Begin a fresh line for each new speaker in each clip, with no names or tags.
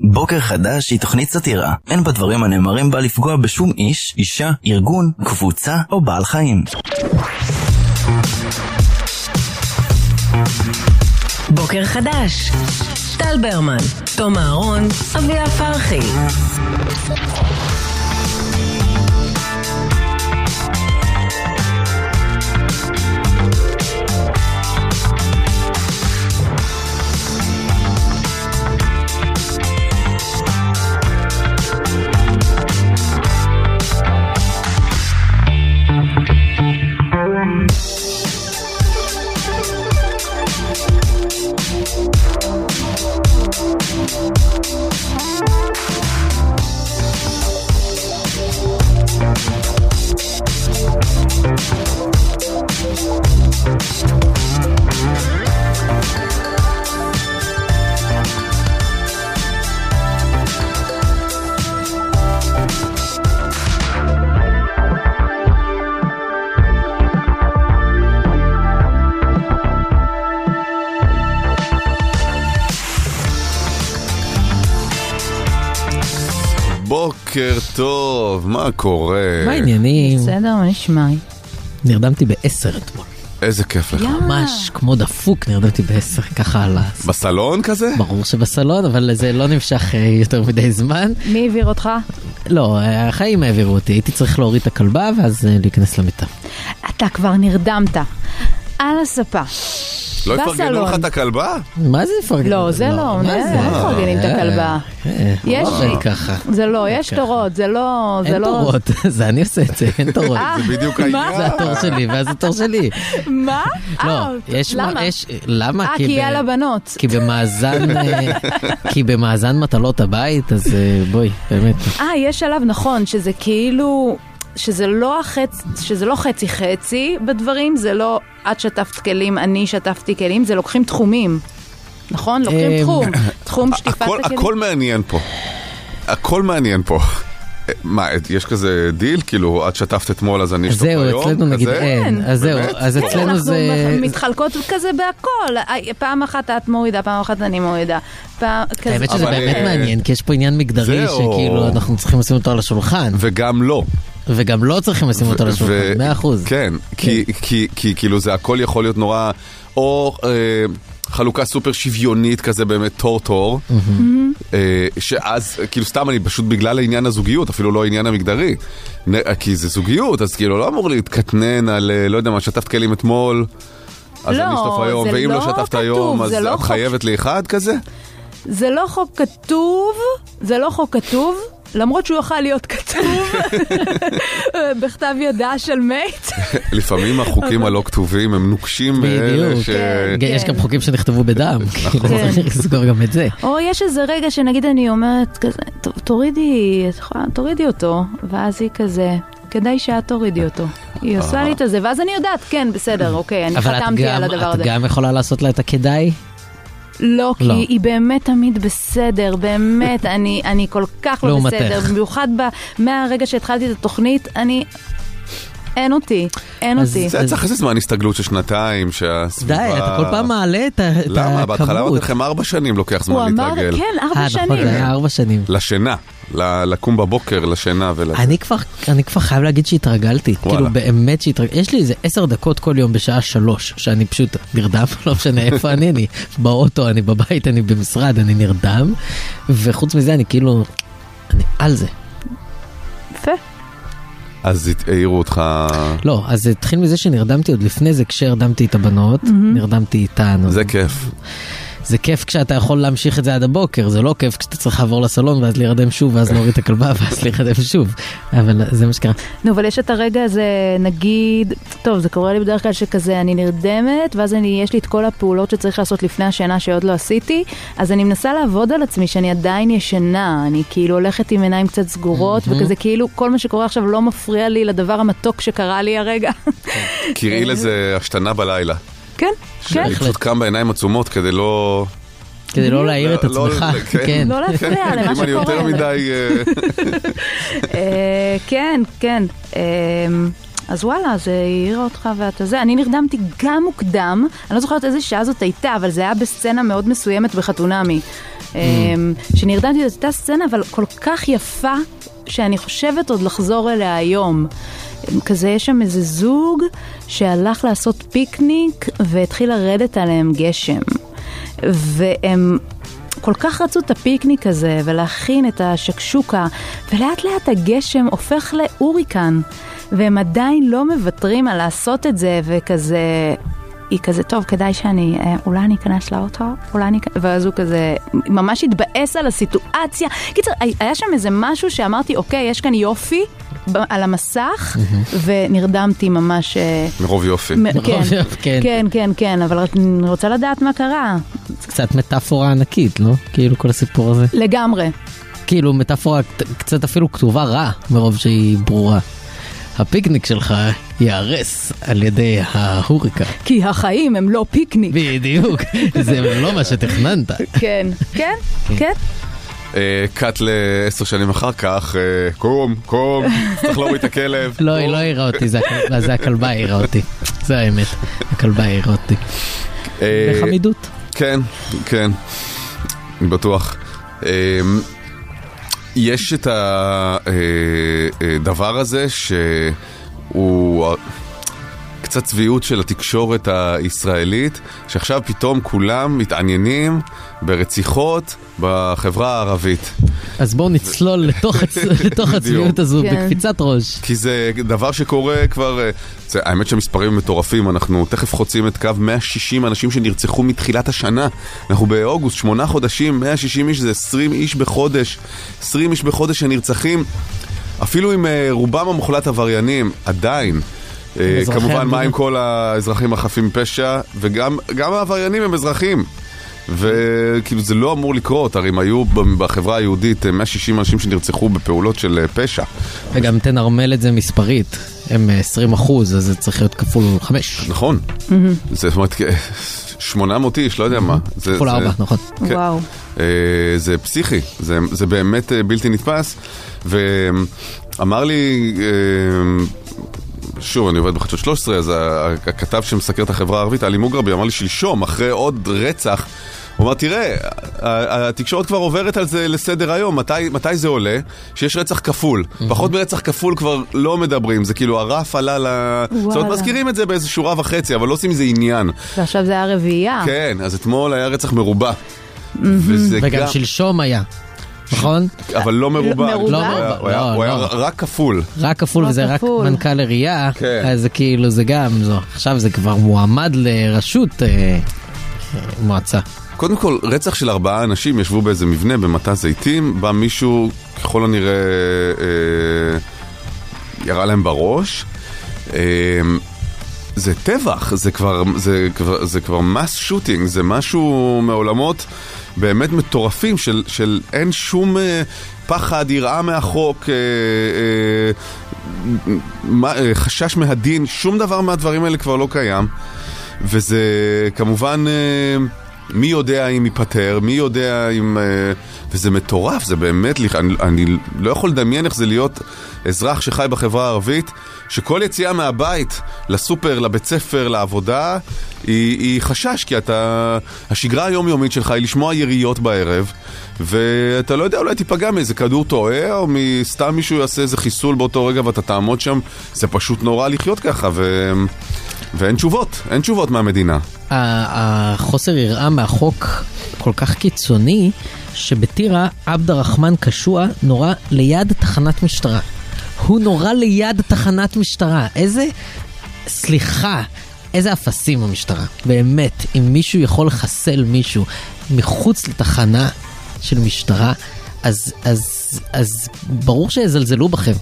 בוקר חדש היא תוכנית סאטירה. אין בדברים הנאמרים בה לפגוע בשום איש, אישה, ארגון, קבוצה או בעל חיים.
בוקר חדש. טל ברמן, תום אהרון, אביה פרחי.
בוקר טוב, מה קורה?
מה העניינים?
בסדר, מה נשמע?
נרדמתי בעשר אתמול.
איזה כיף לך.
ממש כמו דפוק נרדמתי בעשר ככה על ה...
בסלון כזה?
ברור שבסלון, אבל זה לא נמשך אה, יותר מדי זמן.
מי העביר אותך?
לא, אה, החיים העבירו אותי, הייתי צריך להוריד את הכלבה ואז אה, להיכנס למיטה.
אתה כבר נרדמת. על הספה.
לא יפרגנו
בסלון.
לך את הכלבה?
מה זה לפרגן?
לא, זה לא,
מה
זה
זה?
לא מפרגנים את
אה,
הכלבה.
אה,
יש-
לא עובד ככה. אוקיי.
זה לא, יש תורות, זה לא... זה
אין
לא-
תורות, זה אני עושה את זה, אין תורות.
אה,
זה בדיוק
מה?
העניין.
זה התור שלי, ואז התור שלי.
מה?
לא,
אה,
יש...
למה?
יש- למה?
אה,
כי
כי
ב-
יאללה בנות.
כי במאזן, אה, כי במאזן מטלות הבית, אז אה, בואי, באמת.
אה, יש שלב נכון, שזה כאילו... שזה לא החצ... שזה לא חצי חצי בדברים, זה לא את שטפת כלים, אני שטפתי כלים, זה לוקחים תחומים. נכון?
אה,
לוקחים תחום. תחום שטיפת
הכל-
הכלים.
הכל מעניין פה. הכל מעניין פה. אה, מה, יש כזה דיל? כאילו, את שטפת אתמול אז אני
אז
אשטוף היום?
זהו, אצלנו נגיד
כזה?
אין. אז זהו,
באמת?
אז אצלנו
כן, אנחנו
זה...
מתחלקות כזה בהכל. אה, פעם אחת את מורידה, פעם אחת אני מורידה. פעם- כזה-
האמת שזה
אבל,
באמת
אה,
מעניין, כי יש פה עניין מגדרי
זהו.
שכאילו אנחנו צריכים לשים אותו על השולחן,
וגם לא.
וגם לא צריכים לשים אותו על
ו-
אוקיי,
השולחן, מאה אחוז.
כן, כי- כי כי כאילו זה הכל יכול להיות נורא, או אה, חלוקה סופר שוויונית כזה באמת תור-תור, אה, שאז אה, כאילו סתם אני פשוט בגלל העניין הזוגיות, אפילו לא העניין המגדרי, נ- אה, כי זה זוגיות, אז כאילו לא אמור להתקטנן על אה, לא יודע מה, שטפת כלים אתמול. אז
לא,
אני אשטוף היום,
זה
ואם לא
לא
שטפת
כתוב,
היום, אז
זה לא
את
חוק.
חייבת לי אחד כזה?
זה לא חוק כתוב, זה לא חוק כתוב. למרות שהוא יוכל להיות כתוב בכתב ידה של מייט.
לפעמים החוקים הלא כתובים הם נוקשים מאלה
בדיוק.
ש... נכון.
כן.
ג- יש גם חוקים שנכתבו בדם, כאילו
כן.
צריך לזכור גם את זה.
או יש איזה רגע שנגיד אני אומרת כזה, "טוב, תורידי, את יכולה- תורידי אותו, ואז היא כזה, כדאי שאת תורידי אותו. היא עושה לי את זה, ואז אני יודעת, כן, בסדר, אוקיי, אני
אבל את
חתמתי
גם-
על הדבר
את
הזה.
גם יכולה לעשות לה את הכדאי?
לא, כי
לא.
היא באמת תמיד בסדר, באמת, אני, אני כל כך לא
לעומתך.
בסדר, במיוחד ב, מהרגע שהתחלתי את התוכנית, אני... אין אותי, אין
אז
אותי.
זה-
זה צריך איזה זמן הסתגלות של שנתיים, שהסביבה...
די, אתה כל פעם מעלה את ה- את הכמות.
למה? בהתחלה אמרתי לכם ארבע שנים לוקח
הוא
זמן
אמר,
להתרגל.
כן,
אה,
ארבע
נכון,
שנים.
זה היה ארבע שנים.
לשינה, ל- לקום בבוקר, לשינה ול...
אני כבר, אני כבר חייב להגיד שהתרגלתי,
וואלה.
כאילו באמת שהתרגלתי, יש לי איזה עשר דקות כל יום בשעה שלוש, שאני פשוט נרדם, לא משנה איפה אני, אני באוטו, אני בבית, אני במשרד, אני נרדם, וחוץ מזה אני כאילו, אני על זה.
יפה.
אז הת- העירו אותך...
לא, אז זה התחיל מזה שנרדמתי עוד לפני זה, כשהרדמתי את הבנות, נרדמתי איתן.
זה כיף.
זה כיף כשאתה יכול להמשיך את זה עד הבוקר, זה לא כיף כשאתה צריך לעבור לסלון ואז להירדם שוב, ואז להוריד את הכלבה ואז להירדם שוב, אבל זה מה שקרה.
נו, אבל יש את הרגע הזה, נגיד, טוב, זה קורה לי בדרך כלל שכזה, אני נרדמת, ואז אני, יש לי את כל הפעולות שצריך לעשות לפני השינה שעוד לא עשיתי, אז אני מנסה לעבוד על עצמי שאני עדיין ישנה, אני כאילו הולכת עם עיניים קצת סגורות, וכזה כאילו, כל מה שקורה עכשיו לא מפריע לי לדבר המתוק שקרה לי הרגע.
קראי לזה השתנה בלילה.
כן, כן.
אני פשוט קם בעיניים עצומות כדי לא...
כדי לא להעיר את
לא-
עצמך,
כן.
כן.
לא להפריע
אם
למה
אני יותר
שקורה.
מדי... אה,
אה, כן, כן. אה, אז וואלה, זה העיר אותך ואתה זה. אני נרדמתי גם מוקדם, אני לא זוכרת איזה שעה זאת הייתה, אבל זה היה בסצנה מאוד מסוימת בחתונמי. אמ, שנרדמתי, זאת הייתה סצנה, אבל כל כך יפה, שאני חושבת עוד לחזור אליה היום. אמ, כזה, יש שם איזה זוג שהלך לעשות פיקניק והתחיל לרדת עליהם גשם. והם כל כך רצו את הפיקניק הזה, ולהכין את השקשוקה, ולאט לאט הגשם הופך להוריקן, והם עדיין לא מוותרים על לעשות את זה, וכזה... היא כזה, טוב, כדאי שאני, אה, אולי אני אכנס לאוטו, אולי אני... אכנס-" ואז הוא כזה ממש התבאס על הסיטואציה. קיצר, הי- היה שם איזה משהו שאמרתי, אוקיי, יש כאן יופי ב- על המסך, ונרדמתי ממש... אה,
מרוב יופי.
מ- כן,
יופי, כן.
כן, כן, כן, אבל רק אני רוצה לדעת מה קרה.
זה קצת מטאפורה ענקית, לא? כאילו כל הסיפור הזה.
לגמרי.
כאילו מטאפורה ק- קצת אפילו כתובה רע, מרוב שהיא ברורה. הפיקניק שלך ייהרס על ידי ההוריקה.
כי החיים הם לא פיקניק.
בדיוק, זה לא מה שתכננת.
כן, כן, כן.
אה, קאט לעשר שנים אחר כך, אה, קום, קום, צריך להוריד את הכלב.
לא, היא לא העירה אותי, זה הכל- זה הכלבה העירה אותי. זה האמת, הכלבה העירה אותי.
אה,
בחמידות.
כן, כן, אני בטוח. אמ, יש את הדבר הזה שהוא ה- קצת צביעות של התקשורת הישראלית, שעכשיו פתאום כולם מתעניינים ברציחות בחברה הערבית.
אז בואו נצלול לתוך הצ- לתוך הצביעות הזו
כן.
בקפיצת ראש.
כי זה דבר שקורה כבר, אה, זה, האמת שהמספרים מטורפים, אנחנו תכף חוצים את קו 160 אנשים שנרצחו מתחילת השנה. אנחנו באוגוסט, שמונה חודשים, 160 איש זה 20 איש בחודש, 20 איש בחודש שנרצחים, אפילו אם אה, רובם המוחלט עבריינים, עדיין. אה,
אזרחי
כמובן,
המדינה.
מה עם כל האזרחים החפים פשע, וגם גם העבריינים הם אזרחים. וכאילו זה לא אמור לקרות, הרי אם היו ב- בחברה היהודית אה, 160 אנשים שנרצחו בפעולות של אה, פשע,
וגם תנרמל את זה מספרית. הם אה, 20 אחוז, אז זה צריך להיות כפול 5.
נכון. זה זאת אומרת, כ- 800 איש, לא יודע מה. זה-
כפול
זה-
4, נכון.
כן.
וואו.
אה, זה פסיכי, זה, זה באמת אה, בלתי נתפס. ואמר לי, אה, שוב, אני עובד בחדשות 13, אז ה- ה- הכתב שמסקר את החברה הערבית, עלי מוגרבי, אמר לי שלשום, אחרי עוד רצח, הוא אמר, תראה, ה- התקשורת כבר עוברת על זה לסדר היום, מתי, מתי זה עולה? שיש רצח כפול. פחות מרצח כפול כבר לא מדברים, זה כאילו הרף עלה ל... זאת אומרת,
וואלה.
מזכירים את זה באיזה שורה וחצי, אבל לא עושים מזה עניין.
ועכשיו זה היה רביעייה.
כן, אז אתמול היה רצח מרובע. וזה
וגם שלשום היה, נכון?
אבל לא מרובע.
מרובע?
הוא היה-
לא,
הוא היה-
לא,
הוא היה
לא.
רק כפול.
רק כפול
לא
וזה רק
כפול.
מנכ"ל עירייה,
כן.
אז זה כאילו זה גם, זו, עכשיו זה כבר מועמד לראשות אה, אה, מועצה.
קודם כל, רצח של ארבעה אנשים ישבו באיזה מבנה במטע זיתים, בא מישהו, ככל הנראה, אה, ירה להם בראש. אה, זה טבח, זה כבר, זה, כבר, זה כבר מס שוטינג, זה משהו מעולמות באמת מטורפים של, של אין שום אה, פחד, יראה מהחוק, אה, אה, מה, אה, חשש מהדין, שום דבר מהדברים האלה כבר לא קיים. וזה כמובן, אה, מי יודע אם ייפתר, מי יודע אם... אה, וזה מטורף, זה באמת, לכ- אני, אני לא יכול לדמיין איך זה להיות אזרח שחי בחברה הערבית, שכל יציאה מהבית לסופר, לבית ספר, לעבודה, היא, היא חשש, כי אתה... השגרה היומיומית שלך היא לשמוע יריות בערב, ואתה לא יודע, אולי תיפגע מאיזה כדור טועה, או מסתם מישהו יעשה איזה חיסול באותו רגע ואתה תעמוד שם, זה פשוט נורא לחיות ככה, ו... ואין תשובות, אין תשובות מהמדינה.
ה- החוסר יראה מהחוק כל כך קיצוני, שבטירה עבד הרחמן קשוע נורה ליד תחנת משטרה. הוא נורה ליד תחנת משטרה. איזה... סליחה, איזה אפסים המשטרה. באמת, אם מישהו יכול לחסל מישהו מחוץ לתחנה של משטרה, אז, אז, אז ברור שיזלזלו בכם.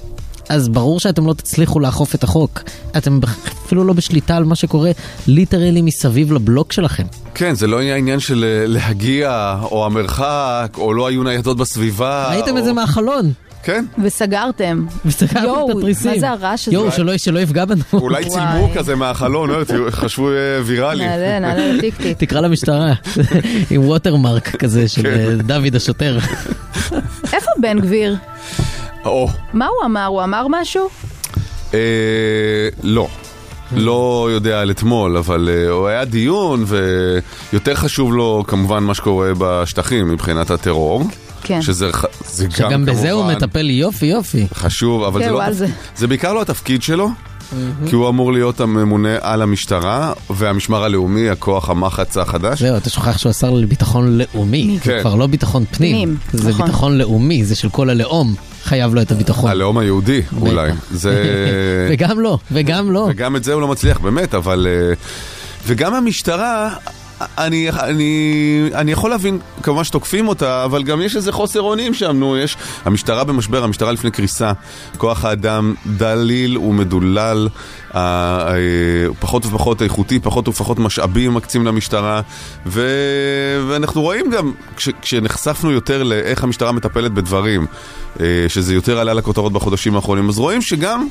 אז ברור שאתם לא תצליחו לאכוף את החוק. אתם בכ- אפילו לא בשליטה על מה שקורה ליטרלי מסביב לבלוק שלכם.
אה,
כן, זה לא היה עניין של אה, להגיע, או המרחק, או לא היו ניידות בסביבה.
ראיתם
או...
את זה מהחלון,
אה, כן,
וסגרתם.
וסגרנו את
יואו,
התריסים.
מה זה הרעש הזה?
יואו, שלא, שלא יפגע בנו.
אולי צילמו כזה מהחלון, לא יודעת, חשבו אה, ויראלי.
נעלה, נעלה לטיקטיק.
תקרא למשטרה, עם ווטרמרק כזה
כן.
של אה, דוד השוטר.
איפה בן גביר?
או,
מה הוא אמר? הוא אמר משהו?
אה, לא. לא יודע על אתמול, אבל אה, הוא היה דיון ויותר חשוב לו כמובן מה שקורה בשטחים מבחינת הטרור.
כן.
שזה ח- זה גם
שגם בזה הוא
כמובן
מטפל יופי יופי.
חשוב, אבל
כן,
זה,
הוא
לא,
על
התפ-
זה.
זה בעיקר לא התפקיד שלו, כי הוא אמור להיות הממונה על המשטרה והמשמר הלאומי, הכוח המחץ החדש.
זהו, אתה שוכח שהוא השר לביטחון לאומי, זה
אה, כן.
כבר לא ביטחון פנים,
פנים,
זה
נכון.
ביטחון לאומי, זה של כל הלאום, חייב לו את הביטחון.
הלאום היהודי אולי. זה...
וגם לא, וגם לא.
וגם את זה הוא לא מצליח, באמת, אבל... אה, וגם המשטרה, אני, אני, אני יכול להבין כמובן שתוקפים אותה, אבל גם יש איזה חוסר אונים שם, נו, יש... המשטרה במשבר, המשטרה לפני קריסה. כוח האדם דליל ומדולל, אה, אה, פחות ופחות איכותי, פחות ופחות משאבים מקצים למשטרה, ו, ואנחנו רואים גם, כש, כשנחשפנו יותר לאיך המשטרה מטפלת בדברים, אה, שזה יותר עלה לכותרות בחודשים האחרונים, אז רואים שגם...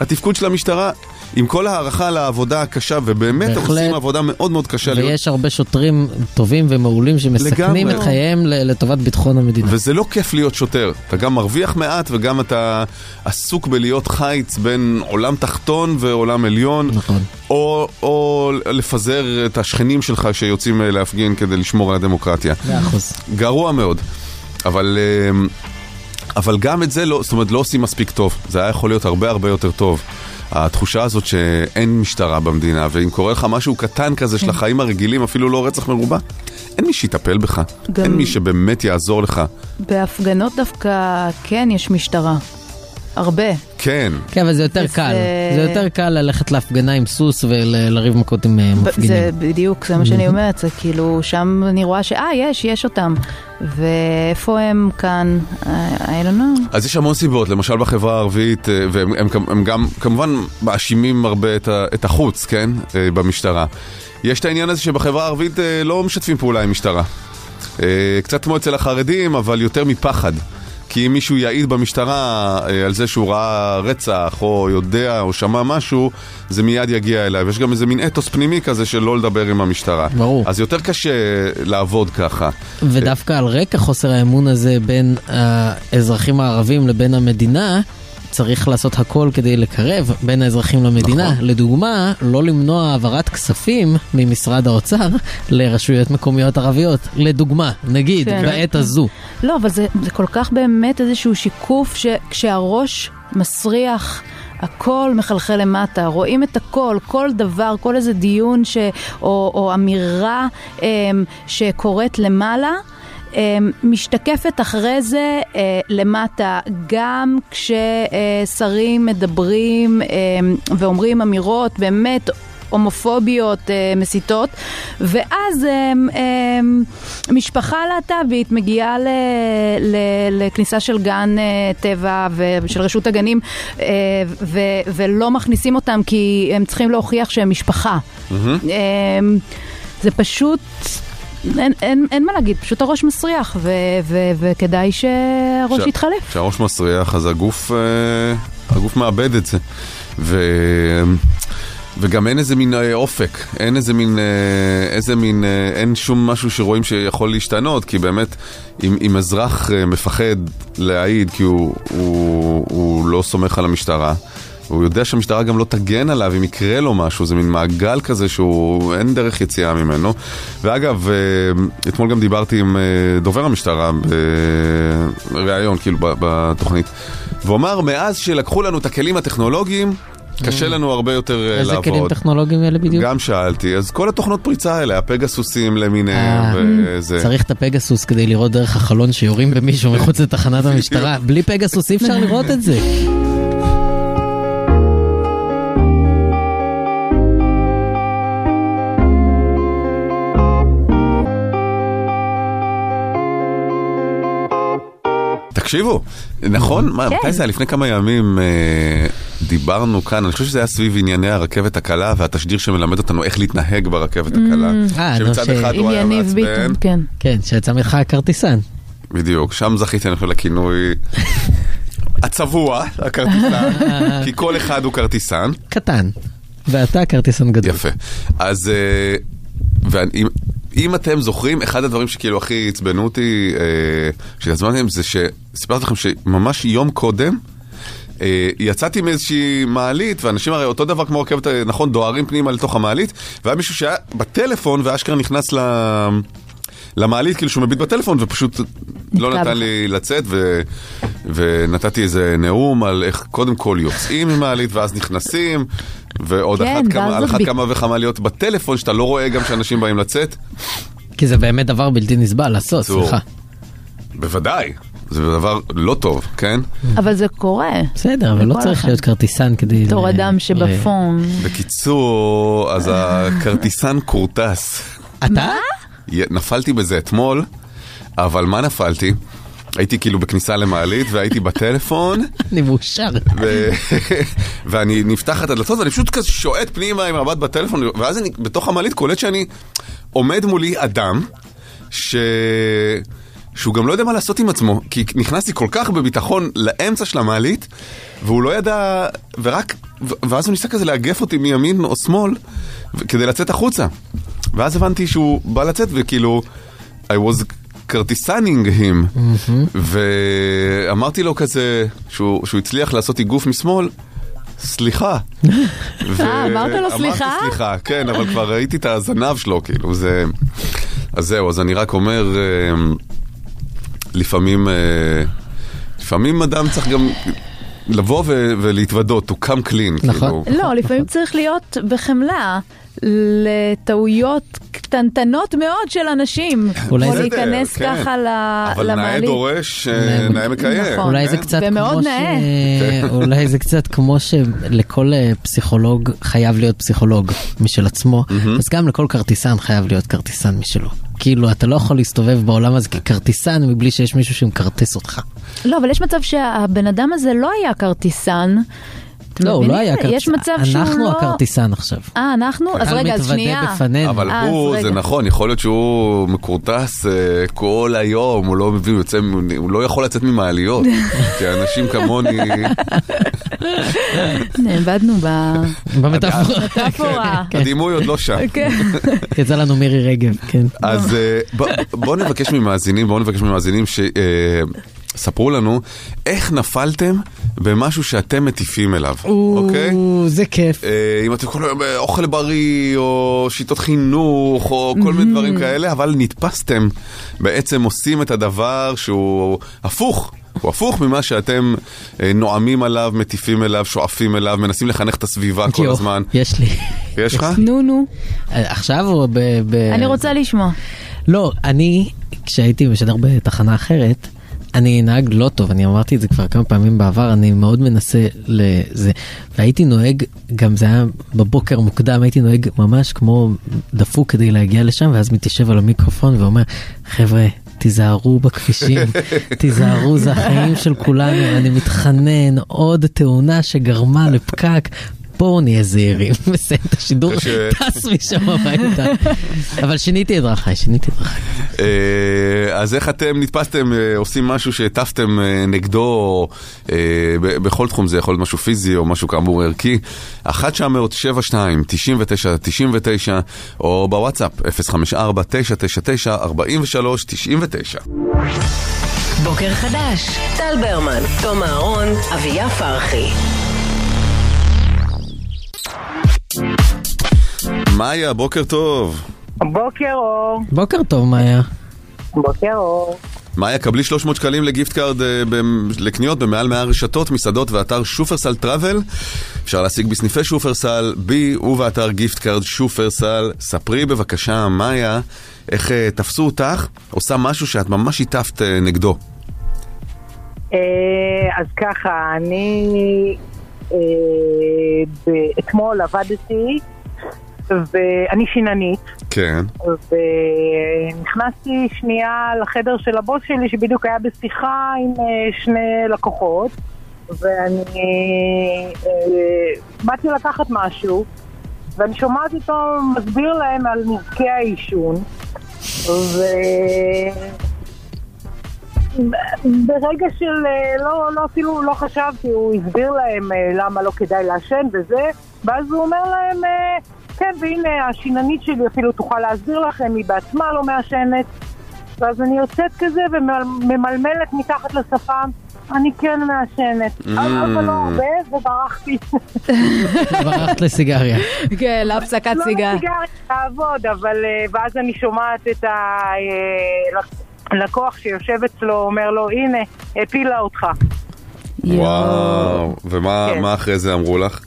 התפקוד של המשטרה, עם כל הערכה לעבודה הקשה, ובאמת
בהחלט.
עושים עבודה מאוד מאוד קשה. להיות-
ויש הרבה שוטרים טובים ומעולים שמסכנים
אה, לגמרי.
את חייהם ל- לטובת ביטחון המדינה.
וזה לא כיף להיות שוטר, אתה גם מרוויח מעט וגם אתה עסוק בלהיות חיץ בין עולם תחתון ועולם עליון,
נכון.
או, או לפזר את השכנים שלך שיוצאים אה, להפגין כדי לשמור על הדמוקרטיה.
מאה אחוז.
גרוע מאוד. אבל, אמ, אבל גם את זה לא, זאת אומרת, לא עושים מספיק טוב. זה היה יכול להיות הרבה הרבה יותר טוב. התחושה הזאת שאין משטרה במדינה, ואם קורה לך משהו קטן כזה
כן.
של החיים הרגילים, אפילו לא רצח מרובע, אין מי שיטפל בך.
גם-
אין מי שבאמת יעזור לך.
בהפגנות דווקא כן יש משטרה. הרבה.
כן,
כן, אבל זה יותר
זה-
קל.
אה,
זה יותר קל ללכת להפגנה עם סוס ולריב מכות עם אה,
ב- זה
מפגינים.
בדיוק, זה מה שאני אומרת, זה כאילו, שם אני רואה שאה, יש, יש אותם. ואיפה הם כאן? I I don't know.
אז יש המון סיבות, למשל בחברה הערבית, אה, והם הם, כמ- הם גם כמובן מאשימים הרבה את, ה, את החוץ, כן, אה, במשטרה. יש את העניין הזה שבחברה הערבית אה, לא משתפים פעולה עם משטרה. אה, קצת כמו אצל החרדים, אבל יותר מפחד. כי אם מישהו יעיד במשטרה אה, על זה שהוא ראה רצח, או יודע, או שמע משהו, זה מיד יגיע אליו. יש גם איזה מין אתוס פנימי כזה של לא לדבר עם המשטרה.
ברור.
אז יותר קשה לעבוד ככה.
ודווקא על רקע חוסר האמון הזה בין אה, האזרחים הערבים לבין המדינה, צריך לעשות הכל כדי לקרב בין האזרחים למדינה. נכון. לדוגמה, לא למנוע העברת כספים ממשרד האוצר לרשויות מקומיות ערביות. לדוגמה, נגיד,
כן.
בעת הזו.
לא, אבל זה, זה כל כך באמת איזשהו שיקוף שכשהראש מסריח... הכל מחלחל למטה, רואים את הכל, כל דבר, כל איזה דיון ש... או, או אמירה אמ, שקורית למעלה, אמ, משתקפת אחרי זה אמ, למטה. גם כששרים מדברים אמ, ואומרים אמירות באמת הומופוביות אה, מסיתות, ואז אה, אה, משפחה להט"בית מגיעה ל, ל, לכניסה של גן אה, טבע ושל רשות הגנים, אה, ו, ולא מכניסים אותם כי הם צריכים להוכיח שהם משפחה. Mm-hmm. אה, זה פשוט... אין, אין, אין מה להגיד, פשוט הראש מסריח, ו, ו, וכדאי שהראש
שה-
יתחלף.
כשהראש מסריח, אז הגוף, אה, הגוף מאבד את זה. ו... וגם אין איזה מין אה, אופק, אין איזה מין, אה, איזה מין, אה, אין שום משהו שרואים שיכול להשתנות, כי באמת, אם, אם אזרח אה, מפחד להעיד כי הוא, הוא, הוא לא סומך על המשטרה, הוא יודע שהמשטרה גם לא תגן עליו אם יקרה לו משהו, זה מין מעגל כזה שהוא, אין דרך יציאה ממנו. ואגב, אה, אתמול גם דיברתי עם אה, דובר המשטרה בריאיון, כאילו, ב- בתוכנית, והוא אמר, מאז שלקחו לנו את הכלים הטכנולוגיים, קשה לנו הרבה יותר אה,
איזה כלים
לעבוד.
טכנולוגיים אלה בדיוק?
גם שאלתי, אז כל התוכנות פריצה האלה, הפגסוסים למיניהם
אה,
וזה.
צריך את הפגסוס כדי לראות דרך החלון שיורים במישהו מחוץ לתחנת המשטרה. בלי פגסוס אי אפשר לראות את זה.
תקשיבו, נכון? מה, מתי זה היה? לפני כמה ימים אה, דיברנו כאן, אני חושב שזה היה סביב ענייני הרכבת הקלה והתשדיר שמלמד אותנו איך להתנהג ברכבת הקלה.
אה, נו, ש-
שמצד אחד
עם
הוא היה
יניב
מעצבן,
ביטון, כן.
כן, שיצא ממך הכרטיסן.
בדיוק, שם זכיתי אני חושב לכינוי הצבוע, הכרטיסן, כי כל אחד הוא כרטיסן.
קטן. ואתה כרטיסן גדול.
יפה. אז אה, ואני- אם- אם אתם זוכרים, אחד הדברים שכאילו הכי עצבנו אותי, אה, שהזמנתם, זה שסיפרתי לכם שממש יום קודם אה, יצאתי מאיזושהי מעלית, ואנשים הרי אותו דבר כמו רכבת, אה, נכון, דוהרים פנימה לתוך המעלית, והיה מישהו שהיה בטלפון, ואשכרה נכנס ל... למעלית, כאילו שהוא מביט בטלפון, ופשוט לא
נתקע
נתן
בך.
לי לצאת, ו... ונתתי איזה נאום על איך קודם כל יוצאים ממעלית ואז נכנסים, ועוד
כן,
אחת כמה,
ואז
על
זאת
אחת
בי-
כמה וכמה להיות בטלפון, שאתה לא רואה גם שאנשים באים לצאת.
כי זה באמת דבר בלתי נסבל, הסוס,
צור.
סליחה.
בוודאי, זה דבר לא טוב, כן?
אבל זה קורה.
בסדר, אבל לא
לכל
צריך
אחד.
להיות אה, כרטיסן כדי...
בתור
ל-
אדם
ל-
שבפון.
בקיצור, אז הכרטיסן כורטס.
אתה?
י- נפלתי בזה אתמול, אבל מה נפלתי? הייתי כאילו בכניסה למעלית והייתי בטלפון,
אני מאושר.
ו... ואני נפתח את הדלתות ואני פשוט כזה שועט פנימה עם מבט בטלפון, ואז אני בתוך המעלית קולט שאני עומד מולי אדם, ש... שהוא גם לא יודע מה לעשות עם עצמו, כי נכנסתי כל כך בביטחון לאמצע של המעלית, והוא לא ידע, ורק, ו- ואז הוא ניסה כזה לאגף אותי מימין או שמאל, ו- כדי לצאת החוצה. ואז הבנתי שהוא בא לצאת, וכאילו, I was כרטיסנינג him,
Mm.
ואמרתי לו כזה, שהוא, שהוא הצליח לעשות איגוף משמאל, סליחה. ו-
אה, אמרת לו סליחה?
אמרתי סליחה, כן, אבל כבר ראיתי את הזנב שלו, כאילו, זה... אז זהו, אז אני רק אומר, אה, לפעמים, אה, לפעמים אדם צריך גם לבוא ו- ולהתוודות, to come clean,
נכון.
כאילו.
לא, לפעמים צריך להיות בחמלה לטעויות קטנטנות מאוד של אנשים.
אולי
או
זה-
להיכנס
בסדר, כן.
ככה ל-
אבל נאה
למעלית.
דורש, אה, נאה מקיים.
נכון.
אולי זה
כן?
קצת
ומאוד
כמו ש...
נאה.
אה,
אוקיי.
אולי זה קצת כמו שלכל אה, פסיכולוג חייב להיות פסיכולוג משל עצמו, אז גם לכל כרטיסן חייב להיות כרטיסן משלו. כאילו, אתה לא יכול להסתובב בעולם הזה ככרטיסן מבלי שיש מישהו שמכרטס אותך.
לא, אבל יש מצב שהבן אדם הזה לא היה כרטיסן. אתם
לא, הוא לא
מבינים?
היה כרטיסן.
יש מצב שהוא לא...
אנחנו הכרטיסן עכשיו.
אה, אנחנו? אז
הקהל
רגע, אז
מתוודה
שנייה.
בפנינו.
אבל
אה,
הוא,
אז
זה
רגע.
נכון, יכול להיות שהוא מכורטס אה, כל היום, הוא לא מבין, הוא יוצא, מ- הוא לא יכול לצאת ממעליות, כי אנשים כמוני,
נאבדנו במטאפורה.
במטאפורה.
הדימוי עוד לא שם.
כן.
יצא לנו מירי רגב, כן.
אז אה, ב- בואו נבקש ממאזינים, בואו נבקש ממאזינים ש... אה, ספרו לנו איך נפלתם במשהו שאתם מטיפים אליו, אוקיי?
או, זה כיף.
אה, אם אתם כל היום אה, אוכל בריא, או שיטות חינוך, או כל מיני
Mm-hmm.
דברים כאלה, אבל נתפסתם, בעצם עושים את הדבר שהוא הפוך. הוא הפוך ממה שאתם אה, נואמים עליו, מטיפים אליו, שואפים אליו, מנסים לחנך את הסביבה כל
יו,
הזמן.
יש לי.
יש לך?
נו, נו.
אה, עכשיו או ב... ב-
אני רוצה לשמוע.
לא, אני, כשהייתי משדר בתחנה אחרת, אני נהג לא טוב, אני אמרתי את זה כבר כמה פעמים בעבר, אני מאוד מנסה לזה. והייתי נוהג, גם זה היה בבוקר מוקדם, הייתי נוהג ממש כמו דפוק כדי להגיע לשם, ואז מתיישב על המיקרופון ואומר, חבר'ה, תיזהרו בכבישים, תיזהרו, זה החיים של כולנו, אני מתחנן, עוד תאונה שגרמה לפקק. בואו נהיה זהירים, מסיים את השידור,
יש, אה,
טס משם הביתה. אבל שיניתי את דרכיי, שיניתי את דרכיי.
אה, אז איך אתם נתפסתם, אה, עושים משהו שהטפתם אה, נגדו אה, ב- בכל תחום, זה יכול להיות משהו פיזי או משהו כאמור ערכי, 1 972 99 99 או בוואטסאפ 054 999 43 99
בוקר חדש, טל ברמן, תום אהרון, אביה פרחי.
מאיה, בוקר טוב.
בוקר אור.
בוקר טוב, מאיה.
בוקר אור.
מאיה, קבלי 300 שקלים לגיפט קארד אה, במ- לקניות במעל 100 רשתות, מסעדות ואתר שופרסל טראבל. אפשר להשיג בסניפי שופרסל, בי ובאתר גיפט קארד שופרסל. ספרי בבקשה, מאיה, איך אה, תפסו אותך, עושה משהו שאת ממש הטפת אה, נגדו.
אה, אז ככה, אני אה, ב- אתמול עבדתי, ואני שיננית,
כן.
ונכנסתי שנייה לחדר של הבוס שלי, שבדיוק היה בשיחה עם אה, שני לקוחות, ואני אה, באתי לקחת משהו, ואני שומעת אותו מסביר להם על נזקי העישון, ו... ברגע של, אה, לא, לא, אפילו לא חשבתי, הוא הסביר להם אה, למה לא כדאי לעשן וזה, ואז הוא אומר להם, אה, כן, והנה, השיננית שלי אפילו תוכל להסביר לכם, היא בעצמה לא מעשנת. ואז אני יוצאת כזה וממלמלת מתחת לשפם, אני כן מעשנת.
Mm.
אבל
Mm.
לא הרבה, וברחתי.
ברחת לסיגריה.
כן, להפסקת
לא
סיגר.
לסיגריה, לעבוד, אבל אה, ואז אני שומעת את הלקוח שיושב אצלו, אומר לו, הנה, הפילה אותך.
וואו, ומה
כן.
מה אחרי זה אמרו לך?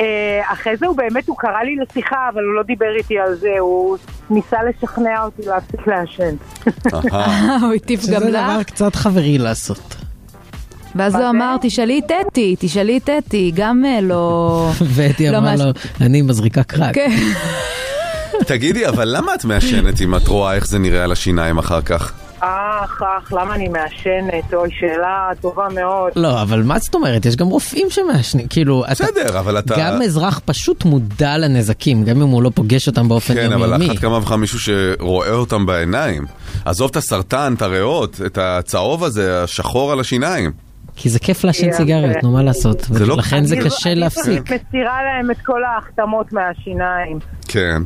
אה, אחרי זה הוא באמת, הוא קרא לי לשיחה, אבל הוא לא דיבר איתי על זה, הוא ניסה לשכנע אותי להפסיק לעשן.
אהה.
הוא הטיף
שזה
גם
דבר
לך.
קצת חברי לעשות.
ואז לא הוא אמר, תשאלי את אתי, תשאלי את אתי, גם אה, לא...
ואתי
לא
אמרה
מש-
לו, אני מזריקה קרק.
כן.
תגידי, אבל למה את מעשנת אם את רואה איך זה נראה על השיניים אחר כך?
אך, אך, למה אני מעשנת? אוי, שאלה טובה מאוד.
לא, אבל מה זאת אומרת? יש גם רופאים שמעשנים, כאילו, אתה...
בסדר, אבל אתה...
גם אזרח פשוט מודע לנזקים, גם אם הוא לא פוגש אותם באופן
כן,
יומיומי.
אבל על אחת כמה וכמה מישהו שרואה אותם בעיניים. עזוב את הסרטן, את הריאות, את הצהוב הזה, השחור על השיניים.
כי זה כיף לעשן
יפה.
סיגריות, נו מה לעשות.
זה לא-
ולכן זה
אני-
קשה
אני
להפסיק.
פשוט מסירה להם את כל ההחתמות מהשיניים.
כן.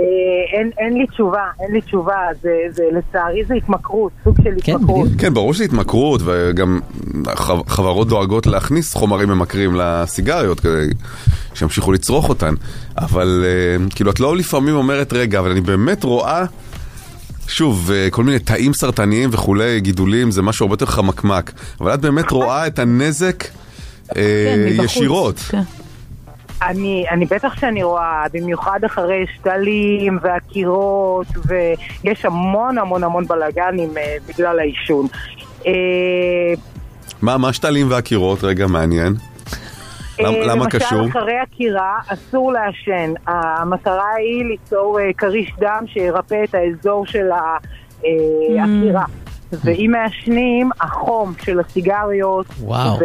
אה, אין, אין לי תשובה, אין לי תשובה, זה, זה, לצערי זה התמכרות, סוג של
כן,
התמכרות.
בדיוק.
כן, ברור שזה התמכרות, וגם חב- חברות דואגות להכניס חומרים ממכרים לסיגריות כדי שימשיכו לצרוך אותן. אבל אה, כאילו, את לא לפעמים אומרת, רגע, אבל אני באמת רואה, שוב, אה, כל מיני תאים סרטניים וכולי, גידולים, זה משהו הרבה יותר חמקמק. אבל את באמת רואה את הנזק אה,
כן, מבחוץ.
ישירות.
כן.
אני, אני בטח שאני רואה, במיוחד אחרי שתלים והקירות, ויש המון המון המון בלאגנים אה, בגלל העישון. אה,
מה, מה שתלים והקירות? רגע, מעניין. למ-
אה,
למה קשור?
למשל, אחרי עקירה אסור לעשן. המטרה היא ליצור אה, כריש דם שירפא את האזור של
Mm.
העקירה. ואם מעשנים, החום של הסיגריות
וואו.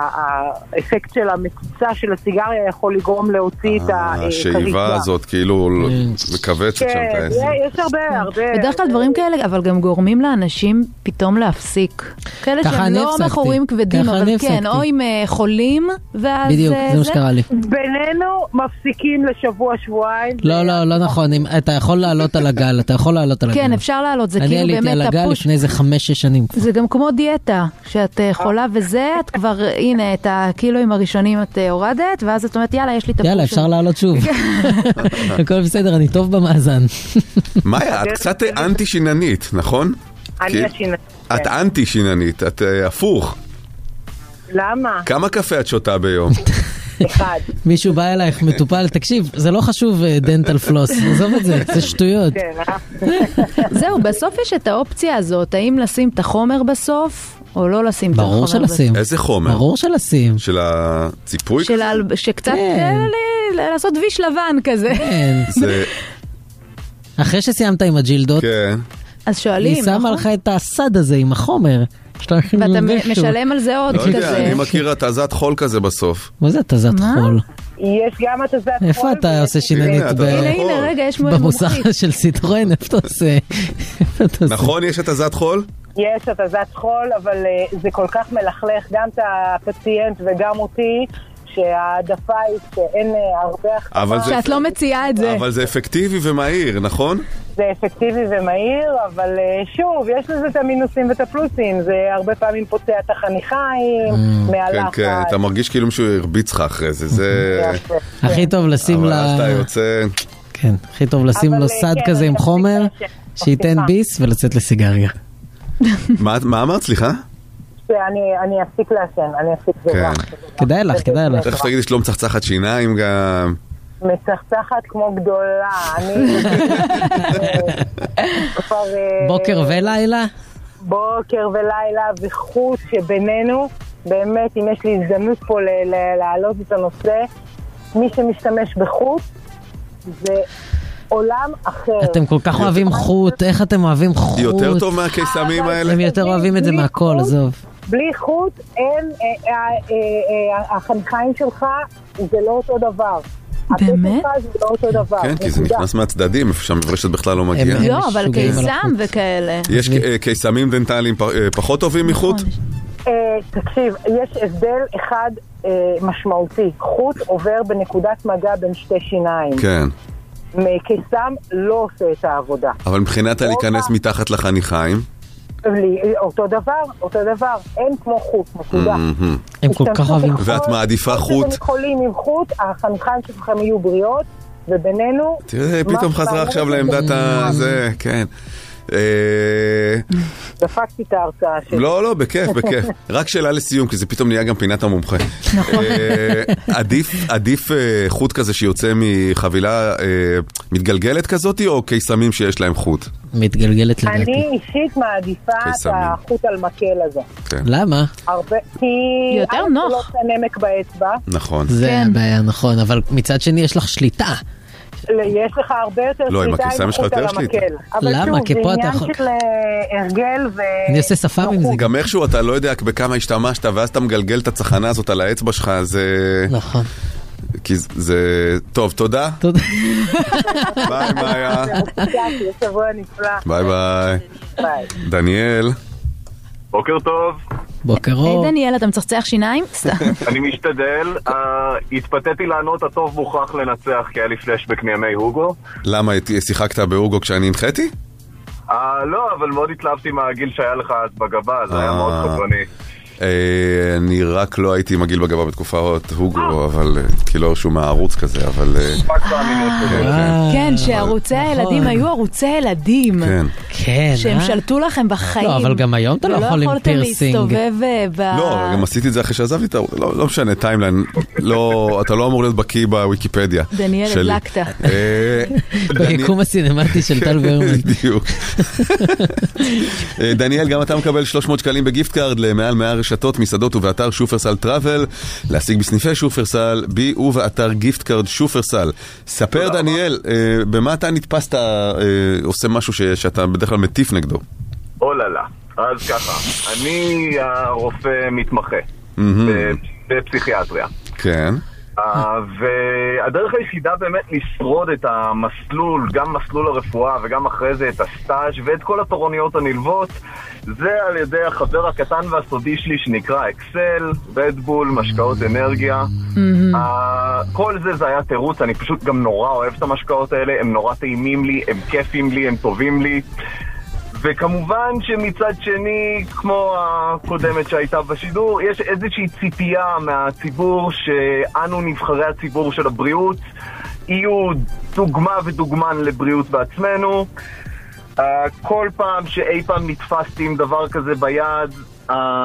והאפקט של המציצה של הסיגריה יכול לגרום להוציא את
אה,
הכריש דם.
השאיבה הזאת, כאילו,
אה.
מכווצת שם את
כן,
העסק.
יש הרבה, הרבה.
בדרך כלל דברים כאלה, אבל גם גורמים לאנשים פתאום להפסיק. כאלה
ככה
שהם
אני
לא
הפסקתי.
מכורים כבדים,
ככה
אבל
אני
כן,
הפסקתי.
או עם אה, חולים, ואז...
בדיוק,
אה,
זה מה שקרה לי.
בינינו מפסיקים לשבוע-שבועיים.
לא, לא, לא נכון, אם- אתה יכול לעלות על הגל, אתה יכול לעלות על הגל.
כן, אפשר לעלות, זה
אני
כאילו
עליתי על
באמת
הגל
הפוש.
לפני איזה חמש-שש שנים.
זה גם כמו דיאטה, שאת אה, חולה וזה, את כבר, הנה, את הקילואים הראשונים את אה, הורדת, ואז את אומרת, יאללה, יש לי את הפוש.
יאללה, אפשר לעלות שוב.
כן.
הכל בסדר, אני טוב במאזן.
מאיה, את קצת אנטי שיננית, נכון?
אני
כי-
השיננית. כן.
את אנטי שיננית, את אה, הפוך.
למה?
כמה קפה את שותה ביום?
אחד.
מישהו בא אלייך, מטופל, תקשיב, זה לא חשוב דנטל פלוס, עזוב את זה, זה שטויות.
כן, אה?
זהו, בסוף יש את האופציה הזאת, האם לשים את החומר בסוף, או לא לשים את החומר
ברור
בסוף.
שלשים,
איזה חומר?
ברור שלשים.
של הציפוי?
של ה- שקצת
כן.
אה, ל- לעשות ויש לבן כזה.
כן.
זה...
אחרי שסיימת עם הג'ילדות,
כן.
אז
היא
שואלים,
שמה
נכון?
לך את הסד הזה עם החומר. שאתה הולך
ואתה
למישהו.
משלם על זה עוד
לא יודע,
כזה.
אני מכיר התזת חול כזה בסוף.
מה זה התזת
מה?
חול?
יש גם התזת חול.
איפה אתה עושה שיננית?
הנה, אתה
ב-
עושה
הנה,
נכון.
הנה, רגע, יש מועד מומחית.
במוסך של סיטרואן, איפה אתה עושה?
כן.
איפה אתה עושה?
נכון, יש התזת חול?
יש התזת חול, אבל אה, זה כל כך מלכלך גם את הפציינט וגם אותי, שההעדפה היא שאין אה, הרבה החלטה,
אבל זה...
שאת לא מציעה את זה.
אבל זה אפקטיבי ומהיר, נכון?
זה אפקטיבי ומהיר, אבל אה, שוב, יש לזה את המינוסים ואת הפלוסים, זה הרבה פעמים פוצע את החניכיים,
כן,
מהלחץ.
כן, אתה מרגיש כאילו מישהו הרביץ לך אחרי זה, זה...
יפה.
הכי טוב לשים
אבל
לה...
אז אתה יוצא...
כן, הכי טוב לשים
אבל,
לו
אה,
סד
כן,
כזה עם
אתה
חומר,
מפסיקה ש-
שייתן
מפסיקה.
ביס ולצאת לסיגריה.
מה- מה אמרת? סליחה?
שאני אני אפסיק לעשן, אני אפסיק זה
כן.
רע.
כדאי לך, כדאי לך.
תכף תגידי שאת לא מצחצחת שיניים גם.
מצחצחת כמו גדולה, אני... אה, כבר... אה,
בוקר ולילה?
בוקר ולילה וחוץ שבינינו, באמת, אם יש לי הזדמנות פה ל- ל- להעלות את הנושא, מי שמשתמש בחוץ זה עולם אחר.
אתם כל כך אוהבים חוט, איך אתם אוהבים חוט?
יותר טוב מהקיסמים האלה?
הם יותר אוהבים את זה
בלי
מהכל,
חוט.
עזוב.
בלי חוט, אין, אה, אה, אה, אה, החנכיים שלך זה לא אותו דבר. הפה
באמת?
שלך זה לא אותו דבר.
כן, כי זה
נקודה.
נכנס מהצדדים, איפה שהמברשת בכלל לא מגיעה.
הם-
לא, אבל
משוגעים על
קיסם
החוט.
וכאלה.
יש אה, קיסמים דנטליים פ- אה, פחות טובים
נכון.
מחוט?
אה, תקשיב, יש הבדל אחד אה, משמעותי. חוט עובר בנקודת מגע בין שתי שיניים.
כן.
מקיסם לא עושה את העבודה.
אבל מבחינת הלהיכנס מתחת לחניכיים,
לי- אה, אותו דבר, אותו דבר, אין כמו חוט,
Mm,
נקודה.
מהמם.
הם כל כך אוהבים
השתמשו בכל-
ואת מעדיפה
איך
חוט.
שאתם יכולים עם חוט, החנכיים שלכם יהיו בריאות, ובינינו...
תראה,
מה
פתאום חזרה
שבאמת
עכשיו לעמדת ה... זה, כן. אה,
דפקתי את ההרצאה שלי.
לא, לא, בכיף, בכיף. רק שאלה לסיום, כי זה פתאום נהיה גם פינת המומחה. נכון. עדיף, עדיף אה, חוט כזה שיוצא מחבילה אה, מתגלגלת כזאת, או קיסמים שיש להם חוט?
מתגלגלת לדעתי.
אני אישית מעדיפה את
כן, קיסמים.
החוט על מקל הזה.
למה?
הרבה, כי...
יותר
א',
נוח.
הוא לא עושה נמק באצבע,
נכון.
זה
כן.
הבעיה, נכון, אבל מצד שני יש לך שליטה.
אה, יש לך הרבה יותר
לא, עם
שליטה
הקיסם יש לך
חוט
יותר
על
שליטה.
המקל. אבל
למה?
שוב,
כי פה
זה
אתה
עניין
יכול-
של אה, הרגל ו...
אני עושה שפם עם זה.
גם איכשהו אתה לא יודע בכמה השתמשת, ואז אתה מגלגל את הצחנה הזאת על האצבע שלך, זה...
נכון.
כי זה- זה... טוב, תודה.
תודה.
ביי, מאיה.
תודה, שבוע נפלא.
ביי ביי.
ביי.
דניאל.
בוקר טוב,
בוקר אור.
היי דניאל, אתה מצחצח שיניים? סתם.
אני משתדל. אה, התפתיתי לענות הטוב מוכרח לנצח, כי היה לי פלשבק מימי הוגו.
למה את- שיחקת בהוגו כשאני הנחיתי?
אה, לא, אבל מאוד התלהבתי מהגיל שהיה לך אז בגבה, זה היה
אה.
מאוד חזרני.
אה, אני רק לא הייתי עם הגיל בגבה בתקופת הוגו, אבל אה, כי לא הרשו מהערוץ כזה, אבל... אה,
רק באמינות כזאת.
כן,
כן, שערוצי הילדים היו ערוצי ילדים.
כן.
נכון. כן,
שהם
אה?
שלטו לכם בחיים.
לא, אבל גם היום אתה לא
ולא
יכול עם
יכולתם
פירסינג.
להסתובב אה, ב...
לא, גם עשיתי את זה אחרי שעזבתי את הערוץ, לא לא משנה, טיימליין, לא, אתה לא אמור להיות בקיא בוויקיפדיה.
דניאל,
שלי.
הדלקת.
אה, דניאל-
ביקום הסינמטי של טל ברמן.
בדיוק. אה, דניאל, גם אתה מקבל 300 שקלים בגיפט קארד למעל 100 רשתות, מסעדות ובאתר שופרסל טראבל. להשיג בסניפי שופרסל, בי ובאתר גיפט קארד שופרסל. ספר, דניאל, אה, במה אתה נתפסת אה, עושה משהו ש- שאתה בדרך כלל מטיף נגדו?
אוללה. אז ככה, אני הרופא מתמחה ב- בפסיכיאטריה.
כן.
אה, והדרך היחידה באמת לשרוד את המסלול, גם מסלול הרפואה וגם אחרי זה את הסטאז' ואת כל התורניות הנלוות, זה על ידי החבר הקטן והסודי שלי שנקרא אקסל, רדבול, משקאות אנרגיה.
Mm-hmm.
אה, כל זה זה היה תירוץ, אני פשוט גם נורא אוהב את המשקאות האלה, הם נורא טעימים לי, הם כיפים לי, הם טובים לי. וכמובן שמצד שני, כמו הקודמת שהייתה בשידור, יש איזושהי ציפייה מהציבור שאנו נבחרי הציבור של הבריאות יהיו דוגמה ודוגמן לבריאות בעצמנו. Uh, כל פעם שאי פעם נתפסתי עם דבר כזה ביד,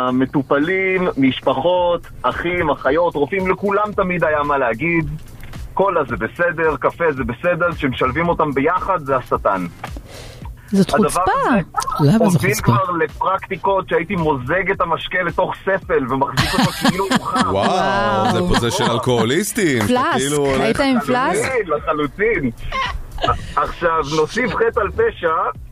המטופלים, משפחות, אחים, אחיות, רופאים, לכולם תמיד היה מה להגיד. קולה זה בסדר, קפה זה בסדר, כשמשלבים אותם ביחד זה השטן.
זאת
הדבר
חוצפה.
הזה-
למה זה
הוביל
חוצפה?
כבר לפרקטיקות שהייתי מוזג את המשקה לתוך ספל ומחזיק אותו כאילו הוא חם.
וואו, זה פה זה של אלכוהוליסטים. שאתה
פלסק,
כאילו הולך-
היית עם פלסק?
לחלוטין, כן, לחלוטין. עכשיו, נוסיף חטא על פשע,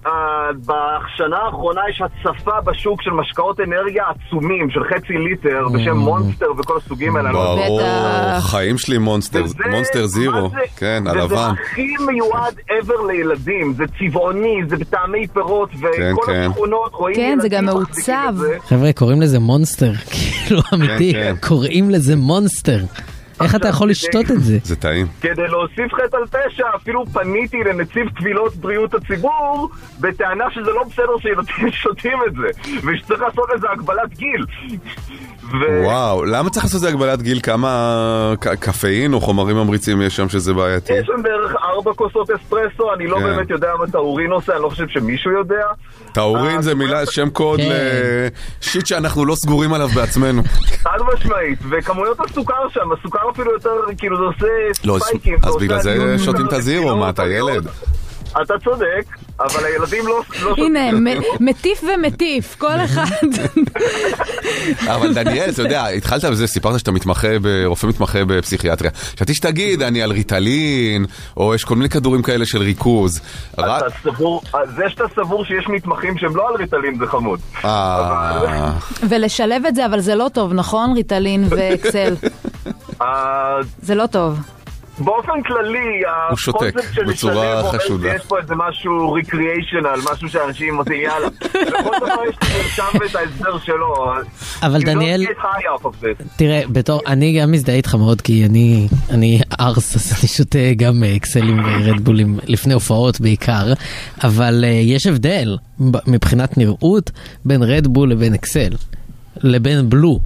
אה, בשנה האחרונה יש הצפה בשוק של משקאות אנרגיה עצומים, של חצי ליטר,
Mm.
בשם מונסטר וכל הסוגים האלה. אני לא
ברור,
בטח.
חיים שלי מונסטר,
וזה-
מונסטר זירו,
מה זה-
כן,
וזה
הלבן.
הכי מיועד ever לילדים, זה צבעוני, זה בטעמי פירות,
כן,
וכל
כן.
התכונות רואים
כן, זה
ילדים
גם
מחזיקים את
מעוצב.
זה.
חבר'ה, קוראים לזה מונסטר, כאילו אמיתי,
כן.
קוראים לזה מונסטר. איך אתה יכול לשתות את זה?
זה טעים.
כדי להוסיף חטא על פשע, אפילו פניתי לנציב קבילות בריאות הציבור בטענה שזה לא בסדר שילדים שותים את זה, ושצריך לעשות איזה הגבלת גיל. ו...
וואו, למה צריך לעשות את זה הגבלת גיל? כמה ק- קפאין או חומרים ממריצים יש שם שזה בעייתי?
יש שם בערך ארבע כוסות אספרסו, אני לא
כן.
באמת יודע מה טאורין עושה, אני לא חושב שמישהו יודע.
טאורין
אה,
זה מילה, שם קוד
כן.
לשיט שאנחנו לא סגורים עליו בעצמנו.
חד משמעית, וכמויות הסוכר שם, הסוכר אפילו יותר, כאילו זה
לא,
עושה
אז-
ספייקים.
אז
עושה
בגלל זה
עליות
שותים את
סוכר,
הזירו,
כאילו,
מה אתה
עליות.
ילד?
אתה צודק, אבל הילדים לא לא שותים.
הנה,
את זה.
מ- מטיף ומטיף, כל אחד.
אבל דניאל, אתה יודע, התחלת בזה, סיפרת שאתה מתמחה, ב- רופא מתמחה בפסיכיאטריה. חשבתי שתגיד, אני על ריטלין, או יש כל מיני כדורים כאלה של ריכוז. רק-
אתה סבור, זה שאתה סבור שיש מתמחים שהם לא על ריטלין זה חמוד.
אה,
ולשלב את זה, אבל זה לא טוב, נכון? ריטלין ואקסל.
אה,
זה לא טוב.
באופן כללי,
שותק
הקונספט של
בצורה
משתלב אומר
חשודה.
שיש פה איזה משהו ריקריאיישנל, משהו שאנשים עושים יאללה. לכל דבר יש את המרשם ואת ההסדר שלו.
אבל דניאל-
You don't get high off of this.
תראה, בתור, אני גם מזדהה איתך מאוד, כי אני, אני ארס, אז אני שותה גם אה, אקסלים ורדבולים לפני הופעות בעיקר, אבל אה, יש הבדל ב- מבחינת נראות בין רדבול לבין אקסל, לבין בלו.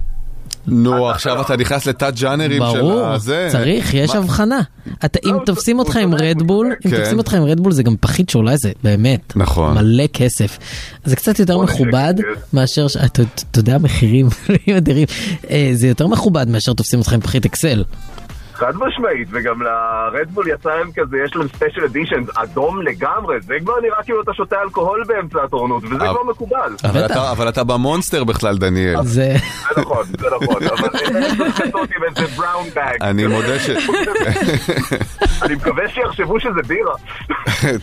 נו, עכשיו אתה נכנס לתת ג'אנרים של
ברור,
הזה.
צריך, יש
מה- לא,
הבחנה. אתה- אם תופסים אותך עם רדבול, אם
כן.
תופסים אותך עם רדבול זה גם פחית שעולה איזה, באמת,
נכון.
מלא כסף. זה קצת יותר
בואנה,
מכובד
כן.
מאשר, ש- אתה אתה יודע, מחירים אדירים, אה, זה יותר מכובד מאשר תופסים אותך עם פחית אקסל.
חד משמעית, וגם לרדבול יצא להם כזה, יש להם ספיישל אדישן אדום לגמרי, זה כבר נראה כאילו אתה שותה אלכוהול באמצע הטורנות, וזה
אה.
כבר מקובל.
אבל אתה- אבל אתה במונסטר בכלל, דניאל.
זה...
זה נכון, זה נכון, אבל אין אותי באיזה בראון בג.
אני מודה ש...
אני מקווה שיחשבו שזה בירה.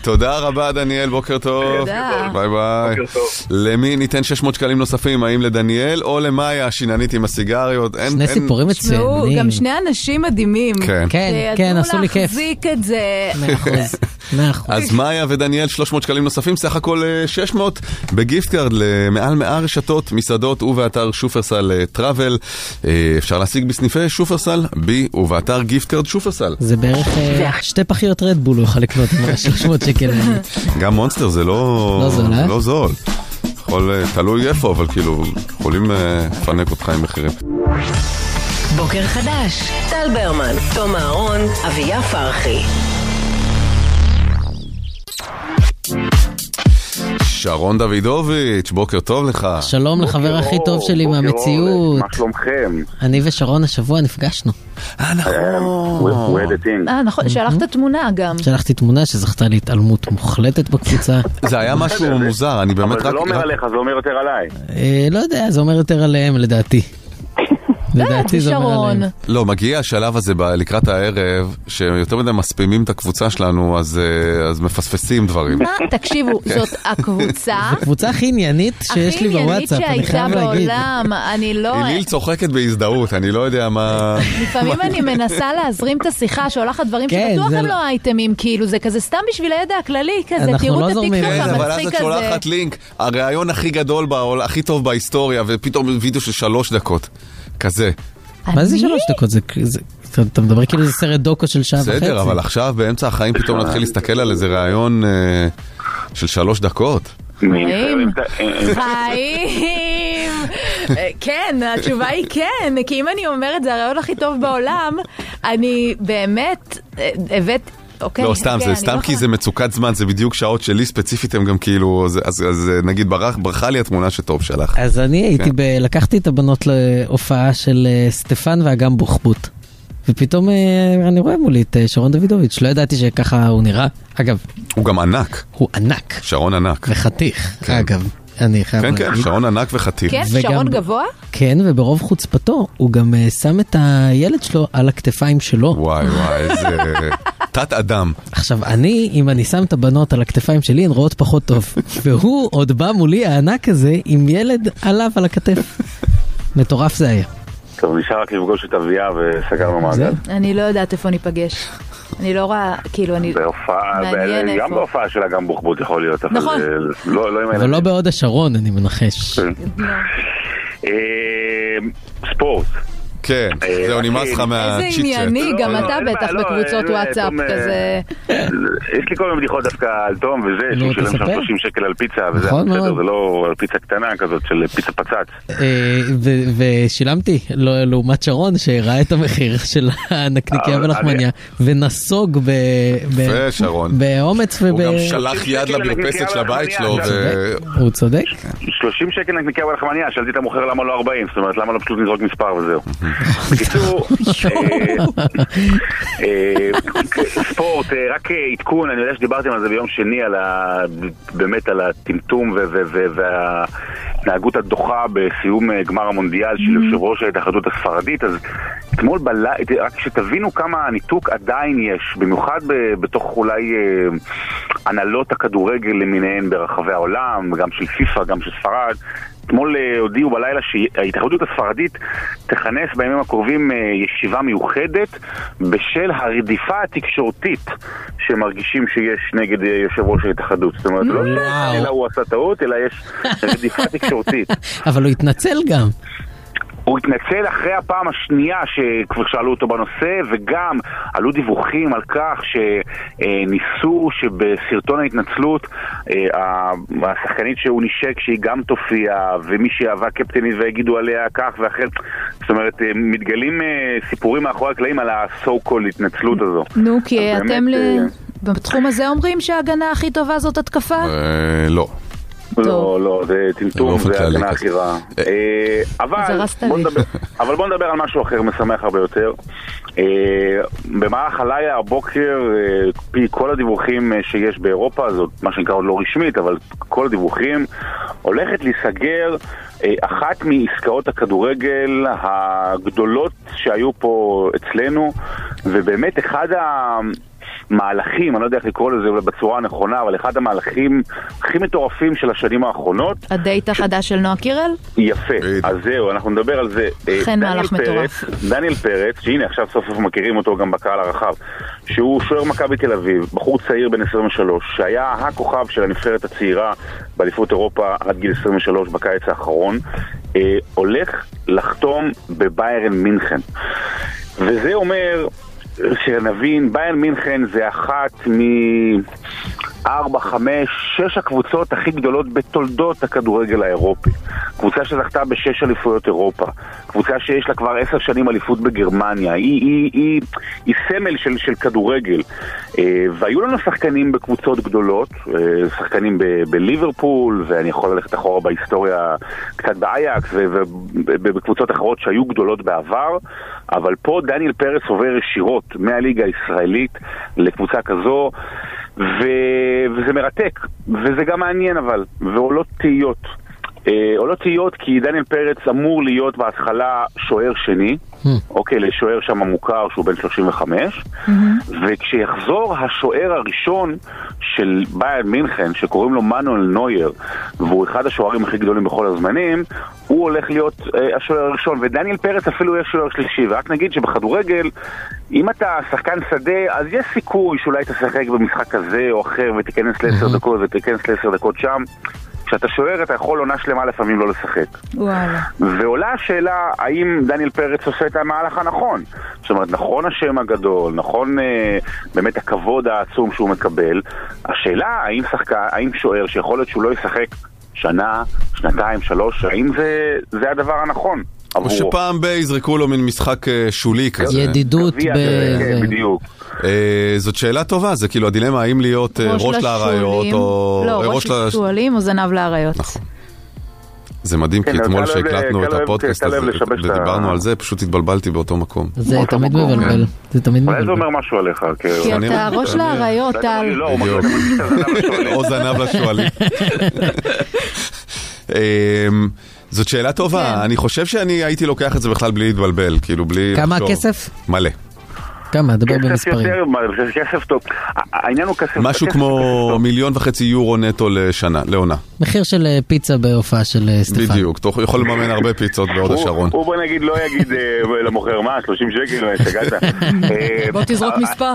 תודה רבה, דניאל, בוקר טוב.
תודה.
ביי ביי.
בוקר טוב.
למי ניתן 600 שקלים נוספים, האם לדניאל או למאיה השיננית עם הסיגריות? אין-
שני
אין-
סיפורים
תשמעו,
מצוינים.
גם שני אנשים מדהימים.
כן.
כן, כן, עשו לי כיף.
שידעו להחזיק את זה.
מאה אחוז, מאה אחוז.
אז מאיה ודניאל 300 שקלים נוספים, סך הכל אה, 600 בגיפט קארד למעל 100 רשתות, מסעדות ובאתר שופרסל אה, טראבל. אה, אפשר להשיג בסניפי שופרסל, בי ובאתר גיפט קארד שופרסל.
זה בערך אה, שתי פחיות רדבול הוא יוכל לקנות עם ה-300 שקל. האלה.
גם מונסטר זה לא...
לא זול, אה?
לא זול. יכול, אה, תלוי איפה, אבל כאילו, יכולים אה, לפנק אותך עם מחירים.
בוקר חדש, טל ברמן, תום אהרון, אביה פרחי.
שרון דוידוביץ', בוקר טוב לך.
שלום לחבר הכי טוב שלי
בוקר אור,
מהמציאות.
מה שלומכם?
אני ושרון השבוע נפגשנו.
אה,
אה, we had a
כן.
thing.
אה, נכון, שלחת תמונה גם.
שלחתי תמונה שזכתה להתעלמות מוחלטת בקבוצה.
זה היה משהו מוזר, אני באמת
אבל
רק...
זה לא אומר
רק-
עליך, זה אומר יותר עליי.
אה, לא יודע, זה אומר יותר עליהם לדעתי. לדעתי זה אומר
שרון.
עליהם.
לא, מגיע השלב הזה ב- לקראת הערב, שיותר מדי מספימים את הקבוצה שלנו, אז, אה, אז מפספסים דברים.
מה? אה, תקשיבו, זאת הקבוצה
קבוצה הכי עניינית שיש
הכי
לי
עניינית
בוואטסאפ, אני
שהייתה
חייב להגיד.
בעולם. אני לא...
איליל צוחקת בהזדהות, אני לא יודע מה...
לפעמים אני מנסה להזרים את השיחה, שולחת דברים
כן,
שבטוח
זה
הם
לא-
לא אייטמים, כאילו, זה כזה סתם בשביל הידע הכללי, כזה,
אנחנו לא
תראו את
זורמים.
הטיקטוק
כן, אבל אז
המצחיק
את
הזה.
שולחת לינק, הריאיון הכי גדול, בעול- הכי טוב בהיסטוריה, ופתאום וידאו של שלוש דקות. כזה.
מה זה
אה, אני?
שלוש דקות? זה- זה- אתה- אתה מדבר כאילו זה סרט דוקו של שעה וחצי.
בסדר, אבל עכשיו באמצע החיים פתאום נתחיל להסתכל על איזה ראיון אה, של שלוש דקות.
חיים.
חיים! אה, כן, התשובה היא כן, כי אם אני אומרת זה הרעיון הכי טוב בעולם, אני באמת אה, הבאת... אוקיי,
לא, סתם,
אוקיי,
זה
אני
סתם
לא
כי
יכולה-
זה מצוקת זמן, זה בדיוק שעות שלי ספציפית, הם גם כאילו, אז- אז אז, אה, נגיד ברח- ברחה לי התמונה שטוב שלך.
אז אני
כן.
הייתי, ב... לקחתי את הבנות להופעה של אה, סטפן ואגם בוחבוט. ופתאום אה, אני רואה מולי את אה, שרון דוידוביץ', לא ידעתי שככה הוא נראה. אגב,
הוא גם ענק,
הוא ענק
שרון ענק.
וחתיך,
כן.
אגב. אני חייב
כן,
להגיד.
כן, שרון ענק וחתיך.
כן,
וגם-
שרון גבוה?
כן, וברוב חוצפתו הוא גם אה, שם את הילד שלו על הכתפיים שלו.
וואי וואי, איזה... תת אדם.
עכשיו, אני, אם אני שם את הבנות על הכתפיים שלי, הן רואות פחות טוב. והוא עוד בא מולי הענק הזה עם ילד עליו על הכתף. מטורף זה היה.
טוב, נשאר רק לפגוש את אביה וסגרנו מעגל.
אני לא יודעת איפה ניפגש. אני לא רואה, כאילו, אני...
בהופעה,
מעניין
ב- גם
איפה.
בהופעה שלה גם בוחבוט יכול להיות, אבל
נכון.
אה, לא לא עם
אבל לא
הילדים.
בהוד השרון, אני מנחש.
כן.
אה, ספורט.
כן,
אה,
זהו, נמאס לך
אחי,
איזה
מהצ'יטשט.
ענייני,
לא,
גם
לא,
אתה
אין
בטח
בעיה, לא,
בקבוצות
אין בעיה,
וואטסאפ
תום, אה,
כזה.
יש לי כל מיני בדיחות דווקא על תום וזה,
נו,
שהוא שילם שם
לא תספר.
30 שקל על פיצה, וזה
נכון
בסדר,
מאוד.
זה לא על פיצה קטנה כזאת של פיצה פצץ.
אה, ו- ושילמתי לא- לעומת שרון שהראה את המחיר של הנקניקיה
אבל
ולחמניה ונסוג ב- ב-
יפה, שרון.
באומץ
הוא
וב...
גם שלח יד למרפסת של הבית שלו, ו...
הוא צודק,
30 שקל נקניקיה ולחמניה, שאלתי את המוכר למה לא 40, זאת אומרת למה לא פשוט נזרוק מספר וזהו. בקיצור, אה, אה, ספורט, אה, רק אה, עדכון, אני יודע שדיברתם על זה ביום שני, על ה... באמת על הטמטום ו- ו- ו- וההתנהגות הדוחה בסיום אה, גמר המונדיאל של יושב ראש ההתאחדות הספרדית, אז אתמול בלילה, רק שתבינו כמה הניתוק עדיין יש, במיוחד ב- בתוך אולי אה, הנהלות הכדורגל למיניהן ברחבי העולם, גם של פיפ"א, גם של ספרד. אתמול אה, הודיעו בלילה שההתאחדות הספרדית תכנס בימים הקרובים אה, ישיבה מיוחדת בשל הרדיפה התקשורתית שמרגישים שיש נגד אה, יושב ראש ההתאחדות. זאת אומרת, לא
וואו.
שאלה הוא עשה טעות, אלא יש רדיפה תקשורתית.
אבל הוא התנצל גם.
הוא התנצל אחרי הפעם השנייה שכבר שאלו אותו בנושא, וגם עלו דיווחים על כך שניסו שבסרטון ההתנצלות אה, ה- השחקנית שהוא נשק שהיא גם תופיע, ומי שאהבה קפטנית ויגידו עליה כך ואחרת. זאת אומרת, אה, מתגלים אה, סיפורים מאחורי הקלעים על ה-so called התנצלות הזו.
נו, כי
אז באמת,
אתם ל-
אה,
בתחום הזה אומרים שההגנה הכי טובה זאת התקפה?
אה, לא.
לא, לא, זה טמטום,
באופן
זה
כללי
ההגנה
כזה.
הכי רעה. אה, אבל
זרזת
בוא
לי.
נדבר- אבל בואו נדבר על משהו אחר משמח הרבה יותר. אה, במהלך הלילה, הבוקר, אה, פי כל הדיווחים אה, שיש באירופה, זאת מה שנקרא עוד לא רשמית, אבל כל הדיווחים, הולכת להיסגר אה, אחת מעסקאות הכדורגל הגדולות שהיו פה אצלנו, ובאמת אחד ה... מהלכים, אני לא יודע איך לקרוא לזה בצורה הנכונה, אבל אחד המהלכים הכי מטורפים של השנים האחרונות,
כן.
הדייט החדש של נועה קירל?
יפה.
בדיוק.
אז זהו, אנחנו נדבר על זה. אה,
אכן
דניאל
מהלך
פרץ-
מטורף.
דניאל פרץ, שהנה עכשיו סוף סוף מכירים אותו גם בקהל הרחב, שהוא שוער מכבי תל אביב, בחור צעיר בן 23, שהיה הכוכב של הנבחרת הצעירה באליפות אירופה עד גיל 23 בקיץ האחרון, אה, הולך לחתום בביירן מינכן. וזה אומר, שנבין, ביירן מינכן זה אחת מ... ארבע, חמש, שש הקבוצות הכי גדולות בתולדות הכדורגל האירופי. קבוצה שזכתה בשש אליפויות אירופה. קבוצה שיש לה כבר עשר שנים אליפות בגרמניה. היא, היא, היא, היא סמל של, של כדורגל. אה, והיו לנו שחקנים בקבוצות גדולות, אה, שחקנים ב, בליברפול, ואני יכול ללכת אחורה בהיסטוריה קצת באייקס, ובקבוצות אחרות שהיו גדולות בעבר, אבל פה דניאל פרס עובר ישירות מהליגה הישראלית לקבוצה כזו. ו... וזה מרתק, וזה גם מעניין אבל, ועולות תהיות. אה, עולות תהיות כי דניאל פרץ אמור להיות בהתחלה שוער שני, אוקיי, לשוער שם המוכר שהוא בן 35, וכשיחזור השוער הראשון של ביירן מינכן, שקוראים לו מנואל נויר, והוא אחד השוערים הכי גדולים בכל הזמנים, הוא הולך להיות אה, השוער הראשון, ודניאל פרץ אפילו יהיה שוער שלישי, ורק נגיד שבכדורגל, אם אתה שחקן שדה, אז יש סיכוי שאולי תשחק במשחק כזה או אחר, ותיכנס לעשר דקות ותיכנס לעשר דקות שם. כשאתה שוער אתה יכול עונה שלמה לפעמים לא לשחק.
וואלה.
ועולה השאלה האם דניאל פרץ עושה את המהלך הנכון. זאת אומרת, נכון השם הגדול, נכון אה, באמת הכבוד העצום שהוא מקבל. השאלה האם, שחקה, האם שוער שיכול להיות שהוא לא ישחק שנה, שנתיים, שלוש, האם זה, זה הדבר הנכון
או
עבורו?
שפעם ב- יזרקו לו מין משחק אה, שולי כזה.
ידידות
גביע
ב...
כזה, כן, בדיוק.
אה, זאת שאלה טובה, זה כאילו הדילמה האם להיות אה, ראש לאריות
לשועלים-
או...
לא,
אה,
ראש
לש- נכון.
לשועלים או זנב לאריות.
זה מדהים, כי
כן,
אתמול
קל לב-
שהקלטנו
קל
את
לב-
הפודקאסט
קל לב
הזה
לשבש את ה-
ודיברנו על זה, פשוט התבלבלתי באותו מקום. כן.
זה
אותו
תמיד
מקום,
מבלבל, זה תמיד
אולי זה
מבלבל.
אומר משהו עליך, כן.
כי
אני-
אתה ראש
אני-
לאריות, טל.
לא, הוא
בדיוק.
מרגיש את הזנב השועלי.
או זנב לשועלים. אמ, זאת שאלה
כן.
טובה, אני חושב שאני הייתי לוקח את זה בכלל בלי להתבלבל, כאילו בלי...
כמה
לחשוב.
הכסף?
מלא.
כמה? דבר
כסף
במספרים.
יותר, מה, זה כסף טוב. העניין הוא כסף...
משהו
כסף-
כמו מיליון וחצי יורו נטו לשנה, לעונה.
מחיר של אה, פיצה בהופעה של אה, סטפן.
בדיוק, אתה יכול לממן הרבה פיצות בהוד
הוא-
השרון.
הוא בוא נגיד לא יגיד אה, למוכר מה, 30 שקל, אה, השתגעת. אה,
בוא תזרוק
ה-
מספר.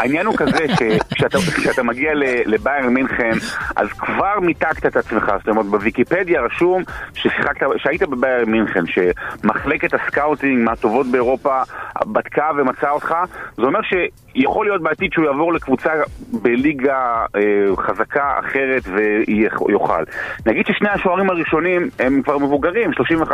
העניין הוא כזה שכשאתה כשאתה מגיע ל- לביירן מינכן, אז כבר מיתקת את עצמך, זאת אומרת בוויקיפדיה רשום ששיחקת, שהיית בביירן מינכן, שמחלקת הסקאוטינג מהטובות באירופה בדקה ומצאה אותך, זה אומר שיכול להיות בעתיד שהוא יעבור לקבוצה בליגה אה, חזקה אחרת ויוכל. נגיד ששני השוערים הראשונים הם כבר מבוגרים, 35-37,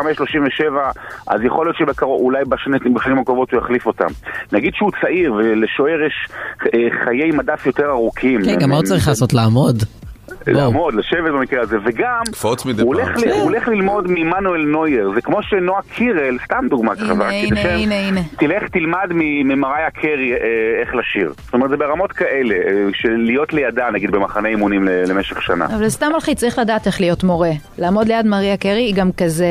אז יכול להיות שבקרוב, אולי בשנים, בשנים הקרובות הוא יחליף אותם. נגיד שהוא צעיר ולשוער יש אה, חיי מדף יותר ארוכים. אה,
כן, גם מה הוא צריך לעשות? לעמוד?
לא.
בואו.
לעמוד, לשבת במקרה הזה, וגם
קפוץ מדי
הוא
פעם.
הולך, ל- הוא הולך ללמוד מעמנואל נויר, זה כמו שנועה קירל, סתם דוגמה ככה,
הנה,
כי
הנה,
בשם-
הנה, הנה.
תלך תלמד מ- ממריה קרי אה, איך לשיר. זאת אומרת, זה ברמות כאלה, אה, של להיות לידה, נגיד, במחנה אימונים ל- למשך שנה.
אבל זה סתם מלחיץ, צריך לדעת איך להיות מורה. לעמוד ליד מריה קרי היא גם כזה...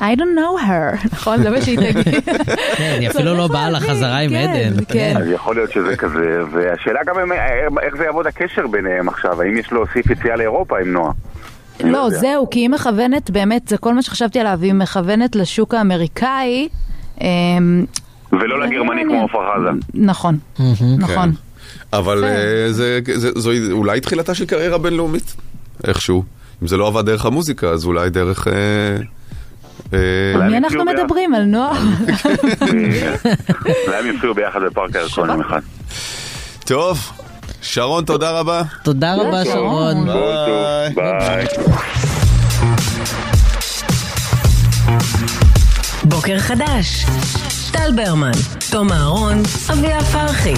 I don't know her, נכון? זה מה שהיא תגיד.
כן, היא אפילו
צריך
לא באה
להבין,
לחזרה עם
נכון. כן,
עדן.
כן.
אז יכול להיות שזה כזה, אה, והשאלה גם אם- איך זה יעבוד הקשר ביניהם עכשיו, האם יש להוסיף יציאה לאירופה עם נועה? אני
לא,
יודע.
זהו, כי היא מכוונת, באמת, זה כל מה שחשבתי עליו, היא מכוונת לשוק האמריקאי. אמ,
ולא לגרמני כמו עפרה חזה.
נכון, נכון.
כן.
אבל
יפה.
אה, זה, זה, זו אולי תחילתה של קריירה בינלאומית, איכשהו. אם זה לא עבד דרך המוזיקה, אז אולי דרך... אה, אה,
על מי
אני
אנחנו
יודע.
מדברים? על נוער?
להם יופיעו ביחד בפארק הירקון יום אחד.
טוב, שרון, תודה רבה.
תודה רבה שרון.
כל טוב, ביי.
בוקר חדש. טל ברמן, תום אהרון, אביה פרחי.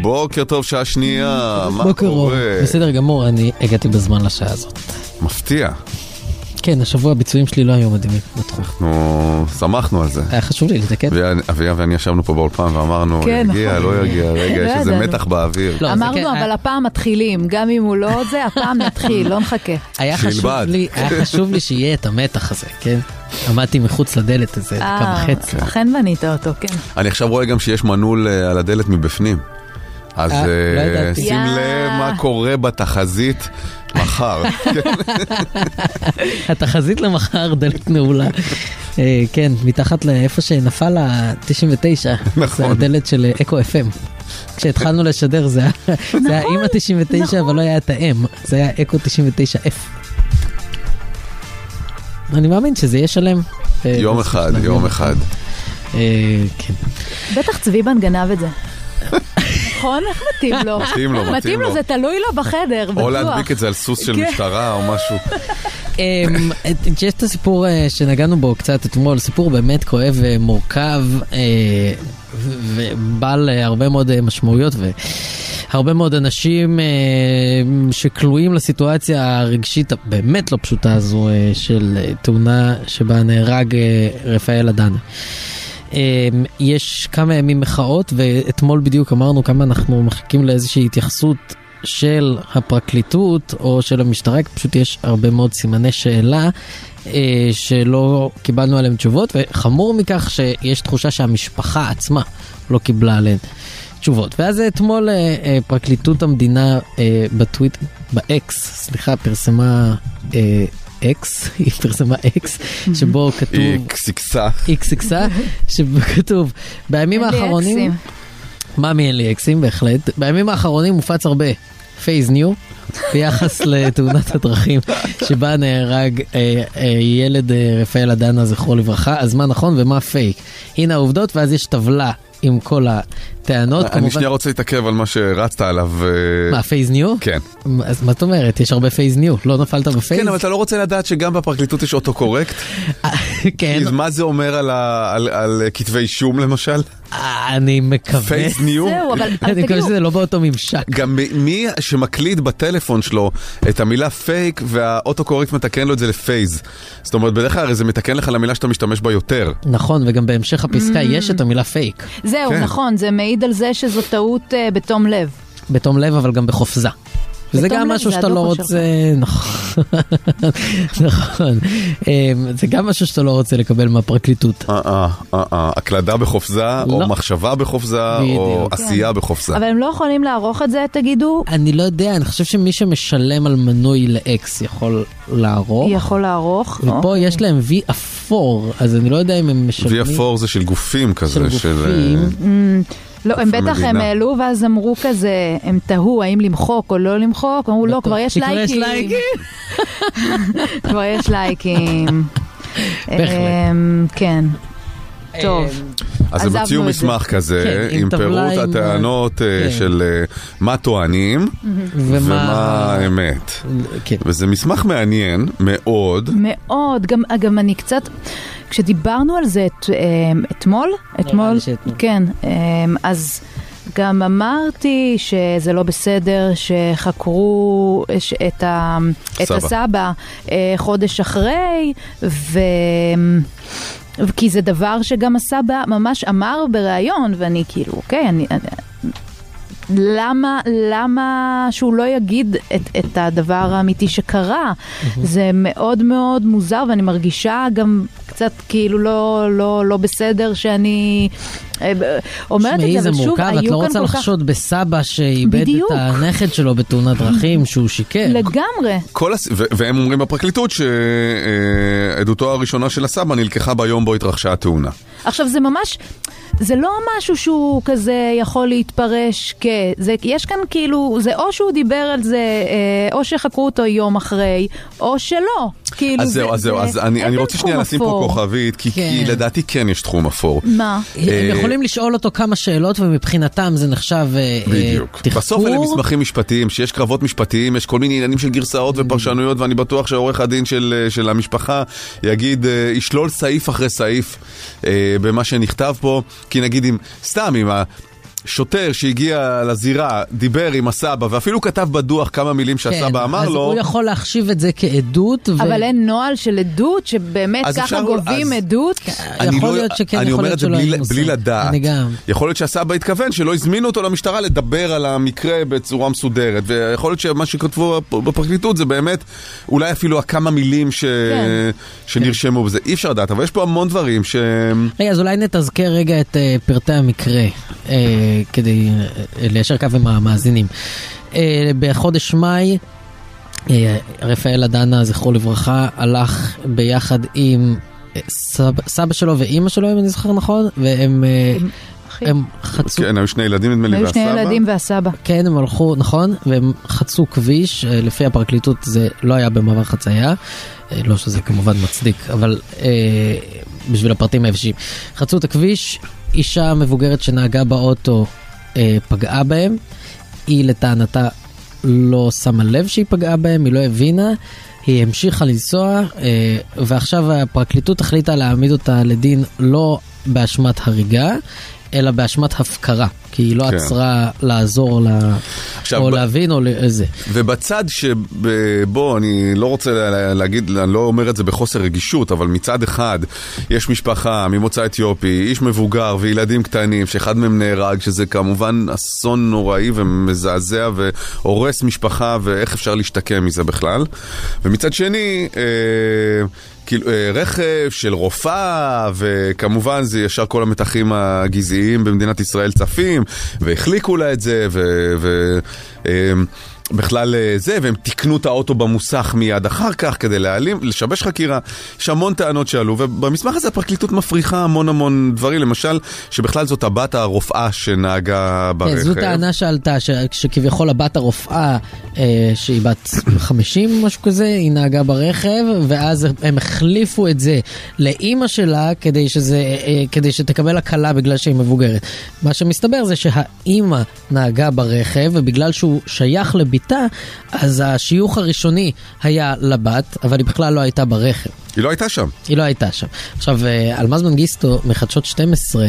בוקר טוב, שעה שנייה. מה
בוקר אור.
קורה?
בסדר גמור, אני הגעתי בזמן לשעה הזאת.
מפתיע.
כן, השבוע הביצועים שלי לא היו מדהימים. בטוח.
אנחנו שמחנו על זה.
היה חשוב לי לתקן.
ואני- אביה ואני ישבנו פה באולפן ואמרנו,
כן,
ירגיע,
נכון.
לא ירגיע, רגע,
לא
יש איזה
ידענו.
מתח באוויר.
לא, זה כן,
אמרנו,
היה-
אבל הפעם מתחילים, גם אם הוא לא זה, הפעם נתחיל, לא נחכה.
היה חשוב
שילבד.
לי, היה חשוב לי שיהיה את המתח הזה, כן? עמדתי מחוץ לדלת איזה כמה
אה,
חצי.
אכן בנית אותו, כן.
אני עכשיו רואה גם שיש מנעול אה, על הדלת מבפנים. אז
אה, לא
אה,
ידעתי.
שים
יא.
לב מה קורה בתחזית מחר.
אה,
התחזית למחר דלת נעולה. אה, כן, מתחת לאיפה שנפל ה-99.
נכון.
זה הדלת של אה, אקו FM. כשהתחלנו לשדר זה היה- זה היה עם ה-99, אבל לא היה את האם. זה היה אקו 99F. אני מאמין שזה יהיה שלם. אה,
יום
בסוף
אחד,
שלב,
יום אחד.
אה, כן.
בטח צביבן גנב את זה. נכון? איך מתאים לו?
מתאים לו, מתאים
מתאים לו,
לו.
זה תלוי לו בחדר, בטוח.
או להדביק את זה על סוס של
כן.
משטרה או משהו.
אמ, את- יש את הסיפור אה, שנגענו בו קצת אתמול, סיפור באמת כואב ומורכב אה, ו- ובעל אה, הרבה מאוד אה, משמעויות והרבה מאוד אנשים אה, שכלואים לסיטואציה הרגשית הבאמת לא פשוטה הזו אה, של אה, תאונה שבה נהרג אה, רפאל אדנה. אמ, יש כמה ימים מחאות, ואתמול בדיוק אמרנו כמה אנחנו מחכים לאיזושהי התייחסות של הפרקליטות או של המשטרה, כי פשוט יש הרבה מאוד סימני שאלה אה, שלא קיבלנו עליהם תשובות, וחמור מכך שיש תחושה שהמשפחה עצמה לא קיבלה עליהן תשובות. ואז אתמול אה, אה, פרקליטות המדינה אה, בטוויט, באקס, סליחה, פרסמה... אה, אקס, היא פרסמה אקס, שבו כתוב...
היא קסיקסה.
איקסיקסה, שכתוב, בימים
אין לי
האחרונים,
אקסים.
מאמי אין לי אקסים בהחלט, בימים האחרונים מופץ הרבה פייז ניו ביחס לתאונת הדרכים שבה נהרג אה, אה, ילד אה, רפאל אדנה זכרו לברכה, אז מה נכון ומה פייק. הנה העובדות ואז יש טבלה עם כל הטענות,
אני
כמובן,
שנייה רוצה להתעכב על מה שרצת עליו. אה,
מה פייז ניו?
כן.
אז מה זאת אומרת, יש הרבה פייז ניו, לא נפלת בפייז?
כן, אבל אתה לא רוצה לדעת שגם בפרקליטות יש אוטו-קורקט?
כן,
אז מה זה אומר על ה- על- על אה, כתבי אישום למשל?
אה, אני מקווה,
פייס ניו?
זהו, אבל אבל
אני מקווה
תגידו,
שזה לא באותו ממשק.
גם מ- מי שמקליד בטלפון שלו את המילה פייק והאוטו-קורקט מתקן לו את זה לפייז. זאת אומרת, בדרך כלל הרי זה מתקן לך למילה שאתה משתמש בה יותר.
נכון, וגם בהמשך
Mm.
הפסקה יש את המילה פייק.
זהו,
כן.
נכון, זה מעיד על זה שזו טעות אה, בתום לב.
בתום לב, אבל גם בחופזה. וזה
בתום
גם
לב
משהו
זה
שאתה לא
הדוקו
רוצה, נכון, נכון, אמ, זה גם משהו שאתה לא רוצה לקבל מהפרקליטות.
אה, אה, אה, אה, הקלדה בחופזה,
לא.
או מחשבה בחופזה, או
בדיוק.
עשייה בחופזה.
אבל הם לא יכולים לערוך את זה, תגידו,
אני לא יודע, אני חושב שמי שמשלם על מנוי לאקס יכול לערוך,
יכול לערוך. אוקיי.
ופה יש להם וי אפור, אז אני לא יודע אם הם משלמים.
וי אפור זה של גופים
של
כזה, של...
גופים.
אה,
לא, הם בטח, הם
המדינה.
העלו ואז אמרו כזה, הם תהו האם למחוק או לא למחוק, אמרו לא, כבר יש
כי כבר יש
לייקים. כבר יש לייקים.
בהחלט.
אמ, כן,
אמ,
טוב.
אז הם
עזבנו
הוציאו
את
מסמך כזה,
כן, עם
עם
טבלה
פירוט
עם-
הטענות אה,
כן.
של אה, מה טוענים ומה
ומה...
האמת.
כן.
וזה מסמך מעניין מאוד.
מאוד, גם, גם אני קצת, כשדיברנו על זה את, אמ, אתמול, אתמול,
לי שאתמול.
כן, אמ, אז גם אמרתי שזה לא בסדר שחקרו ש- את, ה, את
סבא.
הסבא אה, חודש אחרי, ו... כי זה דבר שגם הסבא ממש אמר בריאיון, ואני כאילו, אוקיי, אני... אני למה, למה שהוא לא יגיד את, את הדבר האמיתי שקרה? זה מאוד מאוד מוזר, ואני מרגישה גם קצת כאילו לא, לא, לא בסדר שאני אה, ב- אומרת את
תשמעי,
זה,
זה
אבל שוב,
מורכב, את לא
היו
רוצה
כאן כל כך...
לחשוד בסבא שאיבד
בדיוק.
את הנכד שלו בתאונת דרכים, שהוא שיקר.
לגמרי.
כל הס... ו- והם אומרים בפרקליטות שעדותו הראשונה של הסבא נלקחה ביום בו התרחשה התאונה.
עכשיו זה ממש, זה לא משהו שהוא כזה יכול להתפרש כ... זה, יש כאן כאילו, זה או שהוא דיבר על זה, אה, או שחקרו אותו יום אחרי, או שלא. כאילו
אז זהו,
זה,
אז זהו,
זה,
אז אני
אין
אני
כאן
רוצה שנייה
תחום
לשים פה
אפור.
כוכבית, כי- כי
כן.
לדעתי כן יש תחום אפור.
מה?
אה,
הם יכולים לשאול אותו כמה שאלות, ומבחינתם זה נחשב אה, אה,
בדיוק.
תחקור.
בסוף אלה מסמכים משפטיים, שיש קרבות משפטיים, יש כל מיני עניינים של גרסאות ופרשנויות, ואני בטוח שעורך הדין של, אה, של המשפחה יגיד, אה, ישלול סעיף אחרי סעיף אה, במה שנכתב פה, כי נגיד אם, סתם, אם ה... שוטר שהגיע לזירה, דיבר עם הסבא, ואפילו כתב בדוח כמה מילים שהסבא
כן,
אמר
אז
לו,
הוא יכול להחשיב את זה כעדות, ו-
אבל אין נוהל של עדות, שבאמת
אז
ככה
אפשר-
גובים
אז-
עדות?
אני
כן, יכול
לא-
להיות שכן,
אני
יכול
אומר
להיות
את זה
שלא, אין
בלי,
לי מושג.
בלי לדעת.
אני גם.
יכול להיות שהסבא התכוון שלא הזמינו אותו למשטרה לדבר על המקרה בצורה מסודרת, ויכול להיות שמה שכתבו בפרקליטות זה באמת אולי אפילו הכמה מילים ש...
כן.
שנרשמו בזה. אי אפשר לדעת, אבל יש פה המון דברים ש...
רגע, אז אולי נתזכר רגע את אה, פרטי המקרה, אה, כדי אה, ליישר קו עם המאזינים. אה, בחודש מאי, אה, רפאל עדנה, זכרו לברכה, הלך ביחד עם אה, סבא, סבא שלו ואימא שלו, אם אני זוכר נכון, והם אה,
אחי,
הם חצו...
כן, היו שני ילדים נדמה לי,
היו שני
והסבא.
ילדים והסבא.
כן, הם הלכו, נכון, והם חצו כביש, אה, לפי הפרקליטות זה לא היה במעבר חצייה, אה, לא שזה כמובן מצדיק, אבל אה, בשביל הפרטים היבשים. חצו את הכביש, אישה מבוגרת שנהגה באוטו אה, פגעה בהם, היא לטענתה לא שמה לב שהיא פגעה בהם, היא לא הבינה, היא המשיכה לנסוע, אה, ועכשיו הפרקליטות החליטה להעמיד אותה לדין לא באשמת הריגה, אלא באשמת הפקרה, כי היא לא
כן.
עצרה לעזור לה,
עכשיו,
או
ב-
להבין או לזה.
ובצד שבו, אני לא רוצה לה- לה- להגיד, אני לא אומר את זה בחוסר רגישות, אבל מצד אחד, יש משפחה ממוצא אתיופי, איש מבוגר וילדים קטנים, שאחד מהם נהרג, שזה כמובן אסון נוראי ומזעזע והורס משפחה, ואיך אפשר להשתקם מזה בכלל. ומצד שני, אה, כאילו, אה, רכב של רופאה, וכמובן זה ישר כל המתחים הגזעיים במדינת ישראל צפים, והחליקו לה את זה, ו... ו אה, בכלל אה, זה, והם תיקנו את האוטו במוסך מיד אחר כך כדי להעלים, לשבש חקירה. יש המון טענות שעלו, ובמסמך הזה הפרקליטות מפריחה המון המון דברים, למשל, שבכלל זאת הבת הרופאה שנהגה ברכב.
כן, זו טענה שעלתה, ש- שכביכול הבת הרופאה, אה, שהיא בת 50, משהו כזה, היא נהגה ברכב, ואז הם החליפו את זה לאימא שלה כדי, שזה, אה, כדי שתקבל הקלה בגלל שהיא מבוגרת. מה שמסתבר זה שהאימא נהגה ברכב, ובגלל שהוא שייך לביתה, אז השיוך הראשוני היה לבת, אבל היא בכלל לא הייתה ברכב.
היא לא הייתה שם.
היא לא הייתה שם. עכשיו, אה, אלמז מנגיסטו מחדשות 12,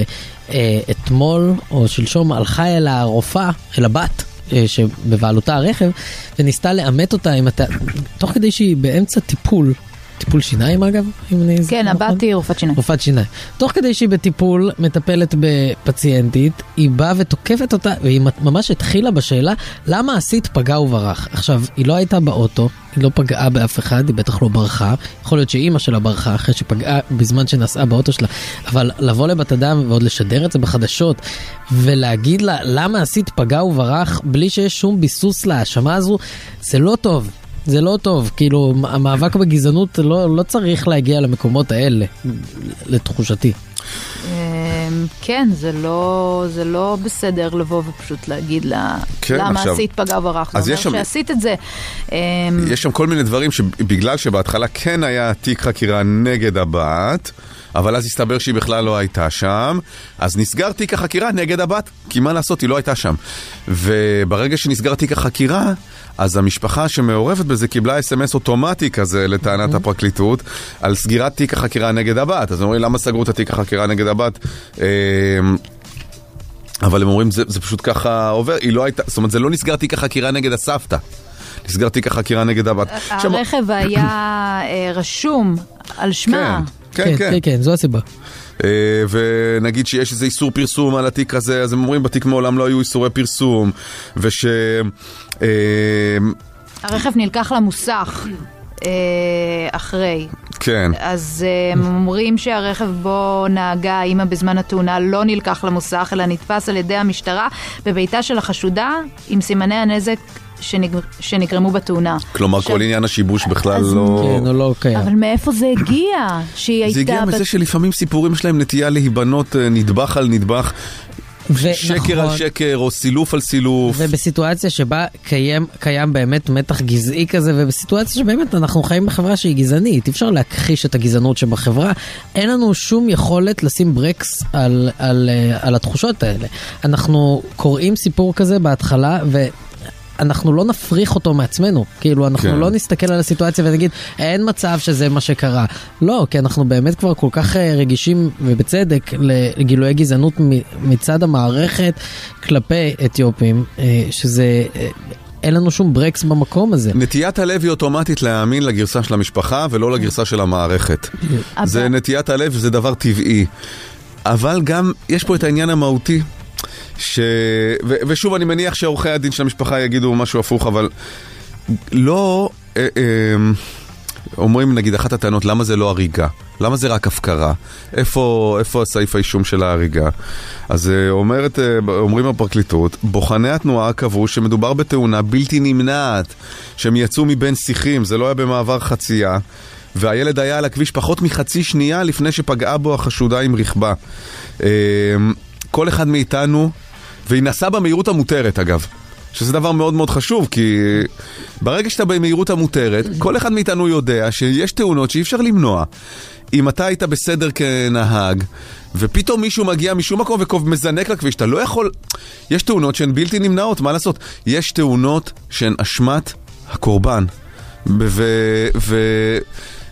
אה, אתמול או שלשום הלכה אל הרופאה, אל הבת. אה, שבבעלותה הרכב, וניסתה לאמת אותה עם הת... תוך כדי שהיא באמצע טיפול, טיפול שיניים אגב, אם אני... זוכר
כן,
נכון?
הבת היא רופאת שיניים.
רופאת שיניים. תוך כדי שהיא בטיפול, מטפלת בפציינטית, היא באה ותוקפת אותה, והיא ממש התחילה בשאלה, למה עשית פגע וברח? עכשיו, היא לא הייתה באוטו, היא לא פגעה באף אחד, היא בטח לא ברחה. יכול להיות שאימא שלה ברחה אחרי שפגעה בזמן שנסעה באוטו שלה, אבל לבוא לבת אדם ועוד לשדר את זה בחדשות, ולהגיד לה, למה עשית פגע וברח, בלי שיש שום ביסוס להאשמה הזו, זה לא טוב. זה לא טוב, כאילו, המאבק בגזענות לא, לא צריך להגיע למקומות האלה, לתחושתי.
אמ, כן, זה לא, זה לא בסדר לבוא ופשוט להגיד לה,
כן,
למה
עכשיו-
עשית פגע וברח,
אז
זה אומר
יש שם-
שעשית את זה. אמ,
יש שם כל מיני דברים שבגלל שבהתחלה כן היה תיק חקירה נגד הבת, אבל אז הסתבר שהיא בכלל לא הייתה שם, אז נסגר תיק החקירה נגד הבת, כי מה לעשות, היא לא הייתה שם. וברגע שנסגר תיק החקירה, אז המשפחה שמעורבת בזה קיבלה אס.אם.אס אוטומטי כזה, לטענת הפרקליטות, על סגירת תיק החקירה נגד הבת. אז אומרים, למה סגרו את התיק החקירה נגד הבת? אמ, אבל הם אומרים, זה, זה פשוט ככה עובר, היא לא הייתה, זאת אומרת, זה לא נסגר תיק החקירה נגד הסבתא. נסגר תיק החקירה נגד הבת. עכשיו,
הרכב היה אה, רשום על
כן,
שמה.
כן, כן.
כן, זו הסיבה.
אה, ונגיד שיש איזה איסור פרסום על התיק הזה, אז הם אומרים בתיק מעולם לא היו איסורי פרסום, וש... אה,
הרכב נלקח למוסך אה, אחרי.
כן.
אז אה, הם אומרים שהרכב בו נהגה האימא בזמן התאונה לא נלקח למוסך, אלא נתפס על ידי המשטרה בביתה של החשודה עם סימני הנזק שנגר... שנגרמו בתאונה.
כלומר, כל עניין השיבוש בכלל לא...
כן, הוא לא קיים.
אבל מאיפה זה הגיע? שהיא הייתה...
זה הגיע
בת-
מזה שלפעמים סיפורים שלהם נטייה להיבנות אה, נדבך על נדבך,
ו-
שקר על
נכון.
שקר, או סילוף על סילוף.
ובסיטואציה שבה קיים, קיים באמת מתח גזעי כזה, ובסיטואציה שבאמת אנחנו חיים בחברה שהיא גזענית, אי אפשר להכחיש את הגזענות שבחברה, אין לנו שום יכולת לשים ברקס על, על, אה, על התחושות האלה. אנחנו קוראים סיפור כזה בהתחלה, ו... אנחנו לא נפריך אותו מעצמנו, כאילו אנחנו
כן.
כן. לא נסתכל על הסיטואציה ונגיד אין מצב שזה מה שקרה. לא, כי אנחנו באמת כבר כל כך אה, רגישים, ובצדק, לגילויי גזענות מ- מצד המערכת כלפי אתיופים, אה, שזה, אה, אין לנו שום ברקס במקום הזה.
נטיית הלב היא אוטומטית להאמין לגרסה של המשפחה ולא לגרסה של המערכת. זה נטיית הלב, זה דבר טבעי. אבל גם, יש פה את העניין המהותי, ש... ו- ושוב, אני מניח שעורכי הדין של המשפחה יגידו משהו הפוך, אבל לא... אה, אה, אומרים, נגיד, אחת הטענות, למה זה לא הריגה? למה זה רק הפקרה? איפה, איפה הסעיף האישום של ההריגה? אז אה, אומרת, אה, אומרים הפרקליטות, בוחני התנועה קבעו שמדובר בתאונה בלתי נמנעת, שהם יצאו מבין שיחים, זה לא היה במעבר חצייה, והילד היה על הכביש פחות מחצי שנייה לפני שפגעה בו החשודה עם רכבה. אה, כל אחד מאיתנו, והיא נסעה במהירות המותרת אגב. שזה דבר מאוד מאוד חשוב, כי ברגע שאתה במהירות המותרת, כל אחד מאיתנו יודע שיש תאונות שאי אפשר למנוע. אם אתה היית בסדר כנהג, ופתאום מישהו מגיע משום מקום ומזנק לכביש, אתה לא יכול... יש תאונות שהן בלתי נמנעות, מה לעשות? יש תאונות שהן אשמת הקורבן. ו... ו...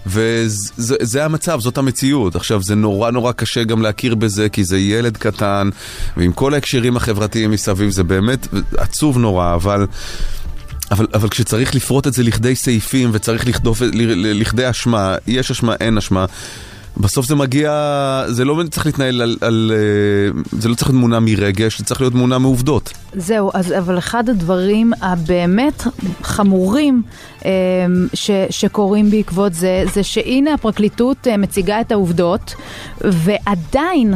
וזה זה המצב, זאת המציאות. עכשיו, זה נורא נורא קשה גם להכיר בזה, כי זה ילד קטן, ועם כל ההקשרים החברתיים מסביב, זה באמת עצוב נורא, אבל... אבל, אבל כשצריך לפרוט את זה לכדי סעיפים וצריך לכדוף, ל- ל- לכדי אשמה, יש אשמה, אין אשמה, בסוף זה מגיע, זה לא צריך להתנהל על, על... אה, זה לא צריך להיות מונע מרגש, זה צריך להיות מונע מעובדות.
זהו, אז, אבל אחד הדברים הבאמת חמורים אה, ש, שקורים בעקבות זה, זה שהנה הפרקליטות אה, מציגה את העובדות, ועדיין...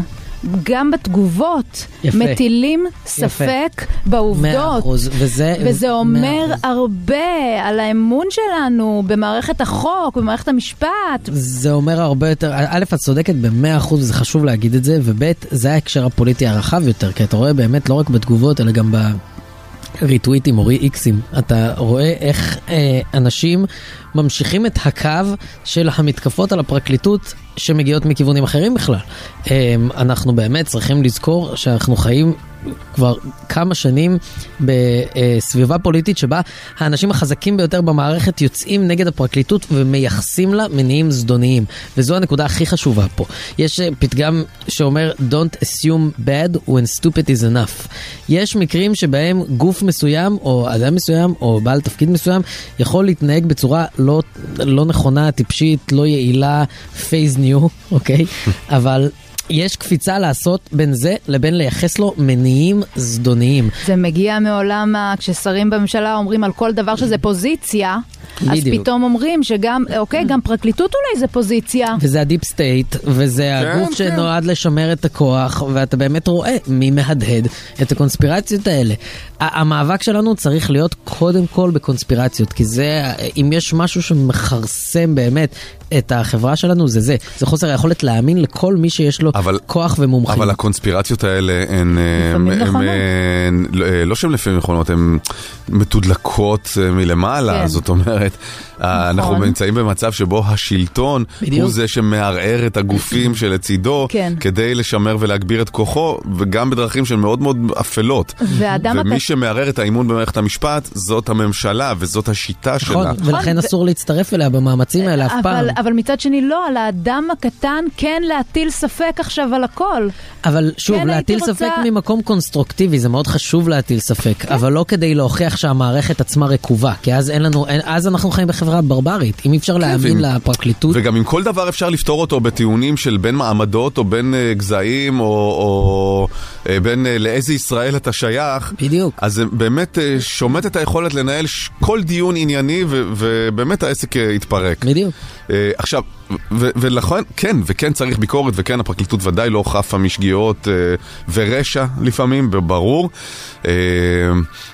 גם בתגובות
יפה.
מטילים ספק
מאה
בעובדות.
אחוז, וזה...
וזה
מאה
אומר
אחוז.
הרבה על האמון שלנו במערכת החוק, במערכת המשפט.
זה אומר הרבה יותר, א', את צודקת במאה אחוז, וזה חשוב להגיד את זה, וב', זה ההקשר הפוליטי הרחב יותר, כי אתה רואה באמת לא רק בתגובות, אלא גם ב... ריטוויטים או רי-איקסים, אתה רואה איך אה, אנשים ממשיכים את הקו של המתקפות על הפרקליטות שמגיעות מכיוונים אחרים בכלל. אה, אנחנו באמת צריכים לזכור שאנחנו חיים כבר כמה שנים בסביבה פוליטית שבה האנשים החזקים ביותר במערכת יוצאים נגד הפרקליטות ומייחסים לה מניעים זדוניים. וזו הנקודה הכי חשובה פה. יש אה, פתגם שאומר Don't assume bad when stupid is enough. יש מקרים שבהם גוף מסוים או אדם מסוים או בעל תפקיד מסוים יכול להתנהג בצורה לא, לא נכונה, טיפשית, לא יעילה, phase new, אוקיי? אבל... יש קפיצה לעשות בין זה לבין לייחס לו מניעים זדוניים.
זה מגיע מעולם, ה- כששרים בממשלה אומרים על כל דבר שזה פוזיציה, אז
בדיוק.
פתאום אומרים שגם, אוקיי, גם פרקליטות אולי זה פוזיציה.
וזה הדיפ סטייט, וזה כן, הגוף כן. שנועד לשמר את הכוח, ואתה באמת רואה מי מהדהד את הקונספירציות האלה. ה- המאבק שלנו צריך להיות קודם כל בקונספירציות, כי זה, אם יש משהו שמכרסם באמת את החברה שלנו, זה זה. זה חוסר היכולת להאמין לכל מי שיש לו
אבל-
אבל, כוח ומומחיות.
אבל הקונספירציות האלה הן...
לפעמים
הן-
נכונות.
הן- לא- אה, לא שהן לפעמים נכונות, הן מתודלקות אה, מלמעלה,
כן. נכון.
זאת אומרת, אה, אנחנו נמצאים במצב שבו השלטון
בדיוק.
הוא זה שמערער את הגופים שלצידו,
כן.
כדי לשמר ולהגביר את כוחו, וגם בדרכים שהן מאוד מאוד אפלות.
והאדם
ומי
הקט-
שמערער את האמון במערכת המשפט, זאת הממשלה וזאת השיטה
נכון,
שלה.
ולכן
ו-
אסור להצטרף אליה במאמצים האלה אף פעם.
אבל, אבל מצד שני לא, על האדם הקטן כן להטיל ספק עכשיו על הכל.
אבל שוב,
כן,
כן,
הייתי
להטיל
רוצה-
רוצה... ספק ממקום קונסטרוקטיבי, זה מאוד חשוב להטיל ספק, כן. אבל לא כדי להוכיח שהמערכת עצמה רקובה, כי אז אין לנו, אין, אז ואז אנחנו חיים בחברה ברברית, אם אי אפשר להאמין לפרקליטות.
וגם עם כל דבר אפשר לפתור אותו בטיעונים של בין מעמדות או בין אה, גזעים או, או אה, בין אה, לאיזה ישראל אתה שייך.
בדיוק.
אז זה באמת אה, שומט את היכולת לנהל ש- כל דיון ענייני ו- ובאמת העסק אה, יתפרק. אה,
בדיוק.
עכשיו, ו- ו- ולכן, כן, וכן צריך ביקורת, וכן הפרקליטות ודאי לא חפה משגיאות אה, ורשע לפעמים, ב- ברור. אה,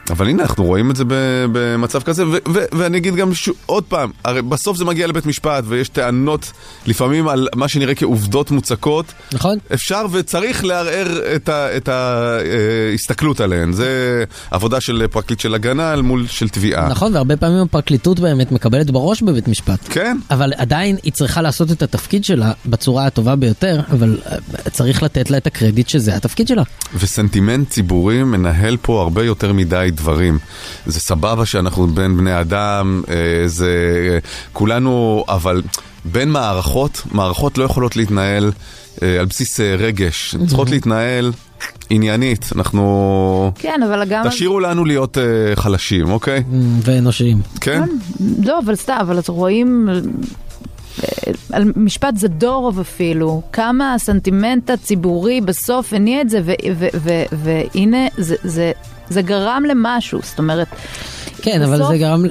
אבל הנה, אנחנו רואים את זה ב- במצב כזה, ו- ו- ואני אגיד גם ש- עוד פעם, הרי בסוף זה מגיע לבית משפט, ויש טענות לפעמים על מה שנראה כעובדות מוצקות.
נכון.
אפשר וצריך לערער את ה- את ההסתכלות עליהן. זה עבודה של פרקליט של הגנה אל מול של תביעה.
נכון, והרבה פעמים הפרקליטות באמת מקבלת בראש בבית משפט.
כן.
אבל עדיין היא צריכה לעשות את התפקיד שלה בצורה הטובה ביותר, אבל אה, צריך לתת לה את הקרדיט שזה התפקיד שלה.
וסנטימנט ציבורי מנהל פה הרבה יותר מדי דברים. זה סבבה שאנחנו בין בני אדם, אה, זה אה, כולנו, אבל בין מערכות, מערכות לא יכולות להתנהל אה, על בסיס אה, רגש, הן צריכות להתנהל עניינית. אנחנו...
כן, אבל גם...
תשאירו לנו להיות אה, חלשים, אוקיי?
ואנושיים.
כן?
לא, אבל סתם, אבל אז רואים על- על משפט זדורוב אפילו, כמה הסנטימנט הציבורי בסוף הניע את זה, ו- ו- ו- והנה, זה, זה, זה גרם למשהו, זאת אומרת...
כן, אבל
בסוף-
זה גם...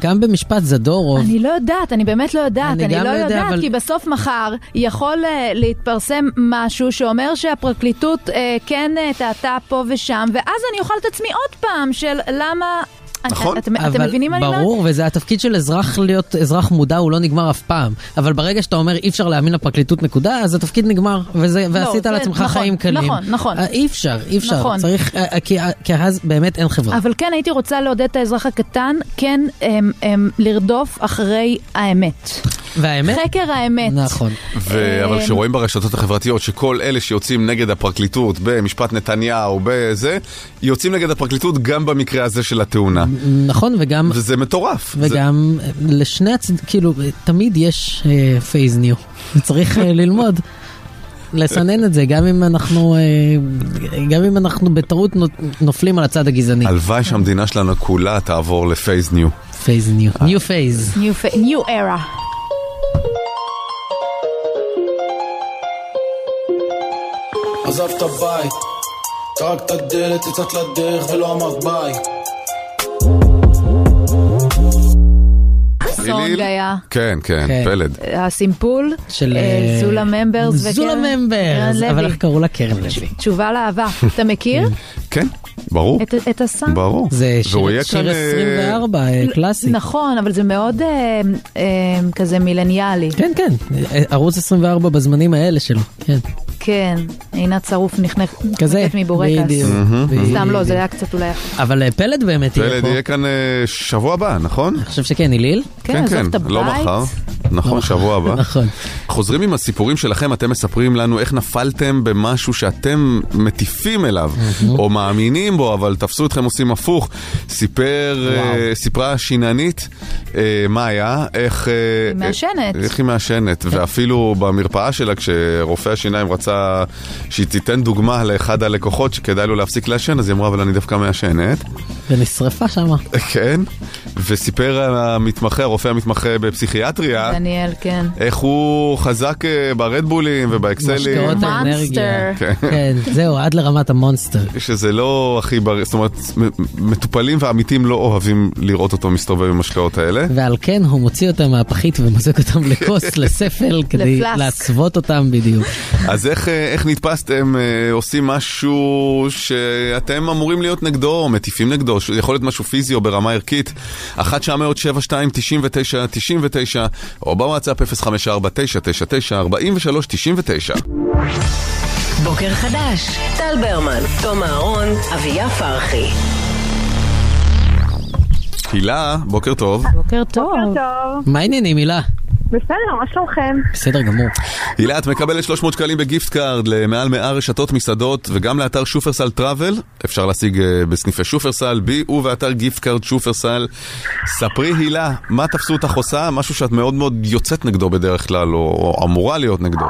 גם במשפט זדורוב,
אני לא יודעת, אני באמת לא יודעת,
אני
אני,
גם
לא
לא יודע,
יודעת,
אבל-
כי בסוף מחר יכול אה, להתפרסם משהו שאומר שהפרקליטות אה, כן אה, טעתה פה ושם, ואז אני אוכל את עצמי עוד פעם של למה... נכון. אתם, אתם
אבל
מבינים מה אני אומרת?
ברור, וזה התפקיד של אזרח להיות אזרח מודע, הוא לא נגמר אף פעם. אבל ברגע שאתה אומר אי אפשר להאמין לפרקליטות נקודה, אז התפקיד נגמר, וזה, ועשית
זה-
על עצמך
נכון,
חיים קלים.
נכון, נכון.
אה, אי אפשר, אי אפשר.
נכון.
צריך, אה, אה, כי, אה, כי אז באמת אין חברה.
אבל כן הייתי רוצה לעודד את האזרח הקטן, כן הם, הם, לרדוף אחרי האמת.
והאמת?
חקר האמת.
נכון.
ו- אבל
אה,
כשרואים ברשתות החברתיות שכל אלה שיוצאים נגד הפרקליטות במשפט נתניהו, בזה, יוצאים נגד הפרקליטות גם במקרה הזה של התאונה.
נכון, וגם...
וזה מטורף. זה-
וגם אה, לשני הצד... כאילו, אה, תמיד יש אה, פייז ניו. צריך אה, ללמוד. לסנן את זה, גם אם אנחנו, אה, גם אם אנחנו בטעות נות- נופלים על הצד הגזעני.
הלוואי שהמדינה שלנו כולה תעבור לפייס ניו.
פייז ניו. ניו פייז.
New, fa- new era.
עזב את הבית, טרק את הדלת, יצאת לדרך ולא אמרת ביי.
סונג היה. אה,
כן, כן,
כן.
פלד.
הסימפול
של,
אה,
אה,
זולה ממברס
זולה
וקרן-
ממברס,
קרן
אבל
לוי.
איך קראו לה קרן לוי?
תשובה לאהבה. אתה מכיר
כן, ברור.
את- את הסאונד?
ברור.
זה
והוא
שיר
יהיה כאן,
שיר
אה,
24, אה, קלאסי.
נכון, אבל זה מאוד אה, אה, כזה מילניאלי.
כן, כן, אה, ערוץ 24 בזמנים האלה שלו, כן.
כן, עינת שרוף נחנכת
כזה,
מבורקס.
בדיוק.
סתם לא,
בדיוק.
זה היה קצת אולי... אחר.
אבל אה, פלד באמת יהיה
פלד
פה.
יהיה כאן אה, שבוע הבא, נכון?
אני חושב שכן, איליל?
כן, עזוב את הבית.
לא מחר. נכון, שבוע הבא.
נכון.
חוזרים עם הסיפורים שלכם, אתם מספרים לנו איך נפלתם במשהו שאתם מטיפים אליו, או מאמינים בו, אבל תפסו אתכם עושים הפוך. סיפר, אה, סיפרה שיננית, אה, מה היה, איך... אה,
היא מעשנת. כן.
איך היא מעשנת, ואפילו במרפאה שלה, כשרופא השיניים רצה שהיא תיתן דוגמה לאחד הלקוחות שכדאי לו להפסיק לעשן, אז היא אמרה, אבל אני דווקא מעשנת.
ונשרפה שמה.
כן, וסיפר המתמחה, הרופא המתמחה בפסיכיאטריה.
דניאל, כן.
איך הוא חזק אה, ברדבולים ובאקסלים,
משקאות האנרגיה.
מונסטר.
כן, זהו, עד לרמת המונסטר.
שזה לא הכי בריא, זאת אומרת, מ- מטופלים ועמיתים לא אוהבים לראות אותו מסתובב עם השקאות האלה.
ועל כן הוא מוציא אותם מהפחית ומוזג אותם לכוס, לספל, כדי
לפלסק.
להצוות אותם בדיוק.
אז איך, אה, איך נתפסתם אה, עושים משהו שאתם אמורים להיות נגדו, או מטיפים נגדו, ש- יכול להיות משהו פיזי או ברמה ערכית, 1 900 72 99 99 או בוואטסאפ 054 999 43 99
בוקר חדש, טל ברמן, תום אהרון, אביה פרחי.
הילה, בוקר טוב.
בוקר טוב.
בוקר טוב.
מה העניינים, הילה?
בסדר, מה שלומכם?
בסדר גמור.
הילה, את מקבלת 300 שקלים בגיפט קארד למעל 100 רשתות מסעדות וגם לאתר שופרסל טראבל. אפשר להשיג אה, בסניפי שופרסל, בי ובאתר גיפט קארד שופרסל. ספרי, הילה, מה תפסו אותך עושה? משהו שאת מאוד מאוד יוצאת נגדו בדרך כלל, או, או אמורה להיות נגדו.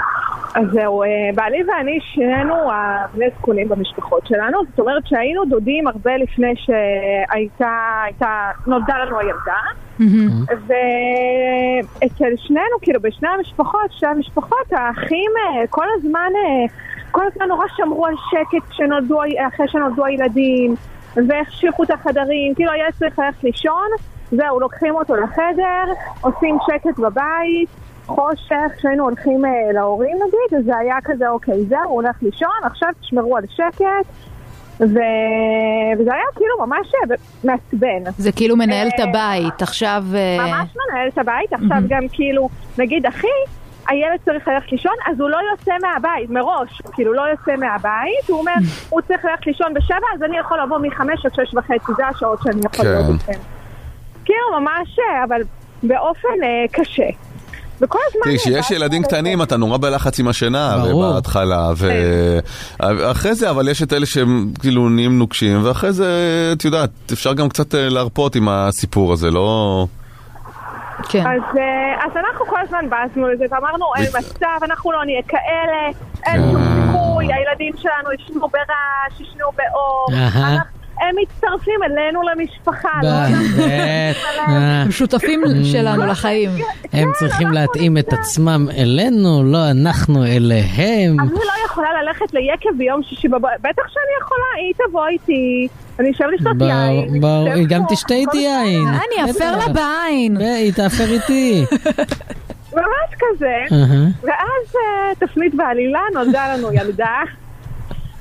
אז זהו, אה, בעלי ואני שנינו הבני זקונים במשפחות שלנו, זאת אומרת שהיינו דודים הרבה לפני שהייתה, הייתה, נולדה לנו הילדה, ואצל שנינו, כאילו בשני המשפחות, שתי המשפחות, האחים אה, כל הזמן, אה, כל הזמן נורא שמרו על שקט כשנולדו, ה- אחרי שנולדו הילדים, והחשיכו את החדרים, כאילו הילד צריך ללכת לישון, זהו, לוקחים אותו לחדר, עושים שקט בבית, חושך, כשהיינו הולכים אה, להורים נגיד, אז זה היה כזה, אוקיי, זהו, הוא הולך לישון, עכשיו תשמרו על שקט. ו... וזה היה כאילו ממש אה, מעצבן.
זה כאילו מנהל את
אה,
הבית, עכשיו... אה,
ממש מנהל את הבית, עכשיו גם כאילו, נגיד אחי, הילד צריך ללכת לישון, אז הוא לא יוצא מהבית, מראש, הוא כאילו לא יוצא מהבית, הוא אומר, הוא צריך ללכת לישון בשבע, אז אני יכול לבוא מחמש עד שש וחצי, זה השעות שאני יכול
כן.
להיות איתכם. כאילו ממש, אה, אבל באופן אה, קשה. וכל הזמן...
תראי, כשיש ילדים קטנים אתה נורא בלחץ עם השינה, בהתחלה, ואחרי זה, אבל יש את אלה שהם כאילו נהיים נוקשים, ואחרי זה, את יודעת, אפשר גם קצת אה, להרפות עם הסיפור הזה, לא...
כן.
אז, אה, אז אנחנו כל הזמן באזנו לזה ואמרנו, אין מצב, אנחנו לא נהיה כאלה,
אה.
אין שום סיכוי, הילדים שלנו ישנו ברעש, ישנו באור,
אהה.
אנחנו- הם מצטרפים אלינו למשפחה, לא אנחנו.
באמת.
הם שותפים שלנו לחיים.
אה,
כן.
הם צריכים להתאים את עצמם אלינו, לא אנחנו אליהם.
אני לא יכולה ללכת ליקב ביום שישי בבוקר, בטח שאני יכולה, היא תבוא איתי, אני אשב לשתות
ברור,
יין.
ברור, היא גם תשתה איתי יין.
אני אפר לה בעין.
היא תאפר איתי.
ממש כזה.
אהה.
ואז אה, תפנית בעלילה, נולדה לנו ילדה,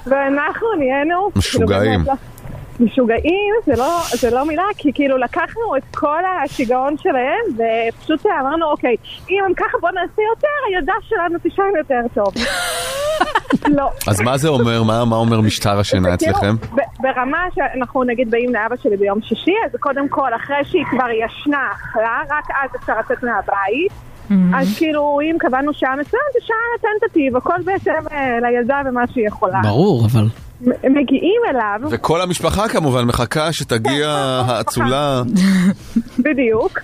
ואנחנו נהיינו...
משוגעים.
כאילו, באמת לא- משוגעים, זה לא, זה לא מילה, כי כאילו לקחנו את כל השיגעון שלהם ופשוט אמרנו, אוקיי, אם הם ככה בוא נעשה יותר, הילדה שלנו תישן יותר טוב. לא,
אז מה זה אומר? מה מה אומר משטר השינה אצלכם?
כאילו, ב- ברמה שאנחנו נגיד באים לאבא שלי ביום שישי, אז קודם כל, אחרי שהיא כבר ישנה, אכלה, רק אז אפשר לצאת מהבית. אז כאילו, אם קבענו שעה מסוימת, זה שעה טנטטיב, הכל בהתאם אה, לילדה ומה שהיא יכולה.
ברור, אבל...
מ- מגיעים אליו,
וכל המשפחה כמובן מחכה שתגיע האצולה.
בדיוק,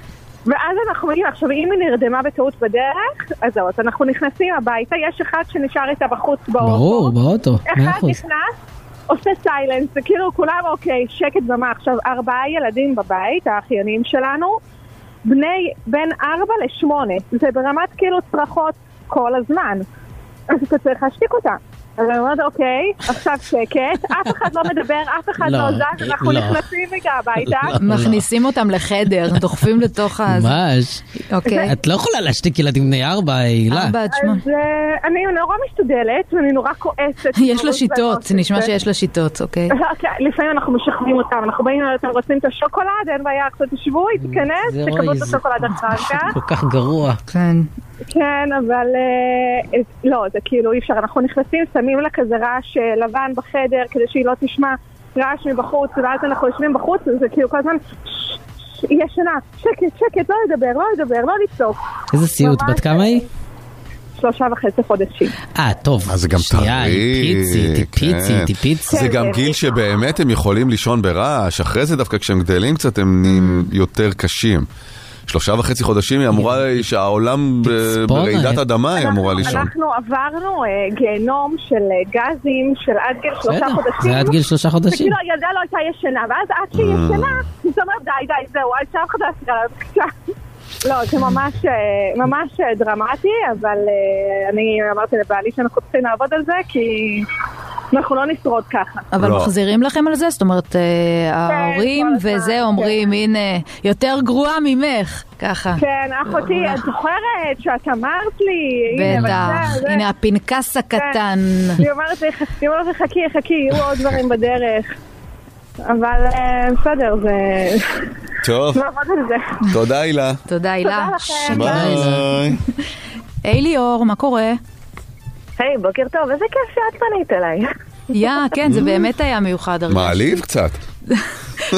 ואז אנחנו מגיעים, עכשיו, אם היא נרדמה בטעות בדרך, אז זהו, אז אנחנו נכנסים הביתה, יש אחד שנשאר איתה בחוץ באור.
ברור, באוטו, מאה
אחד
אחוז.
נכנס, עושה סיילנס, זה כאילו כולם אוקיי, שקט במה. עכשיו, ארבעה ילדים בבית, האחיינים שלנו, בני בין ארבע לשמונה, זה ברמת כאילו צרחות כל הזמן. אז אתה צריך להשתיק אותה. אז אני אומרת, אוקיי, עכשיו שקט, אף אחד לא מדבר, אף אחד
לא,
לא זז, אנחנו
לא.
נכנסים רגע הביתה.
מכניסים אותם לחדר, דוחפים לתוך ה...
ממש.
אוקיי.
את לא יכולה להשתיק ילדים בני ארבע, הילה.
אז אה, אני נורא משתדלת, ואני נורא כועסת.
יש לה שיטות, נשמע שיש לה שיטות, אוקיי.
אוקיי, לפעמים אנחנו משכנעים אותם, אנחנו באים אליהם, אתם רוצים את השוקולד, אין בעיה, עכשיו תשבו,
Mm,
היא
זה
תיכנס, תקבלו
רואי,
את
זה-
השוקולד אחר כך.
כל כך גרוע.
כן.
כן, אבל אה, את- לא, זה כאילו אי אפשר, אנחנו נכנסים, שמים לה כזה רעש אה, לבן בחדר כדי שהיא לא תשמע רעש מבחוץ, ואז אנחנו יושבים בחוץ, וזה כאילו כל הזמן, "ש- ש- היא ישנה, שקט, שקט, לא לדבר, לא לדבר, לא לצעוק.
איזה סיוט, בת כמה היא?
שלושה וחצי חודשים.
אה, טוב.
אז זה גם
שנייה, היא טיפצי,
טרי,
טיפיצי,
כן.
טיפיצי.
זה גם גיל שבאמת הם יכולים לישון ברעש, אחרי זה דווקא כשהם גדלים קצת הם נהיים יותר קשים. שלושה וחצי חודשים היא אמורה, שהעולם ב- אה,
אה.
ברעידת אדמה היא אמורה לישון.
אנחנו עברנו אה, גיהנום של אה, גזים של עד גיל שלושה
בסדר,
חודשים.
זה עד גיל שלושה חודשים.
וכאילו הילדה לא הייתה ישנה, ואז עד
אה.
שהיא
Mm.
ישנה, היא אומרת די, די, זהו, אל שאף אחד לא יפריע לה בבקשה." לא, זה ממש, אה, ממש אה, דרמטי, אבל אה, אני אמרתי לבעלי שאנחנו צריכים לעבוד על זה, כי אנחנו לא נשרוד ככה.
אבל
לא.
מחזירים לכם על זה? זאת אומרת, אה,
כן,
ההורים וזה אומרים, הנה, יותר גרועה ממך, ככה.
כן, אחותי, את זוכרת שאת אמרת לי, הנה, אבל
בטח,
זה, זה.
הנה הפנקס הקטן.
היא אומרת לי, "חכי", היא אומרת לי, חכי, חכי, יהיו עוד דברים בדרך. אבל אה, בסדר, זה...
טוב,
נעבוד לא על זה.
תודה הילה.
תודה, הילה.
כן, ביי.
היי ליאור, מה קורה?
היי, בוקר טוב, איזה כיף שאת פנית אליי.
יא, כן, זה באמת היה מיוחד. הרגשתי.
מעליב קצת.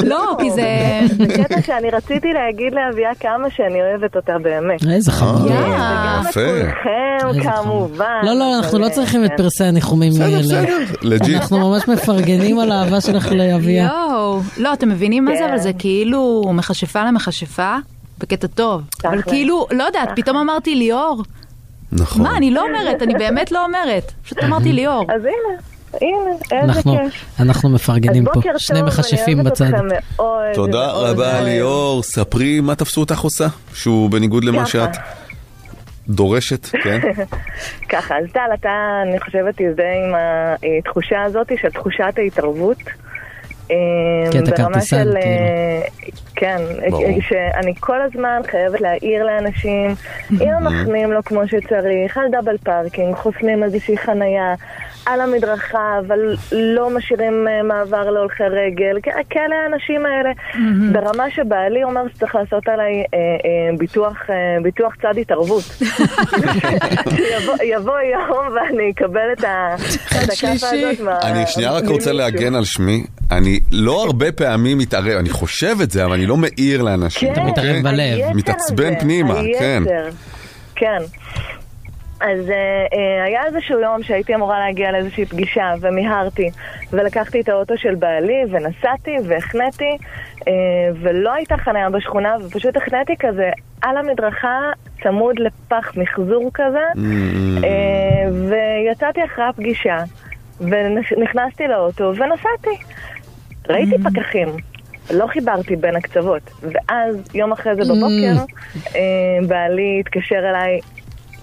לא, כי זה...
זה קטע שאני רציתי להגיד לאביה כמה שאני אוהבת אותה באמת.
איזה חמוד.
אה, יפה.
לכולכם, כמובן.
לא, לא, אנחנו לא צריכים את פרסי הניחומים האלה.
לג'י.
אנחנו ממש מפרגנים על האהבה שלך לאביה.
יואו. לא, אתם מבינים מה זה? אבל
כן.
זה כאילו מכשפה למכשפה, בקטע טוב. אבל כאילו, לא יודעת, פתאום אמרתי ליאור,
נכון.
מה, אני לא אומרת, אני באמת לא אומרת. פשוט אמרתי ליאור.
אז הנה, הנה, איזה
אנחנו,
כיף.
אנחנו מפרגנים
אז
פה,
בוקר
שני
טוב, אני
מכשפים
אוהבת
בצד.
אתכם מאוד,
תודה
מאוד. אה,
רבה ליאור, ספרי מה תפסו אותך עושה, שהוא בניגוד למה
ככה.
שאת דורשת, כן?
ככה, אז טל, אתה, אני חושבת, תזדהה עם התחושה הזאת של תחושת ההתערבות. אה,
כי כן, אתה
ברמה
כרטיסן, כאילו.
של, אה, כן,
ברור.
שאני כל הזמן חייבת להעיר לאנשים, אם המחנים לא כמו שצריך, על דאבל פארקינג, חוסמים איזושהי חנייה, על המדרכה, אבל לא משאירים אה, מעבר להולכי רגל, כ- כאלה האנשים האלה. ברמה שבעלי אומר שצריך לעשות עליי אה, אה, ביטוח, אה, ביטוח צד התערבות. יבוא- יבוא יום ואני אקבל את ה- את הכאפה הזאת. מה-
אני שנייה רק רוצה
ממישהו.
להגן על שמי. אני לא הרבה פעמים מתערב, אני חושב את זה, אבל אני לא מעיר לאנשים. אוקיי?
כן, אתה מתערב בלב. היצר
מתעצבן
הזה,
פנימה, כן.
היצר. כן. אז אה, אה, היה איזשהו יום שהייתי אמורה להגיע לאיזושהי פגישה ומיהרתי ולקחתי את האוטו של בעלי ונסעתי והחניתי אה, ולא הייתה חניה בשכונה ופשוט החניתי כזה על המדרכה צמוד לפח מחזור כזה
Mm.
אה, ויצאתי אחרי הפגישה ונכנסתי לאוטו ונסעתי ראיתי פקחים, לא חיברתי בין הקצוות. ואז יום אחרי זה בבוקר, אה, בעלי התקשר אליי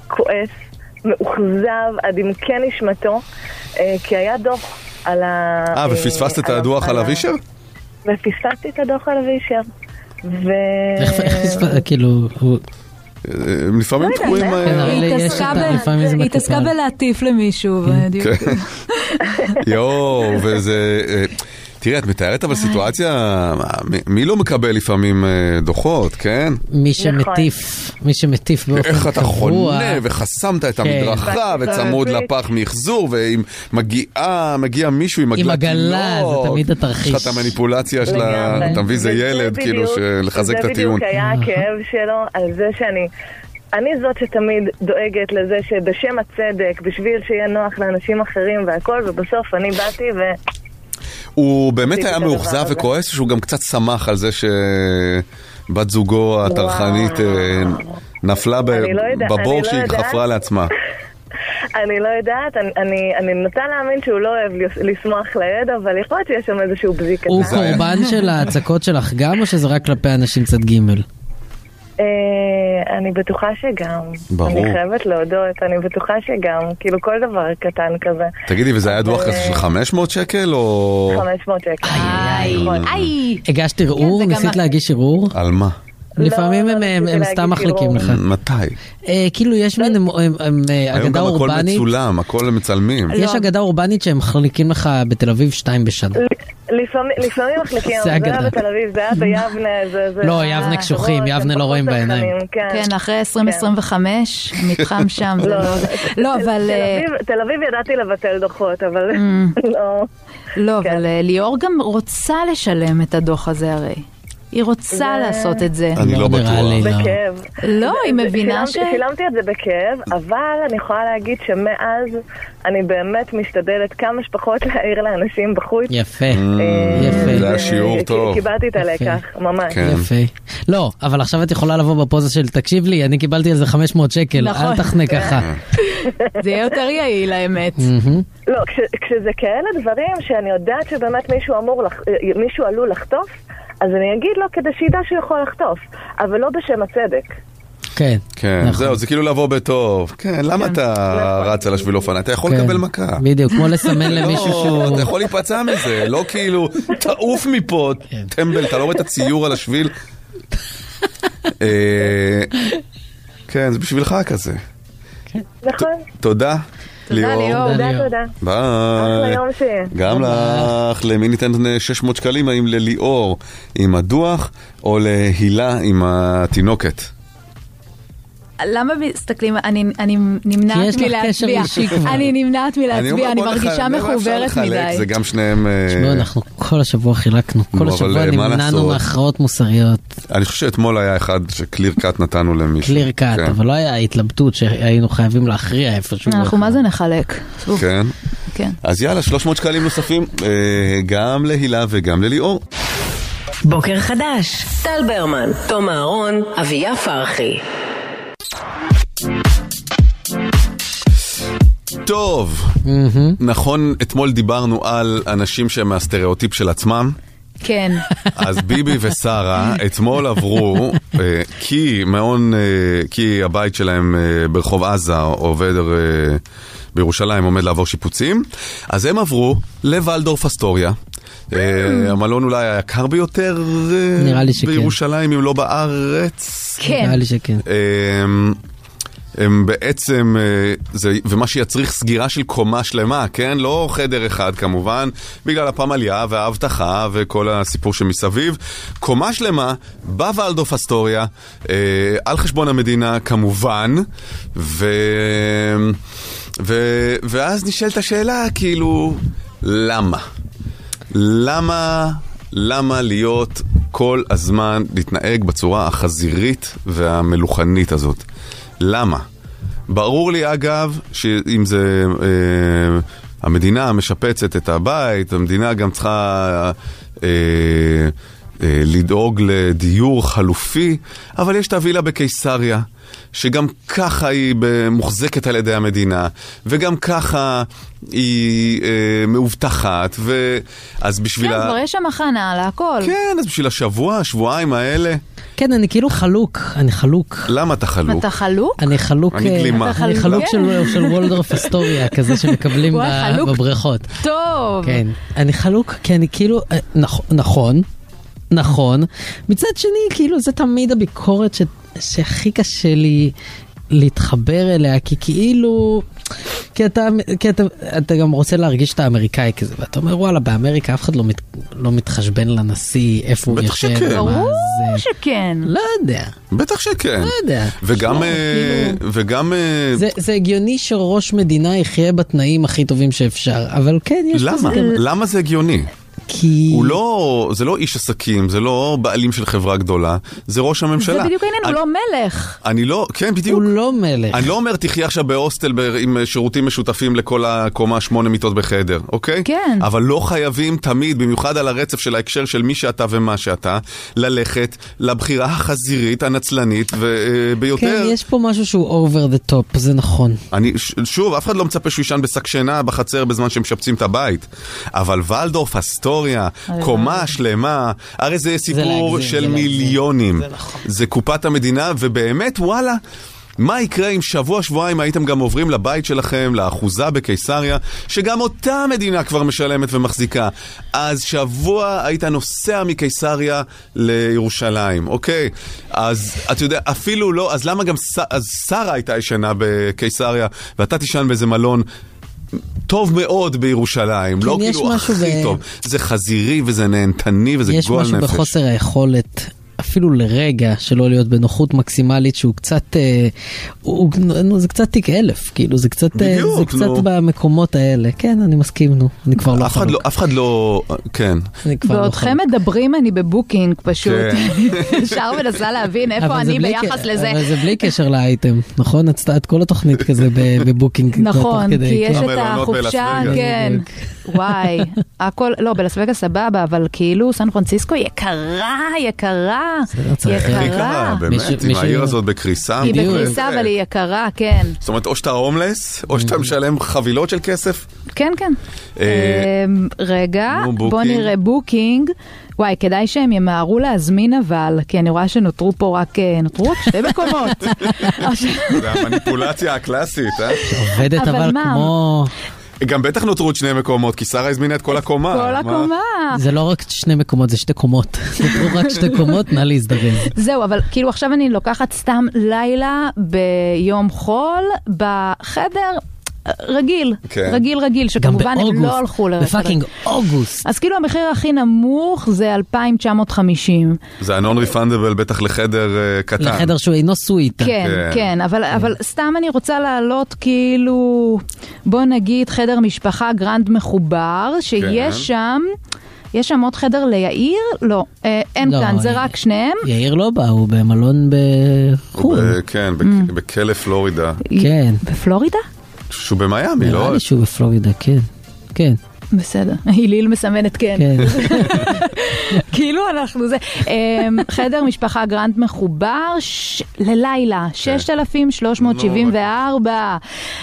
כועס, מאוכזב עד עמקי נשמתו, אה, כי היה דוח על ה...
אה, ופספסת את
ה-
הדוח על
ה-
אבישר?
ופספסתי את הדוח על אבישר. ו...
איך איך פספ- כאילו, הוא-
אה, לפעמים
לא יודעת, תקועים, אה, אה,
כן, אבל
היא
יש
התעסקה
אותה,
ב-
לפעמים זה
היא התעסקה
מקובל.
בלהטיף למישהו, בדיוק.
כן. יואו, וזה... אה, תראי, את מתארת
אה.
אבל סיטואציה, מה, מי- מי לא מקבל לפעמים אה, דוחות, כן?
מי
נכון.
שמטיף, מי שמטיף באופן לא, קבוע.
איך אתה חונה וחסמת את
כן.
המדרכה וצמוד
בדיוק.
לפח מחזור ואם מגיעה, מגיע מישהו עם
עם
עגלת
עגלה,
תינוק.
זה תמיד התרחיש.
יש לך את המניפולציה של ה...
לגמרי.
אתה מביא איזה
וזה
ילד, כאילו,
בדיוק-
של- לחזק את הטיעון.
זה בדיוק
Mm.
היה כאילו הכאב שלו על זה שאני... אני זאת שתמיד דואגת לזה שבשם הצדק, בשביל שיהיה נוח לאנשים אחרים והכל, ובסוף אני באתי ו...
הוא באמת
עשיתי
היה
את הדבר
מאוכזב
הזה.
וכועס, שהוא גם קצת שמח על זה שבת זוגו הטרחנית אה, נפלה ב-
אני לא יודעת, אני
בבור
לא
שהיא
יודעת.
חפרה לעצמה.
אני לא יודעת, אני, אני, אני נוטה להאמין שהוא לא אוהב לס- לשמוח ליד, אבל יכול להיות שיש שם איזשהו בזיק קטן.
הוא קורבן של ההצקות שלך גם, או שזה רק כלפי אנשים צד ג'?
אה, אני בטוחה שגם.
ברור.
אני חייבת להודות, אני בטוחה שגם. כאילו כל דבר קטן כזה.
תגידי, וזה היה דוח
אה,
כזה של 500 שקל או...
500 שקל. נכון.
איי.
הגשת
כן,
ערעור? ניסית להגיש ערעור?
על מה?
לא,
לפעמים הם- הם הם סתם מחליקים
כאילו,
לך.
מתי?
אה, כאילו יש מין
לא.
הם- הם- הם, אה,
היום
אגדה
גם הכל
אורבנית.
מצולם, הכל מצלמים.
לא,
יש אגדה אורבנית שהם מחליקים לך בתל אביב שתיים בשנה.
לא, לפעמים לפעמים מחליקים,
זה
אבל זה
אגדה.
היה בתל אביב, זה היה ביבנה, זה... זה-
לא,
אה,
יבנה קשוחים,
חברות,
יבנה
הם
לא
פחות
רואים בעיניים.
סקרנים, כן.
כן, אחרי 2025, המתחם שם, זה
לא.
לא... זה- לא,
תל-
אבל...
תל
אה, mm,
אביב- תל אביב ידעתי לבטל דוחות, אבל לא.
לא, אבל אה, ליאור גם רוצה לשלם את הדוח הזה הרי. היא רוצה
זה-
לעשות את זה.
אני לא בטוח.
בכאב.
לא, היא
זה-
מבינה
שילמתי-
ש-
שילמתי את זה בכאב, אבל אני יכולה להגיד שמאז אני באמת משתדלת כמה שפחות להעיר לאנשים בחוץ.
יפה,
אה,
יפה.
זה היה שיעור
כי-
טוב.
קיבלתי את הלקח, ממש.
כן.
יפה. לא, אבל עכשיו את יכולה לבוא בפוזה של תקשיב לי, אני קיבלתי על זה 500 שקל,
נכון.
אל תחנה ככה.
אה.
זה יהיה יותר יעיל, האמת.
מהמם.
לא, כש- כשזה כאלה דברים שאני יודעת שבאמת מישהו אמור, לח- אה, מישהו עלול לחטוף, אז אני אגיד לו כדי שידע שהוא יכול לחטוף, אבל לא בשם הצדק.
כן.
כן, זהו, זה כאילו לבוא בטוב. כן, למה אתה רץ על השביל אופניים? אתה יכול
כן.
לקבל מכה.
בדיוק, כמו לסמן למישהו
לא,
שהוא... נכון.
אתה יכול להיפצע מזה, לא כאילו, תעוף מפה, טמבל, אתה לא רואה את הציור על השביל? אה, כן, זה בשבילך כזה.
נכון?
תודה, ליאור.
תודה, תודה. אחלה
ביי.
יום שיהיה.
גם לך, למי ניתן 600 שקלים, האם לליאור עם הדוח, או להילה עם התינוקת?
למה מסתכלים, אני אני נמנעת
כי יש לך
מלהצביע.
קשר אישי כבר.
אני נמנעת
אומר,
מלהצביע, אני
בוא נחלק,
מרגישה
למה אפשר
מחוברת
לחלק?
מדי.
זה גם שניהם... אה,
תשמעו, לא, אנחנו כל השבוע חילקנו, כל
אבל,
השבוע
אה, מה
נמנענו
לעשות?
מהכרעות מוסריות.
אני חושב שאתמול היה אחד שקליר קאט נתנו למישהו.
קליר קאט,
כן.
אבל לא היה התלבטות שהיינו חייבים להכריע איפשהו.
אנחנו מה זה נחלק? אוף,
כן.
כן.
אז יאללה, 300 שקלים נוספים, אה, גם להילה וגם לליאור.
בוקר חדש, טל ברמן, תום אהרון, אביה פרחי.
טוב, נכון, אתמול דיברנו על אנשים שהם מהסטריאוטיפ של עצמם.
כן.
אז ביבי ושרה אתמול עברו, אה, כי מעון, אה, כי הבית שלהם אה, ברחוב עזה עובד אה, בירושלים, עומד לעבור שיפוצים, אז הם עברו לוולדורף אסטוריה. אה, המלון אולי היקר ביותר אה,
Mm. נראה לי שכן.
בירושלים, אם לא בארץ.
כן. נראה לי שכן.
הם, אמ, הם בעצם, אה, זה, ומה שיצריך סגירה של קומה שלמה, כן? לא חדר אחד כמובן, בגלל הפמליה והאבטחה וכל הסיפור שמסביב. קומה שלמה בוולדוף אסטוריה, אה, על חשבון המדינה כמובן, ו, אמ, ו, ואז נשאלת השאלה, כאילו, למה? למה, למה להיות כל הזמן להתנהג בצורה החזירית והמלוכנית הזאת? למה? ברור לי אגב, שאם זה... אה, המדינה משפצת את הבית, המדינה גם צריכה אה, אה, לדאוג לדיור חלופי, אבל יש את הווילה בקיסריה, שגם ככה היא ב- מוחזקת על ידי המדינה, וגם ככה היא אה, מאובטחת, ו... אז בשביל, ה...
כבר יש שם הכנה על הכל.
כן, אז בשביל השבוע, השבועיים האלה,
כן, אני כאילו חלוק, אני חלוק.
למה אתה חלוק?
אתה חלוק?
אני חלוק,
אני
אה,
גלימה. אתה
אני
חלוק,
חלוק
כן.
של- של וולדורף אסטוריה, כזה שמקבלים
וואי,
ב-
חלוק.
בבריכות.
טוב.
כן, אני חלוק, כי אני כאילו, אה, נכ- נכון, נכון. מצד שני, כאילו, זה תמיד הביקורת ש- שהכי קשה לי להתחבר אליה, כי כאילו, כי אתה, כי אתה, אתה גם רוצה להרגיש שאתה אמריקאי כזה, ואתה אומר, וואלה, באמריקה אף אחד לא, מת, לא מתחשבן לנשיא, איפה הוא יושב,
שכן.
מה
ברור
זה.
שכן.
לא יודע.
בטח שכן.
לא יודע.
וגם,
לא,
אה, וגם, אה,
זה, זה הגיוני שראש מדינה יחיה בתנאים הכי טובים שאפשר, אבל כן, יש
למה?
בזה גם-
למה זה הגיוני?
כי...
הוא לא, זה לא איש עסקים, זה לא בעלים של חברה גדולה, זה ראש הממשלה.
זה בדיוק העניין, הוא
אני-
לא מלך.
אני לא, כן, בדיוק.
הוא לא מלך.
אני לא אומר תחיה עכשיו בהוסטל ב- עם שירותים משותפים לכל הקומה שמונה מיטות בחדר, אוקיי?
כן.
אבל לא חייבים תמיד, במיוחד על הרצף של ההקשר של מי שאתה ומה שאתה, ללכת לבחירה החזירית, הנצלנית ו- אה,
כן,
ביותר.
יש פה משהו שהוא over the top, זה נכון.
אני, ש- שוב, אף אחד לא מצפה שהוא יישן בשק שינה בחצר בזמן שמשפצים את הבית. אבל ולדורף, אסטוריה,
הלוואי.
קומה שלמה, הרי זה סיפור
אה, להגזים,
של
זה
מיליונים. זה קופת המדינה, ובאמת, וואלה. מה יקרה אם שבוע, שבועיים הייתם גם עוברים לבית שלכם, לאחוזה בקיסריה, שגם אותה המדינה כבר משלמת ומחזיקה? אז שבוע היית נוסע מקיסריה לירושלים, אוקיי? אז אתה יודע, אפילו לא, אז למה גם ש- אז שרה הייתה ישנה בקיסריה, ואתה תישן באיזה מלון טוב מאוד בירושלים,
כן,
לא
יש
כאילו הכי
משהו ב-
טוב. זה חזירי וזה נהנתני וזה
יש
גועל נפש.
משהו בחוסר היכולת. אפילו לרגע שלא להיות בנוחות מקסימלית שהוא קצת, אה, הוא, נו, זה קצת תיק אלף, כאילו זה קצת, אה,
בדיוק,
זה קצת
נו.
במקומות האלה, כן אני מסכים נו, אני כבר לא
אף אחד
חלוק,
לא, אף אחד לא, כן.
אני כבר לא
בעודכם
חלוק.
מדברים אני בבוקינג פשוט.
כן.
ישר מנסה להבין איפה
אבל זה
אני
בלי
ביחס
ק-
לזה.
אבל זה בלי קשר לאייטם, נכון? את את כל התוכנית כזה ב- בבוקינג, תוך
נכון, כי
כדי,
יש
כן.
לא
את החופשה, כן. וואי, הכל, לא, בלס וגאס סבבה, אבל כאילו סן פרנסיסקו יקרה, יקרה,
לא
יקרה.
אה, באמת, אם העיר הזאת בקריסה.
היא
מטורפת.
בקריסה, אבל היא יקרה, כן.
זאת אומרת, או שאתה הומלס, או
Mm.
שאתה משלם חבילות של כסף.
כן, כן.
אה,
אמ, רגע,
נו,
בוא
בוקינג.
נראה בוקינג. וואי, כדאי שהם ימהרו להזמין אבל, כי אני רואה שנותרו פה רק, אה, נותרו רק שתי מקומות. אה,
זה המניפולציה הקלאסית, אה?
עובדת
אבל אבל מה? כמו-
גם בטח נותרו עוד שני מקומות, כי שרה הזמינה את כל הקומה.
כל
מה?
הקומה.
זה לא רק שני מקומות, זה שתי קומות, נותרו רק שתי קומות, נא להזדרז.
זהו, אבל כאילו עכשיו אני לוקחת סתם לילה ביום חול בחדר רגיל,
כן.
רגיל רגיל, שכמובן הם
באוגוסט,
לא הלכו לחדר.
בפאקינג אוגוסט.
אז כאילו המחיר הכי נמוך זה 2,950.
זה הנון ריפנדבל בטח לחדר אה, קטן.
לחדר שהוא אינו סוויטה.
כן, כן, אבל, אבל סתם אני רוצה להעלות כאילו, בוא נגיד חדר משפחה גרנד מחובר,
כן.
שיש שם, יש שם עוד חדר ליאיר? לא, אה, אין
לא,
כאן,
אה,
זה רק שניהם.
יאיר לא בא, הוא במלון בחו"ל.
אה, כן, בק- בכלא פלורידה.
כן.
בפלורידה?
שהוא במיאמי,
נראה
לא?
לי שהוא בפלורידה, כן. כן.
בסדר, היליל מסמנת כן.
כן.
כאילו אנחנו זה. אמ, חדר משפחה גרנד מחובר ש- ללילה,
כן.
6,374.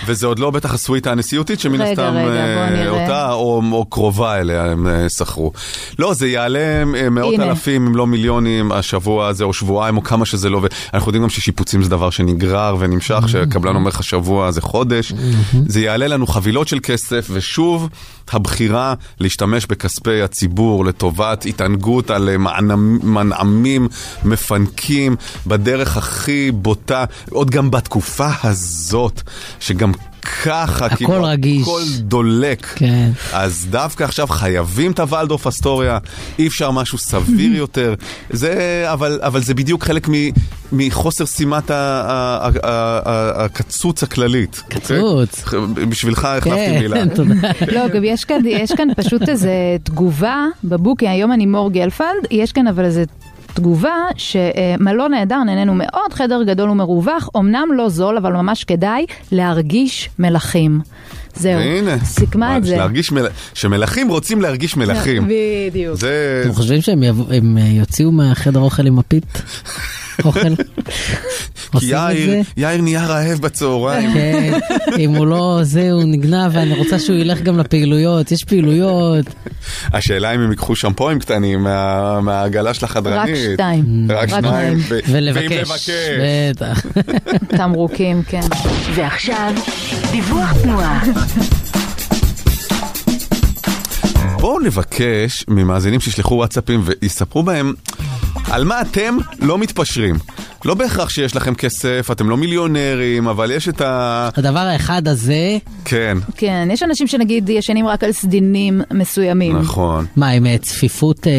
וזה עוד לא בטח הסוויטה הנשיאותית, שמן
רגע,
הסתם
רגע, בוא
אה,
נראה.
אותה או, או קרובה אליה הם אה, שכרו. לא, זה יעלה אה, מאות
הנה.
אלפים, אם לא מיליונים, השבוע הזה, או שבועיים, או כמה שזה לא. ואנחנו יודעים גם ששיפוצים זה דבר שנגרר
Mm-hmm.
ונמשך, שהקבלן אומר לך שבוע זה חודש. זה יעלה לנו חבילות של כסף, ושוב, הבחירה להשתמש בכספי הציבור לטובת התענגות על אה, מנעמ- מנעמים מפנקים בדרך הכי בוטה, עוד גם בתקופה הזאת, שגם ככה,
הכל
כאילו,
רגיש.
הכל דולק.
כן.
אז דווקא עכשיו חייבים את הוולדורף אסטוריה, אי אפשר משהו סביר יותר. זה, אבל, אבל זה בדיוק חלק מ, מחוסר שימת ה- ה- ה- ה- הקצוץ הכללית. קצוץ. בשבילך
כן,
החלפתי מילה.
לא, גם יש כאן, יש כאן פשוט איזו תגובה בבוקי, היום אני מור גלפנד, יש כאן אבל איזו תגובה שמלון נהדר נהנינו מאוד, חדר גדול ומרווח, אמנם לא זול, אבל ממש כדאי להרגיש מלכים. זהו,
והנה,
סיכמה את זה.
להרגיש מל... שמלכים רוצים להרגיש מלכים.
בדיוק.
זה...
אתם חושבים שהם יבוא- הם, אה, יוציאו מהחדר אוכל עם הפית? אוכל?
כי
עושים את זה?
יאיר, יאיר נהיה רעב בצהריים.
כן, אם הוא לא זה, הוא נגנב, ואני רוצה שהוא ילך גם לפעילויות, יש פעילויות.
השאלה אם הם ייקחו שמפוים קטנים מה- מהעגלה של החדרנית.
רק שתיים.
רק שניים. ו- ואם
ולבקש. בטח.
תמרוקים, כן.
ועכשיו, דיווח תנועה.
בואו נבקש ממאזינים שישלחו וואטסאפים ויספרו בהם על מה אתם לא מתפשרים. לא בהכרח שיש לכם כסף, אתם לא מיליונרים, אבל יש את ה...
הדבר האחד אה? הזה...
כן,
כן, יש אנשים שנגיד ישנים רק על סדינים מסוימים.
נכון.
מה, עם אה, צפיפות אה,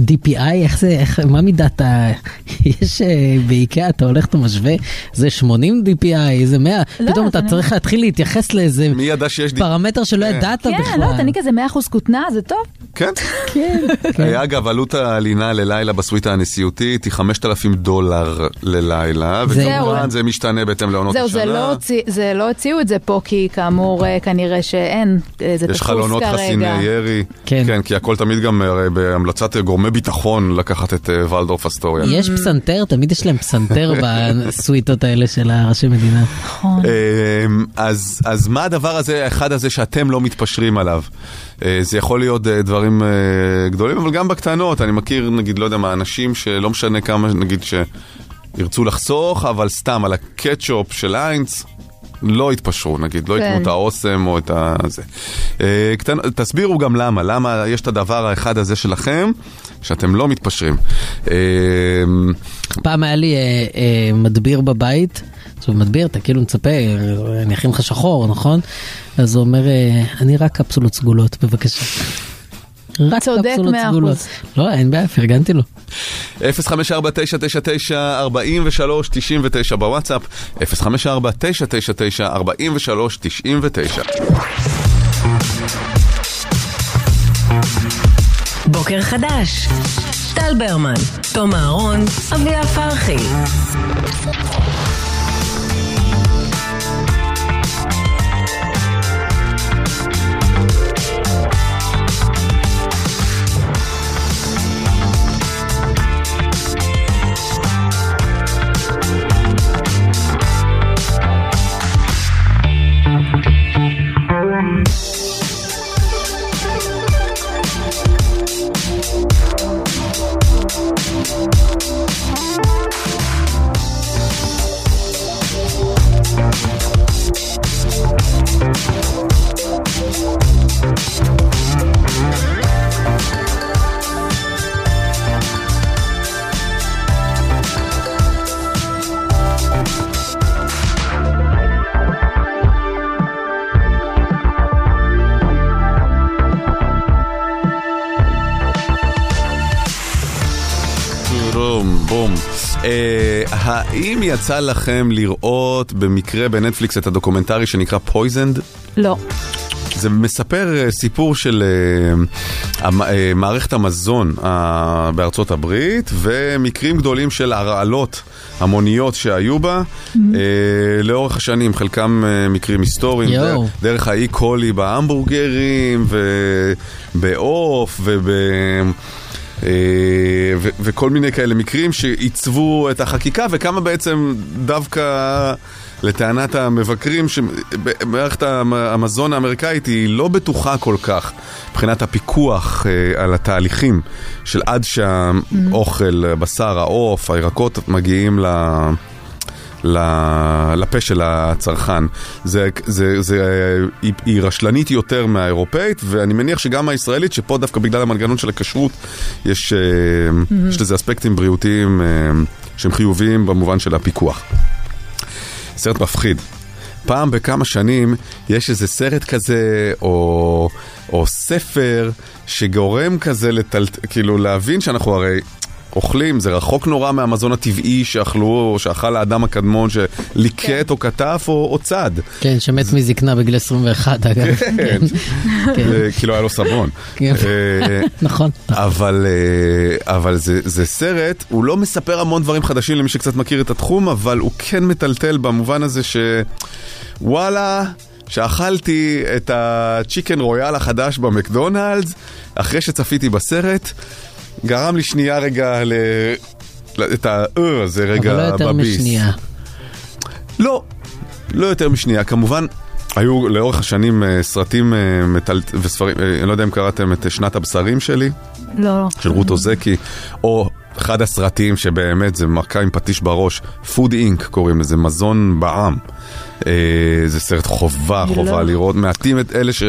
DPI? איך זה, איך, מה מידת ה... יש אה, באיקאה, אתה הולך, אתה משווה, זה 80 DPI, זה 100, פתאום אתה
אני-
צריך להתחיל להתייחס לאיזה
מי ידע שיש... די-
פרמטר שלא
כן.
ידעת
כן,
בכלל.
לא, אני כזה 100% כותנה, זה טוב.
כן.
כן.
אה, אגב, עלות הלינה ללילה בסוויטה הנשיאותית היא 5,000 דולר ללילה,
זהו.
וכמובן זה משתנה בהתאם לעונות
זהו, זה לא
השנה.
הוציא- זה לא הוציאו את זה פה, כי כאמור, אה, כנראה שאין, אה, זה
יש
תפוס כרגע.
חלונות חסיני ירי, כן. כן, כי הכל תמיד גם הרי בהמלצת גורמי ביטחון לקחת את אה, ולדורף אסטוריה.
יש פסנתר, תמיד יש להם פסנתר בסוויטות האלה של הראשי מדינה.
נכון.
אמ, אז, אז מה הדבר הזה, האחד הזה שאתם לא מתפשרים עליו? אה, זה יכול להיות אה, דברים אה, גדולים, אבל גם בקטנות. אני מכיר, נגיד, לא יודע מה, אנשים שלא משנה כמה, נגיד, שירצו לחסוך, אבל סתם על הקטשופ של איינס. לא התפשרו, נגיד, לא
כן.
יקנו את האוסם או את ה... זה. אה, קטן, תסבירו גם למה, למה יש את הדבר האחד הזה שלכם, שאתם לא מתפשרים. אה,
פעם היה לי אה, אה, מדביר בבית, עכשיו מדביר, אתה כאילו מצפה, אה, אני אכין לך שחור, נכון? אז הוא אומר, אה, אני רק קפסולות סגולות, בבקשה. רק
צודק
קפסולות
מאה
סגולות.
אחוז.
לא, אין בעיה, פרגנתי לו.
054-999-4399 בוואטסאפ, 054-999-4399.
בוקר חדש, טל ברמן, תום אהרון, אביה פרחי.
בום, בום. אה, האם יצא לכם לראות במקרה בנטפליקס את הדוקומנטרי שנקרא פויזנד?
לא.
זה מספר אה, סיפור של אה, המ- אה, מערכת המזון אה, בארצות הברית ומקרים גדולים של הרעלות המוניות שהיו בה אה, לאורך השנים, חלקם אה, מקרים היסטוריים,
יואו.
ד- דרך האי קולי בהמבורגרים ובעוף וב... אה, ו- וכל מיני כאלה מקרים שעיצבו את החקיקה, וכמה בעצם דווקא לטענת המבקרים, שמערכת המ- המזון האמריקאית היא לא בטוחה כל כך מבחינת הפיקוח אה, על התהליכים של עד שהאוכל, הבשר, העוף, הירקות מגיעים ל... ל- לפה של הצרכן. זה, זה, זה, היא, היא רשלנית יותר מהאירופאית, ואני מניח שגם הישראלית, שפה דווקא בגלל המנגנון של הכשרות, יש, mm-hmm. יש לזה אספקטים בריאותיים אה, שהם חיוביים במובן של הפיקוח. סרט מפחיד. פעם בכמה שנים יש איזה סרט כזה, או, או ספר, שגורם כזה לטלט... כאילו להבין שאנחנו הרי... אוכלים, זה רחוק נורא מהמזון הטבעי שאכלו, או שאכל האדם הקדמון שליקט או כתף או, או צד.
כן, שמת מזקנה בגיל 21 אגב.
כן. אה, כאילו היה לו סבון.
כן.
אה,
נכון.
אבל, אה, אבל זה, זה סרט, הוא לא מספר המון דברים חדשים למי שקצת מכיר את התחום, אבל הוא כן מטלטל במובן הזה שוואלה, שאכלתי את הצ'יקן רויאל החדש במקדונלדס, אחרי שצפיתי בסרט, גרם לי שנייה רגע ל... ל- את ה... אה, הזה רגע
אבל לא יותר
בביס.
משנייה.
לא, לא יותר משנייה. כמובן, היו לאורך השנים אה, סרטים אה, מטל... וספרים, אה, אני לא יודע אם קראתם את אה, שנת הבשרים שלי,
לא.
של רות אוזקי, או אחד הסרטים שבאמת זה מכה עם פטיש בראש, Food Inc קוראים לזה, מזון בעם. אה, זה סרט חובה,
אני
חובה
לא-
לראות, מעטים את אלה ש-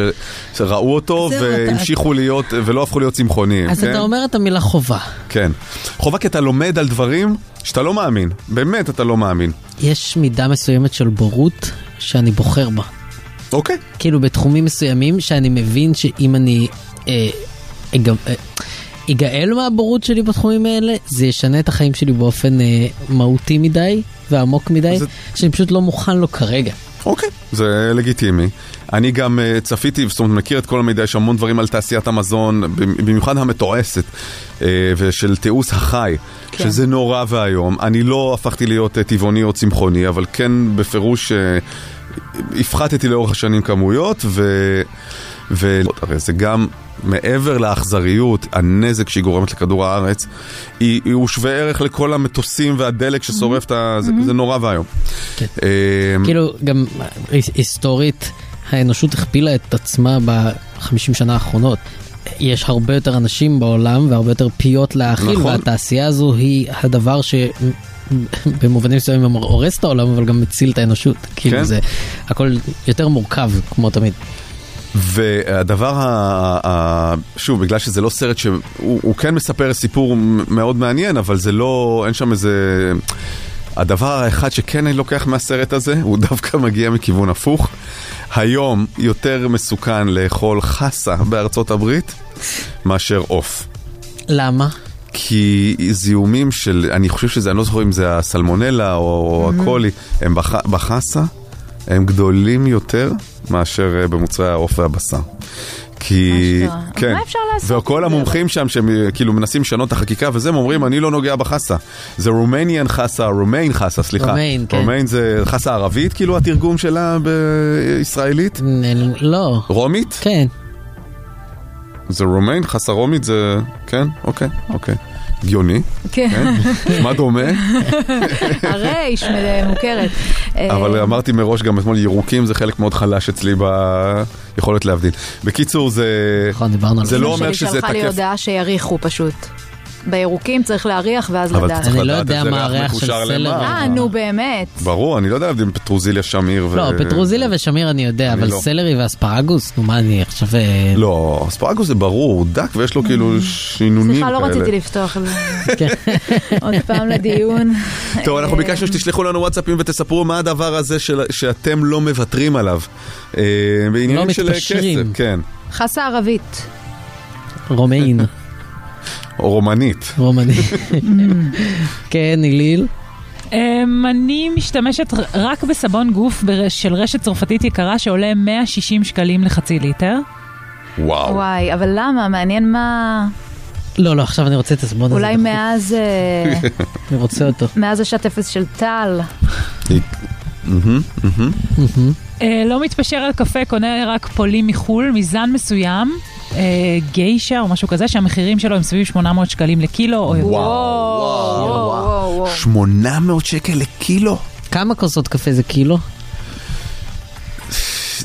שראו אותו
זהו, אתה-
והמשיכו להיות, ולא הפכו להיות צמחוניים.
אז
כן?
אתה אומר את המילה חובה.
כן. חובה כי אתה לומד על דברים שאתה לא מאמין, באמת אתה לא מאמין.
יש מידה מסוימת של בורות שאני בוחר בה.
אוקיי.
כאילו בתחומים מסוימים שאני מבין שאם אני אה, אגב, אה, אגאל מהבורות שלי בתחומים האלה, זה ישנה את החיים שלי באופן אה, מהותי מדי ועמוק מדי, שאני פשוט לא מוכן לו כרגע.
אוקיי. זה לגיטימי. אני גם אה, צפיתי, זאת אומרת, מכיר את כל המידע, יש המון דברים על תעשיית המזון, במיוחד המתועשת, אה, ושל תיעוש החי, כן. שזה נורא ואיום. אני לא הפכתי להיות אה, טבעוני או צמחוני, אבל כן בפירוש אה, הפחתתי לאורך השנים כמויות, ו... ו... הרי זה גם... מעבר לאכזריות, הנזק שהיא גורמת לכדור הארץ, היא, היא הוא שווה ערך לכל המטוסים והדלק ששורף את ה... זה, זה נורא ואיום. Mm-hmm. כן.
כאילו, גם היס- היסטורית, האנושות הכפילה את עצמה בחמישים שנה האחרונות. יש הרבה יותר אנשים בעולם והרבה יותר פיות להאכיל,
נכון.
והתעשייה הזו היא הדבר ש... במובנים מסוימים הורס את העולם, אבל גם מציל את האנושות.
כן.
כאילו זה, הכל יותר מורכב, כמו תמיד.
והדבר, ה... ה... שוב, בגלל שזה לא סרט שהוא הוא כן מספר סיפור מ- מאוד מעניין, אבל זה לא, אין שם איזה... הדבר האחד שכן אני לוקח מהסרט הזה, הוא דווקא מגיע מכיוון הפוך. היום יותר מסוכן לאכול חסה בארצות הברית מאשר עוף.
למה?
כי זיהומים של, אני חושב שזה, אני לא זוכר אם זה הסלמונלה או
Mhm.
הקולי, הם בח- בחסה, הם גדולים יותר מאשר אה, במוצרי העוף והבשר. כי, כן,
מה אפשר לעשות?
וכל המומחים שם שהם אה, כאילו מנסים לשנות את החקיקה וזה, הם אומרים, אני לא נוגע בחסה. זה רומניאן חסה, רומיין חסה, סליחה.
רומיין, כן.
רומיין זה חסה ערבית, כאילו התרגום שלה אה, בישראלית?
לא.
רומית?
כן.
זה רומיין, חסה רומית זה, כן, אוקיי, אוקיי. הגיוני.
כן.
נשמע דומה.
הרי איש מוכרת.
אה.
אבל אמרתי מראש גם אתמול, ירוקים זה חלק מאוד חלש אצלי ביכולת להבדיל. בקיצור, זה...
נכון, דיברנו
זה לא אומר
אה, שלי
שזה
שלחה לי
תקף.
הודעה שיריחו פשוט. בירוקים צריך להריח ואז
אבל
לדעת.
צריך אני לא לדעת יודע איזה מה ריח הריח של מקושר סלר. למה.
אה, נו באמת.
ברור, אני לא יודע להבדיל פטרוזיליה, שמיר ו... אה,
לא, פטרוזיליה ושמיר אני יודע,
אני
אבל
לא.
סלרי ואספרגוס, נו מה אני עכשיו... אה,
לא, אספרגוס זה ברור, הוא דק ויש לו
אה.
כאילו שינונים כאלה.
סליחה, לא רציתי לפתוח את זה. עוד פעם לדיון.
טוב, אנחנו ביקשנו שתשלחו לנו וואטסאפים ותספרו מה הדבר הזה של- שאתם לא מוותרים עליו. אה, בעניינים של
מתפשרים.
כסף, כן.
חסה ערבית.
רומיין.
או רומנית.
רומני. כן, איליל.
אמ, אני משתמשת ר- רק בסבון גוף בר- של רשת צרפתית יקרה שעולה 160 שקלים לחצי ליטר.
וואו.
וואי, אבל למה? מעניין מה...
לא, לא, עכשיו אני רוצה את הסבון הזה.
אולי מאז... אה,
אני רוצה אותו.
מאז השעת אפס של טל.
מהמם, מהמם.
אה, לא מתפשר על קפה, קונה רק פולים מחו"ל, מזן מסוים. אה, גיישה או משהו כזה, שהמחירים שלו הם סביב 800 שקלים לקילו או יותר.
וואו, וואו, וואו, וואו. 800 שקל לקילו?
כמה כוסות קפה זה קילו?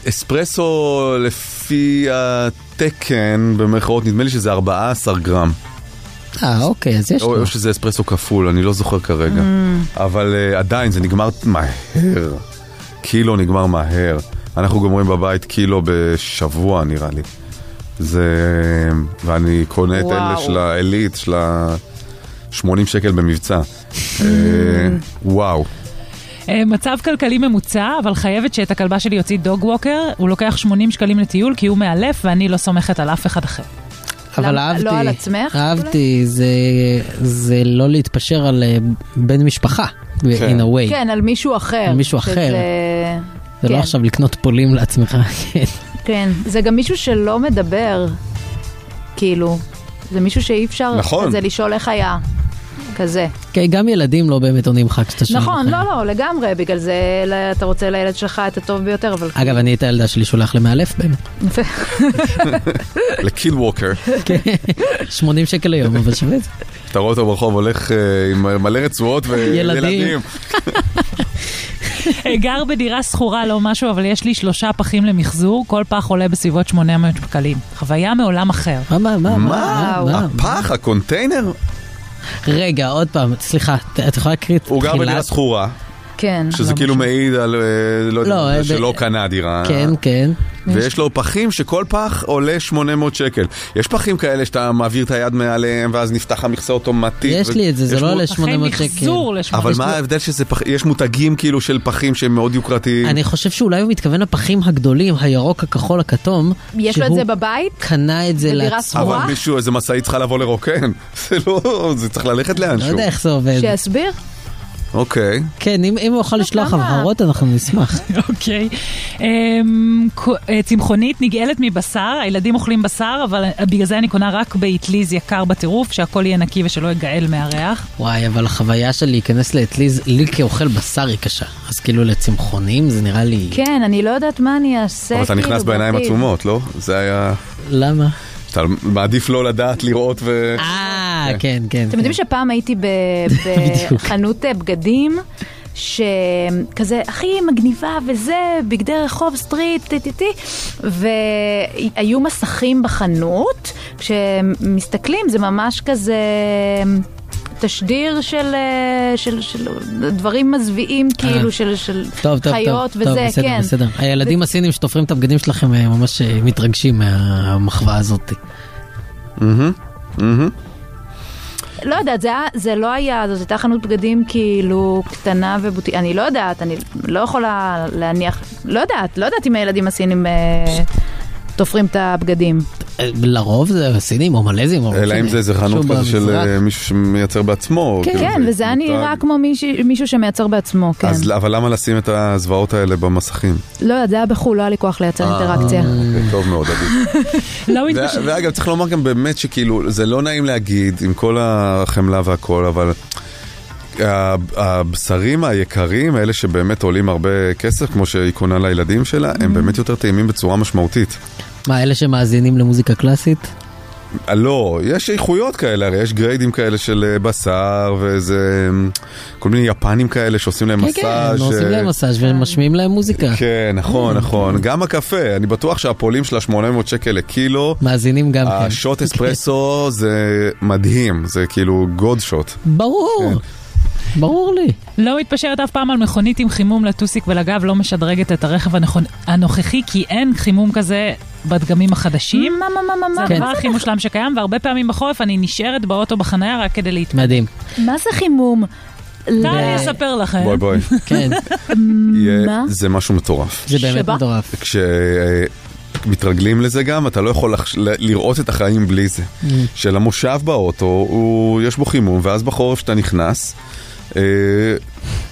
אספרסו לפי התקן, במרכאות, נדמה לי שזה 14 גרם.
אה, אוקיי, אז יש
או
לו.
או שזה אספרסו כפול, אני לא זוכר כרגע.
Mm.
אבל אה, עדיין, זה נגמר מהר. קילו נגמר מהר. אנחנו גומרים בבית קילו בשבוע, נראה לי. זה... ואני קונה את אלה
וואו.
של העילית, של ה... 80 שקל במבצע. אה,
Mm.
וואו.
אה, מצב כלכלי ממוצע, אבל חייבת שאת הכלבה שלי יוציא דוג ווקר, הוא לוקח 80 שקלים לטיול כי הוא מאלף ואני לא סומכת על אף אחד אחר.
אבל
למה-
אהבתי.
לא על עצמך,
אהבתי, זה, זה לא להתפשר על אה, בן משפחה, ב- in a way.
כן, על מישהו אחר.
על מישהו
שזה-
אחר. זה
כן.
לא עכשיו לקנות פולים לעצמך. כן.
כן, זה גם מישהו שלא מדבר, כאילו. זה מישהו שאי אפשר
נכון.
כזה לשאול איך היה. כזה.
כן, גם ילדים לא באמת עונים לך כשאתה שואל.
נכון, לא, לא, לגמרי, בגלל זה ל- אתה רוצה לילד שלך את הטוב ביותר, אבל...
אגב, אני את הילדה שלי שולח למאלף באמת.
לקיל ווקר.
כן. 80 שקל ליום, אבל שווה את זה.
אתה רואה אותו ברחוב הולך אה, עם מלא רצועות
ילדים.
וילדים.
אה, גר בדירה שכורה, לא משהו, אבל יש לי שלושה פחים למחזור, כל פח עולה בסביבות 800 שקלים. חוויה מעולם אחר.
מה, מה,
מה? הפח, הקונטיינר?
רגע, עוד פעם, סליחה, ת- את יכולה להקריא את
הוא גר
תחילת-
בדירה שכורה,
כן.
שזה כאילו מעיד על, אה, לא
לא, אה,
יודע,
ב-
שלא קנה דירה.
כן, כן.
ויש לו פחים שכל פח עולה 800 שקל. יש פחים כאלה שאתה מעביר את היד מעליהם ואז נפתח המכסה אוטומטית.
יש לי את זה, זה
יש
לא
מות-
עולה 800 שקל.
אבל
יש
מה
לי-
ההבדל שזה פח... יש מותגים כאילו של פחים שהם מאוד יוקרתיים.
אני חושב שאולי הוא מתכוון לפחים הגדולים, הירוק, הכחול, הכתום.
יש לו את
שהוא
זה בבית?
קנה את זה
בדירה
לעצמו.
אבל מישהו, איזה משאית צריכה לבוא לרוקן. זה לא... זה צריך ללכת לאנשהו.
לא יודע איך זה עובד.
שיסביר. לא,
אוקיי.
כן, אם אם הוא יכול לשלוח הבהרות, אנחנו נשמח.
אוקיי. אמ, קו- אה, צמחונית נגאלת מבשר, הילדים אוכלים בשר, אבל אה, בגלל זה אני קונה רק באטליז יקר בטירוף, שהכל יהיה נקי ושלא יגאל מהריח.
וואי, אבל החוויה של להיכנס לאטליז, לי כאוכל בשר היא קשה. אז כאילו לצמחונים זה נראה לי...
כן, אני לא יודעת מה אני אעשה.
אבל אתה
כאילו,
נכנס בעיניים
בעתיד.
עצומות, לא? זה היה...
למה?
אתה מעדיף לא לדעת, לראות ו...
אה, כן, כן.
אתם יודעים שפעם הייתי ב- בחנות אה, בגדים, שכזה הכי מגניבה וזה, בגדי רחוב סטריט, טי טי טי, והיו מסכים בחנות, כשמסתכלים זה ממש כזה... אה, תשדיר של, אה, של, של דברים מזוויעים,
אה.
כאילו, של, של
טוב, טוב, טוב,
חיות
טוב,
וזה,
בסדר,
כן.
בסדר. הילדים הסינים שתופרים את הבגדים שלכם אה, ממש אה, מתרגשים מהמחווה הזאת.
לא יודעת, זה, היה- זה לא היה, זאת הייתה חנות בגדים כאילו קטנה ובוטי... אני לא יודעת, אני לא יכולה להניח... לא יודעת, לא יודעת אם הילדים הסינים אה, תופרים את הבגדים.
אה, לרוב זה סינים או מלזים או... לא
אלא אם
משנה.
זה איזה חנות
שוב
כזה של
במזרח.
אה, מישהו שמייצר בעצמו.
אוקיי. כן,
כאילו,
כן,
זה
וזה היה נראה
מותג.
כמו מישהו, מישהו שמייצר בעצמו, כן.
אז אבל למה לשים את הזוועות האלה במסכים?
לא יודעת, זה היה בחו"ל, לא היה לי כוח לייצר אינטראקציה.
אוקיי, טוב מאוד, עדיף.
לא
וה- ואגב, צריך לומר גם באמת שכאילו, זה לא נעים להגיד, עם כל החמלה והכל, אבל ה- הבשרים היקרים, האלה שבאמת עולים הרבה כסף, כמו שהיא קונה לילדים שלה,
Mm-hmm.
הם באמת יותר טעימים בצורה משמעותית.
מה, אלה שמאזינים למוזיקה קלאסית?
אה, לא, יש איכויות כאלה, הרי יש גריידים כאלה של אה, בשר ואיזה... אה, כל מיני יפנים כאלה שעושים להם
כן,
מסאז'.
כן, הם עושים
אה,
להם מסאז'
כן.
Mm. ומשמיעים להם מוזיקה.
כן, נכון, נכון. גם הקפה, אני בטוח שהפולים של ה-800 שקל לקילו,
מאזינים גם כן.
השוט אספרסו זה מדהים, זה כאילו גוד שוט. כן.
ברור. ברור לי.
לא מתפשרת אף פעם על מכונית עם חימום לטוסיק ולגב, לא משדרגת את הרכב הנכון- הנוכחי, כי אין חימום כזה בדגמים החדשים.
מה, מה, מה, מה,
זה הדבר
מה זה
הכי מושלם שקיים, והרבה פעמים בחורף אני נשארת באוטו בחניה רק כדי להתמודד.
מדהים.
מה זה חימום?
אני אספר לכם.
בואי בואי.
כן.
מה?
זה משהו מטורף.
זה באמת שבא? מטורף.
כשמתרגלים לזה גם, אתה לא יכול לחש- ל- לראות את החיים בלי זה.
Mm.
של המושב באוטו, הוא- יש בו חימום, ואז בחורף שאתה נכנס, אה,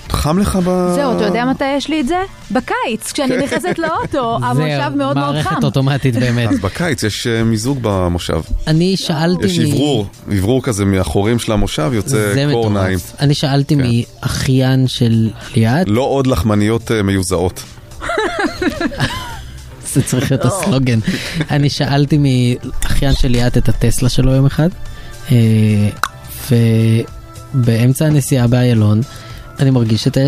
חם לך ב...
זהו, אתה יודע מתי יש לי את זה? בקיץ, כשאני
כן.
נכנסת לאוטו, המושב מאוד מאוד חם.
אוטומטית באמת.
אז בקיץ יש אה, מיזוג במושב.
אני שאלתי...
יש
מ-
אוורור, אוורור כזה מהחורים של המושב
זה
יוצא קור
מטורף.
נעים.
אני שאלתי
כן.
מאחיין של ליאת.
לא עוד לחמניות אה, מיוזעות.
זה צריך להיות הסלוגן. אני שאלתי מאחיין של ליאת את הטסלה שלו יום אחד, אה, ובאמצע הנסיעה באיילון, אני מרגיש את ה...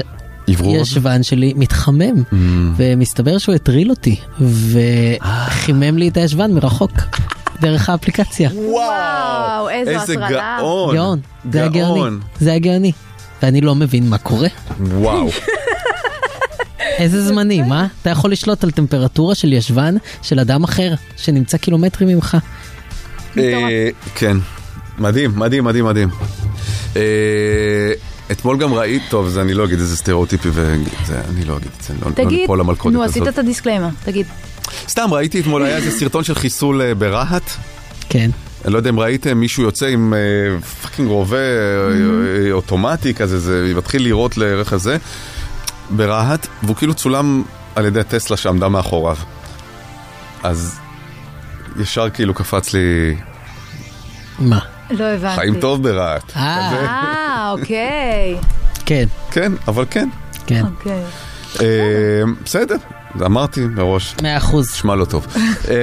עברור?
ישבן שלי מתחמם, ומסתבר שהוא הטריל אותי, וחימם לי את הישבן מרחוק, דרך האפליקציה.
וואו, איזו
איזה
הטרלה.
גאון.
גאון, זה
גאון.
הגאוני, זה הגאוני. ואני לא מבין מה קורה.
וואו.
איזה זמנים, אה? אתה יכול לשלוט על טמפרטורה של ישבן של אדם אחר, שנמצא קילומטרים ממך.
אה, כן. מדהים, מדהים, מדהים, מדהים. אה, אתמול גם ראית, טוב, זה אני לא אגיד איזה סטריאוטיפי, וזה- אני לא אגיד את זה, לא- לא
תגיד,
ניפול למלכודת
נו, עשית
הזאת.
את הדיסקליימר, תגיד.
סתם ראיתי אתמול, היה איזה סרטון של חיסול אה, ברהט.
כן.
אני לא יודע אם ראיתם, מישהו יוצא עם אה, פאקינג רובה אה,
Mm-hmm.
אה, אוטומטי כזה, זה מתחיל לירות לערך הזה ברהט, והוא כאילו צולם על ידי הטסלה שעמדה מאחוריו. אז ישר כאילו קפץ לי,
מה?
לא
אה,
הבנתי.
חיים טוב ברהט. כזה.
אה, אוקיי.
כן.
כן, אבל כן.
כן.
אוקיי.
אה, בסדר, אמרתי מראש.
מאה אחוז.
נשמע לא טוב. אה,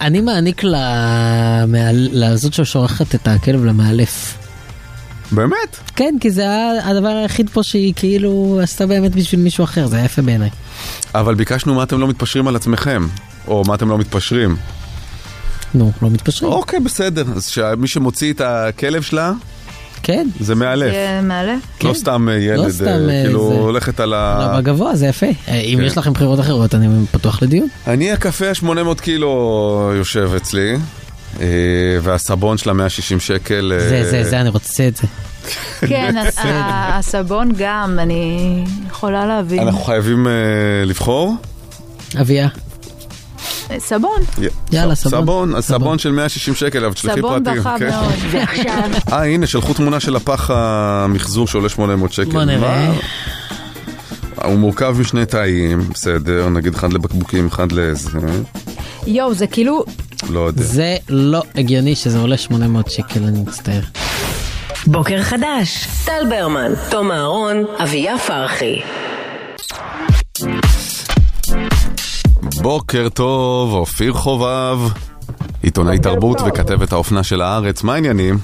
אני מעניק למעל- לזאת ששורחת את הכלב למאלף.
באמת?
כן, כי זה היה הדבר היחיד פה שהיא כאילו עשתה באמת בשביל מישהו אחר, זה היה יפה בעיניי.
אבל ביקשנו מה אתם לא מתפשרים על עצמכם, או מה אתם לא מתפשרים.
נו, לא מתפשרים.
אוקיי, בסדר. אז שמי שמוציא את הכלב שלה,
כן.
זה מאלף.
זה מעלה?
לא סתם אה,
לא
ילד,
סתם,
אה,
אה,
כאילו
זה.
הולכת על ה...
אבל בגבוה זה יפה. אה, אם
כן.
יש לכם בחירות אחרות, אני פתוח לדיון.
אני הקפה ה-800 קילו יושב אצלי, אה, והסבון שלה 160 שקל. אה,
זה, זה, זה, אני רוצה את זה.
כן, ה- הסבון גם, אני יכולה להבין.
אנחנו חייבים אה, לבחור?
אביה.
סבון.
יאללה,
סבון. סבון, אז סבון של 160 שקל, אבל תשלחי
סבון
פרטים.
בחם
כן.
מאוד. ועכשיו...
אה, הנה, שלחו תמונה של הפח המחזור שעולה 800 שקל.
בוא נראה.
מה? הוא מורכב משני תאים, בסדר, נגיד אחד לבקבוקים, אחד לזה,
יואו, זה כאילו...
לא יודע.
זה לא הגיוני שזה עולה 800 שקל, אני מצטער.
בוקר חדש, טל ברמן, תום אהרון, אביה פרחי.
בוקר טוב, אופיר חובב, עיתונאי תרבות
טוב.
וכתבת האופנה של הארץ, מה העניינים?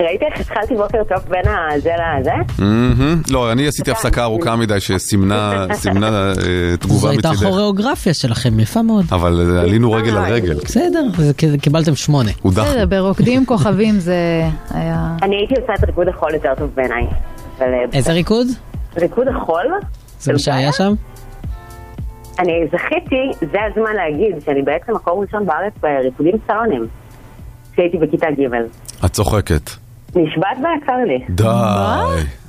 ראית איך התחלתי בוקר טוב בין הזה לזה?
מהמם. לא, אני עשיתי הפסקה ארוכה מדי שסימנה סימנה, אה,
זו
תגובה
הייתה
מצידך,
הכוריאוגרפיה שלכם, יפה מאוד.
אבל אה, עלינו רגל על רגל.
בסדר, זה- כי- קיבלתם שמונה.
הודח.
בסדר, ברוקדים כוכבים זה היה...
אני הייתי עושה את ריקוד החול יותר טוב בעיניי. אבל, אה,
איזה ריקוד?
ריקוד החול?
זה מה שהיה שם?
אני זכיתי, זה הזמן להגיד שאני בעצם מקום ראשון בארץ בריקודים סלונים. כשהייתי בכיתה ג'.
את צוחקת.
נשבעת בעקר לי.
די.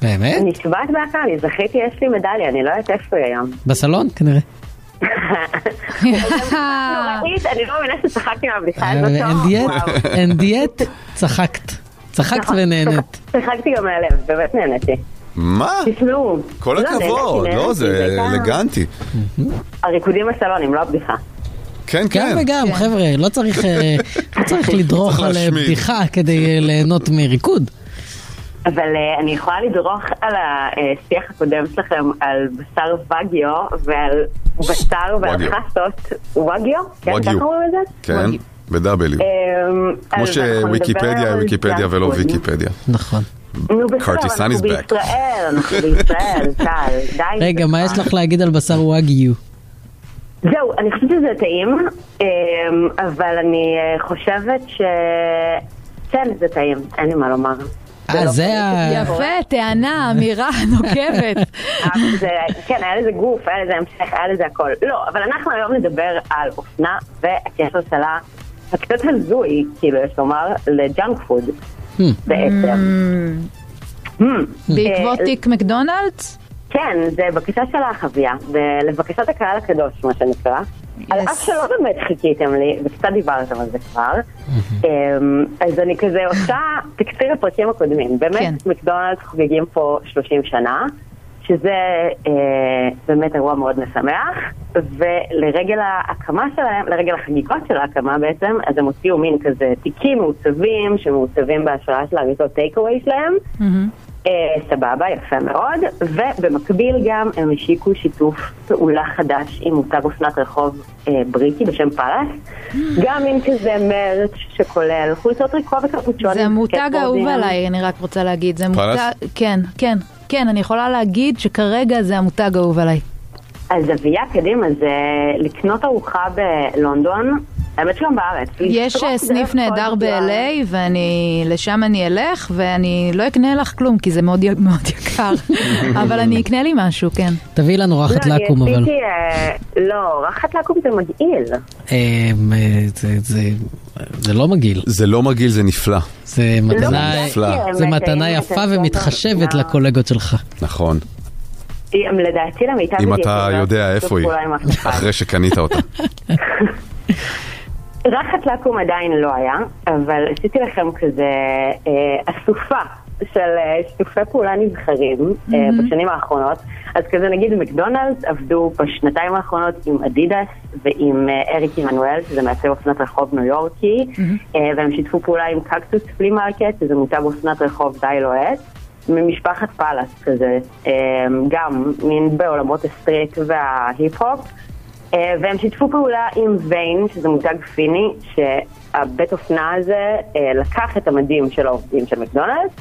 באמת?
נשבעת בעקר לי, זכיתי, יש לי מדליה, אני לא יודעת איפה היא היום.
בסלון כנראה.
נוראית, אני לא מאמינה שצחקתי מהבדיחה הזאת.
אין
לא וואו.
דיאט, אין דיאט, צחקת. צחקת
נכון,
ונהנית.
צחקתי גם מהלב, באמת נהניתי.
מה?
תשמעו.
כל
לא,
הכבוד,
נהניתי, כן,
לא, זה
נהניתי,
אלגנטי.
הריקודים בסלונים, לא הבדיחה.
כן,
גם
כן.
וגם, חבר'ה, לא צריך, אה, לא צריך לדרוך
צריך
על אה,
להשמיד.
בדיחה כדי אה, ליהנות מריקוד.
אבל אה, אני יכולה לדרוך על השיח הקודם שלכם על בשר וגיו ועל בשר ועל
וגיו.
חסות. וגיו? כן,
וגיו.
ככה אומרים את זה?
כן, בדאבלים.
אמ,
כמו
אז אנחנו נדבר
שוויקיפדיה
על
היא ויקיפדיה
גם
ולא
קודם.
ויקיפדיה.
נכון.
נו בסדר,
Curtis
אנחנו
Sun is back.
בישראל, אנחנו בישראל, טל, די. עם
רגע, מה
זה
יש
כבר.
לך להגיד על בשר וואגיו?
זהו, אני חושבת שזה טעים, אמ, אבל אני אה, חושבת ש... כן, זה טעים, אין לי מה לומר. לא
אה, זה ה... אה,
יפה, טענה, אמירה נוקבת.
אבל זה- כן, היה לזה גוף, היה לזה המשך, היה לזה הכל. לא, אבל אנחנו היום נדבר על אופנה והקשר שלה, הקצת הזוי, כאילו, יש לומר, לג'אנק פוד,
Hmm.
בעצם. Hmm.
בעקבות
אה,
תיק מקדונלדס?
כן, זה בקשה שלך, אביה, ב- לבקשת הקהל הקדוש, מה שנקרא. על אף שלא באמת חיכיתם לי, וקצת דיברתם על זה כבר, אמ, אז אני כזה עושה תקציר הפרקים הקודמים. באמת, מקדונלדס חוגגים פה 30 שנה, שזה אה, באמת אירוע מאוד משמח, ולרגל ההקמה שלהם, לרגל החגיגות של ההקמה בעצם, אז הם הוציאו מין כזה תיקים מעוצבים, שמעוצבים בהשראה של האריזות טייקווי שלהם. אה, סבבה, יפה מאוד. ובמקביל גם הם השיקו שיתוף פעולה חדש עם מותג אופנת רחוב אה, בריטי בשם פלאס. גם עם כזה מרץ' שכולל חולצות ריקו וקפוצ'ונים.
זה המותג האהוב
סקטבורדים.
עליי, אני רק רוצה להגיד. זה
פרס?
מותג... כן, כן, כן, אני יכולה להגיד שכרגע זה המותג האהוב עליי.
אז אביה קדימה זה לקנות ארוחה בלונדון, האמת שגם בארץ.
יש
לסרוק
אה, סניף
דרך
נהדר
כל
ב-LA, ואני, לשם אני אלך, ואני לא אקנה לך כלום, כי זה מאוד י- מאוד יקר. אבל אני אקנה לי משהו, כן.
תביאי לנו רחת
לא,
לקום,
אני
אבל...
עשיתי, אה, לא, רחת לקום זה מגעיל.
אה, אה, זה- זה- זה לא מגעיל.
זה לא מגעיל, זה נפלא.
זה
לא
מתנה,
נפלא.
אה,
זה מתנה יפה ומתחשבת לקולגות שלך.
נכון.
הם לדעתי למיטב
אם
ידיעתי,
אתה
לא
יודע
עשו
איפה היא,
פעולה עם אף אחד.
אחרי שקנית אותה.
רחת לקום עדיין לא היה, אבל עשיתי לכם כזה אה, אסופה של אה, שיתופי פעולה נבחרים אה,
Mhm.
בשנים האחרונות. אז כזה נגיד מקדונלדס עבדו בשנתיים האחרונות עם אדידס ועם אה, אריק עמנואל, שזה מעצב אופנת רחוב ניו יורקי, אה, והם שיתפו פעולה עם קקטוס פלי מרקט, שזה מותג אופנת רחוב די לוהט. ממשפחת פאלאס כזה, אה, גם מין בעולמות הסטריט וההיפ-הופ. אה, והם שיתפו פעולה עם ויין, שזה מותג פיני, שהבית אופנה הזה אה, לקח את המדים של העובדים של מקדונלדס,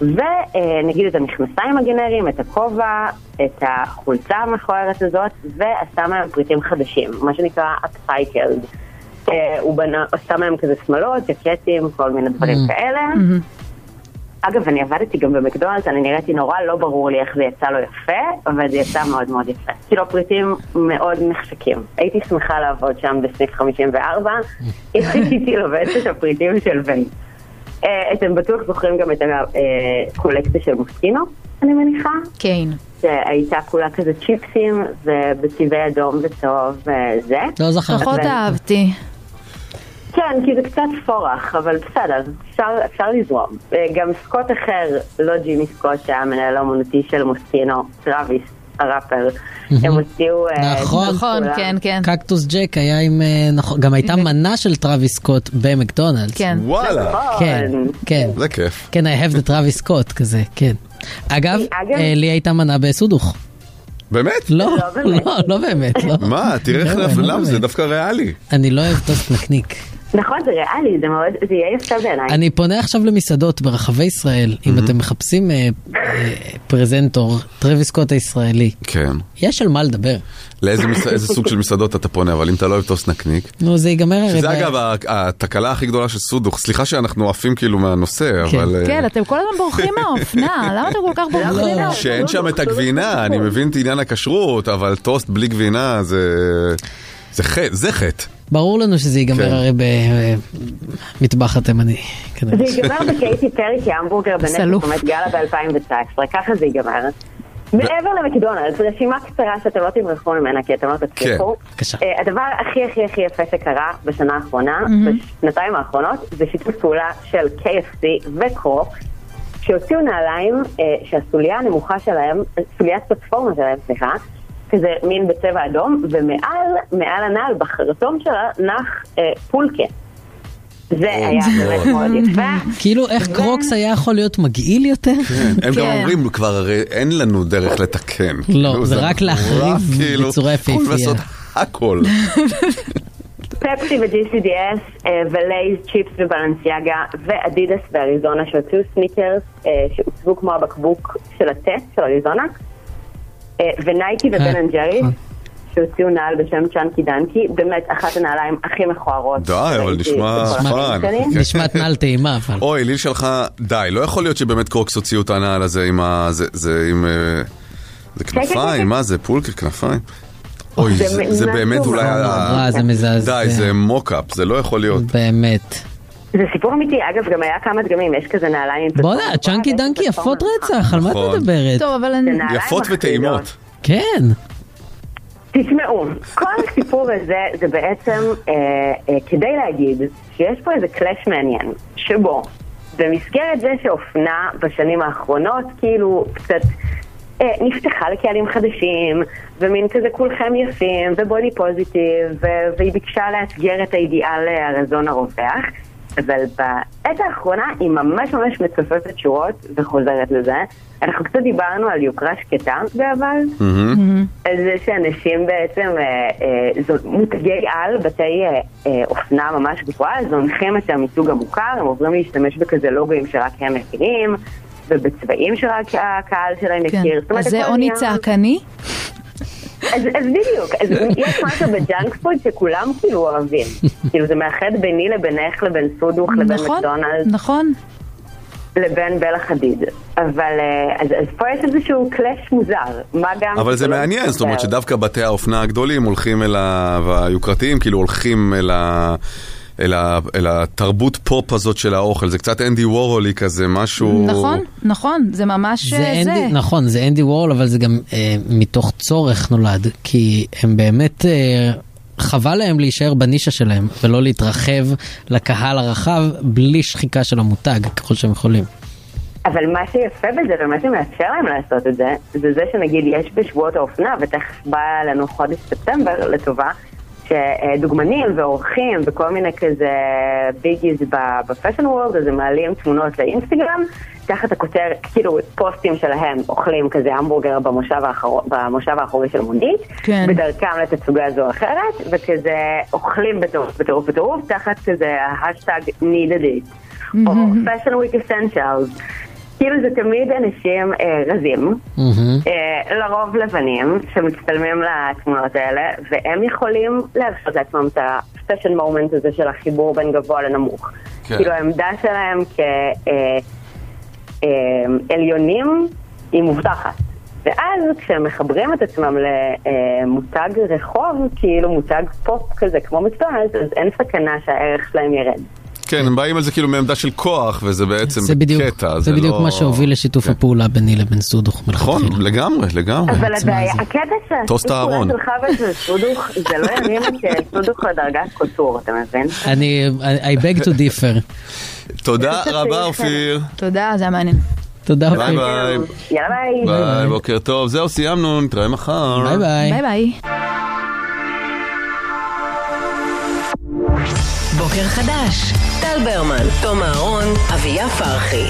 ונגיד את המכנסיים הגנריים, את הכובע, את החולצה המכוערת הזאת, ועשה מהם פריטים חדשים, מה שנקרא upcycled. אה, הוא בנה, עשה מהם כזה שמלות, ג'קטים, כל מיני דברים
Mm.
כאלה. אגב, אני עבדתי גם במקדונלדס, אני נראיתי נורא לא ברור לי איך זה יצא לו יפה, אבל זה יצא מאוד מאוד יפה. כאילו הפריטים מאוד נחשקים. הייתי שמחה לעבוד שם בסניף 54, אם הייתי לובשת את הפריטים של ויין. אה, אתם בטוח זוכרים גם את הקולקציה של מוסקינו, אני מניחה?
כן.
שהייתה כולה כזה צ'יפסים, ובצבעי אדום אה, וצהוב וזה.
לא
פחות אהבתי.
כן, כי זה קצת פורח, אבל בסדר, אפשר, אפשר לזרום. אה, גם סקוט אחר, לא ג'ימי סקוט, שהיה המנהל האומנותי של מוסקינו, טראביס, הראפר, הם הוציאו... אה,
נכון,
כולם.
כן, כן.
קקטוס ג'ק היה עם, אה, נכון, גם הייתה מנה של טראביס סקוט במקדונלדס.
כן.
וואלה.
כן, כן.
זה כיף.
כן, I have the טראביס סקוט כזה, כן. אגב, אה, לי הייתה מנה בסודוך.
באמת?
לא, לא, לא באמת, לא.
מה, תראה איך
לא,
נפל,
לא
למה זה
באמת.
דווקא ריאלי.
אני לא אוהב טוסט נקניק.
נכון, זה ריאלי, זה מאוד, זה יהיה יפה בעיניי.
אני פונה עכשיו למסעדות ברחבי ישראל, אם אתם מחפשים אה, אה, פרזנטור, טרוויס סקוט הישראלי,
כן.
יש על מה לדבר.
לאיזה מס- איזה סוג של מסעדות אתה פונה, אבל אם אתה לא אוהב טוס נקניק.
נו, זה ייגמר הרי.
שזה
ב-
אגב ה- התקלה הכי גדולה של סודוך, סליחה שאנחנו עפים כאילו מהנושא, אבל... אה,
כן, אתם כל הזמן בורחים מהאופנה, למה אתם כל כך
לא,
בורחים?
שאין שם את הגבינה, אני מבין את עניין הכשרות, אבל טוסט בלי גבינה זה... זה חטא, זה חטא.
ברור לנו שזה ייגמר
כן.
הרי במטבח התימני. כנראה.
זה ייגמר בקייטי פרי כהמבורגר
כן, סלוף.
בנטס עומד גאלה ב-2019, ככה זה ייגמר. מעבר למקדונלדס, רשימה קצרה שאתם לא תברחו ממנה כי אתם לא תצליחו.
כן, בבקשה.
אה, הדבר הכי הכי הכי יפה שקרה בשנה האחרונה,
מהמם.
בשנתיים האחרונות, זה שיתוף פעולה של KFC וקרוק, שהוציאו נעליים אה, שהסוליה הנמוכה שלהם, סוליית פלטפורמה שלהם, סליחה, כזה מין בצבע אדום, ומעל, מעל הנעל, בחרטום שלה, נח אה, פולקה. זה היה באמת מאוד יפה.
כאילו, איך קרוקס היה יכול להיות מגעיל יותר?
כן, הם
כן.
כן.
גם אומרים כבר, הרי אין לנו דרך לתקן. כאילו,
לא, זה רק
אנחנו
להחריב
כאילו,
בצורה
יכולים
יפהפייה.
לעשות הכל.
פפסי ו-GCDS אה, ולייז, צ'יפס ובלנסיאגה ואדידס באריזונה שהוציאו סניקרס אה, שהוצבו כמו הבקבוק של הטה של אריזונה אה, ונייקי ובן
כן,
אנד ג'רי
נכון.
שהוציאו נעל בשם צ'אנקי דנקי באמת אחת הנעליים הכי מכוערות.
די, אבל
שראיתי
נשמע
בכל החיים
פאן. כן,
שלי.
נשמעת מעל טעימה, אבל.
אוי, ליל שלך, די, לא יכול להיות שבאמת קרוקס הוציאו את הנעל הזה עם ה... זה- זה עם... אה, זה
כן,
כנפיים, מה זה? פולקר כנפיים? אוי,
זה
זה-
מ- כן.
זה
משהו
באמת אולי...
נורא,
ה-
נורא, זה מזעזע.
די, זה מוקאפ, זה לא יכול להיות.
באמת.
כן.
זה סיפור אמיתי, אגב גם היה כמה דגמים, יש כזה נעליים.
בואנה, צ'אנקי דנקי יפות רצח, על מה את
נכון.
מדברת?
טוב, אבל אני...
יפות וטעימות.
כן.
תשמעו, כל הסיפור הזה זה בעצם אה, אה, כדי להגיד שיש פה איזה קלאש מעניין, שבו במסגרת זה שאופנה בשנים האחרונות כאילו קצת אה, נפתחה לקהלים חדשים, ומין כזה כולכם יפים, ובודי פוזיטיב, ו- והיא ביקשה לאתגר את האידיאל הרזון אה, הרווח. אבל בעת האחרונה היא ממש ממש מצופפת שורות וחוזרת לזה. אנחנו קצת דיברנו על יוקרה שקטה בעבר, על זה שאנשים בעצם, אה, אה, זו- מותגי על, בתי אה, אה, אופנה ממש גבוהה, זונחים את המיתוג המוכר, הם עוברים להשתמש בכזה לוגויים שרק הם מכירים, ובצבעים שרק הקהל שלהם
כן.
מכיר. זאת אומרת,
אז זה
הכל
עוני
נהיה-
צעקני?
אז, אז בדיוק, אז יש משהו בג'אנק פוד שכולם כאילו אוהבים. כאילו זה מאחד ביני לבינך לבין סודוך לבין
נכון,
מקדונלד.
נכון.
לבין בלה חדיד. אבל אה, אז, אז פה יש איזשהו קלאש מוזר. מה גם...
אבל זה
שלא
מעניין, זאת אומרת
מסתדר.
שדווקא בתי האופנה הגדולים הולכים אל ה... והיוקרתיים, כאילו הולכים אל ה... אל, ה, אל התרבות פופ הזאת של האוכל, זה קצת אנדי וורולי כזה, משהו...
נכון, נכון, זה ממש
זה
אה, זה.
אנדי, נכון, זה אנדי וורל, אבל זה גם אה, מתוך צורך נולד, כי הם באמת, אה, חבל להם להישאר בנישה שלהם, ולא להתרחב לקהל הרחב בלי שחיקה של המותג, ככל שהם יכולים.
אבל מה שיפה בזה ומה שמאפשר להם לעשות את זה, זה זה שנגיד יש בשבועות האופנה, ותכף בא לנו חודש ספטמבר לטובה, שדוגמנים ועורכים וכל מיני כזה ביגיז ב- בפאשן וורלד, אז הם מעלים תמונות לאינסטגרם, תחת הכותר, כאילו פוסטים שלהם אוכלים כזה המבורגר במושב, האחור, במושב האחורי של מונדית,
כן.
בדרכם לתצוגה זו או אחרת, וכזה אוכלים בטירוף בטירוף בטירוף, תחת כזה ההשטג needed it, או fashion week essentials. כאילו זה תמיד אנשים אה, רזים, אה, לרוב לבנים, שמצטלמים לתמונות האלה, והם יכולים להרשות לעצמם את ה-fashion moment הזה של החיבור בין גבוה לנמוך.
כן.
כאילו העמדה שלהם אה, כעליונים היא מובטחת. ואז כשהם מחברים את עצמם למותג רחוב, כאילו מותג פופ כזה כמו מקדונלדס, אז אין סכנה שהערך שלהם ירד.
כן, הם באים על זה כאילו מעמדה של כוח, וזה בעצם
זה בדיוק,
קטע,
זה בדיוק
לא...
מה שהוביל לשיתוף הפעולה ביני לבין סודוך
נכון,
כן.
לגמרי, לגמרי.
אבל הבעיה, הקטע
טוסט
שהשיתוף פעולה
אהרון.
שלך ושל סודוך, זה לא ירים את סודוך לדרגת קוטור, אתה מבין?
אני, I beg to differ.
תודה רבה, אופיר.
תודה,
dạ,
זה היה מעניין.
תודה,
ביי ביי.
אוקיי.
יאללה ביי.
ביי, בוקר טוב. זהו, סיימנו, נתראה מחר.
ביי ביי.
בוקר חדש, טל ברמן, תום אהרון, אביה פרחי.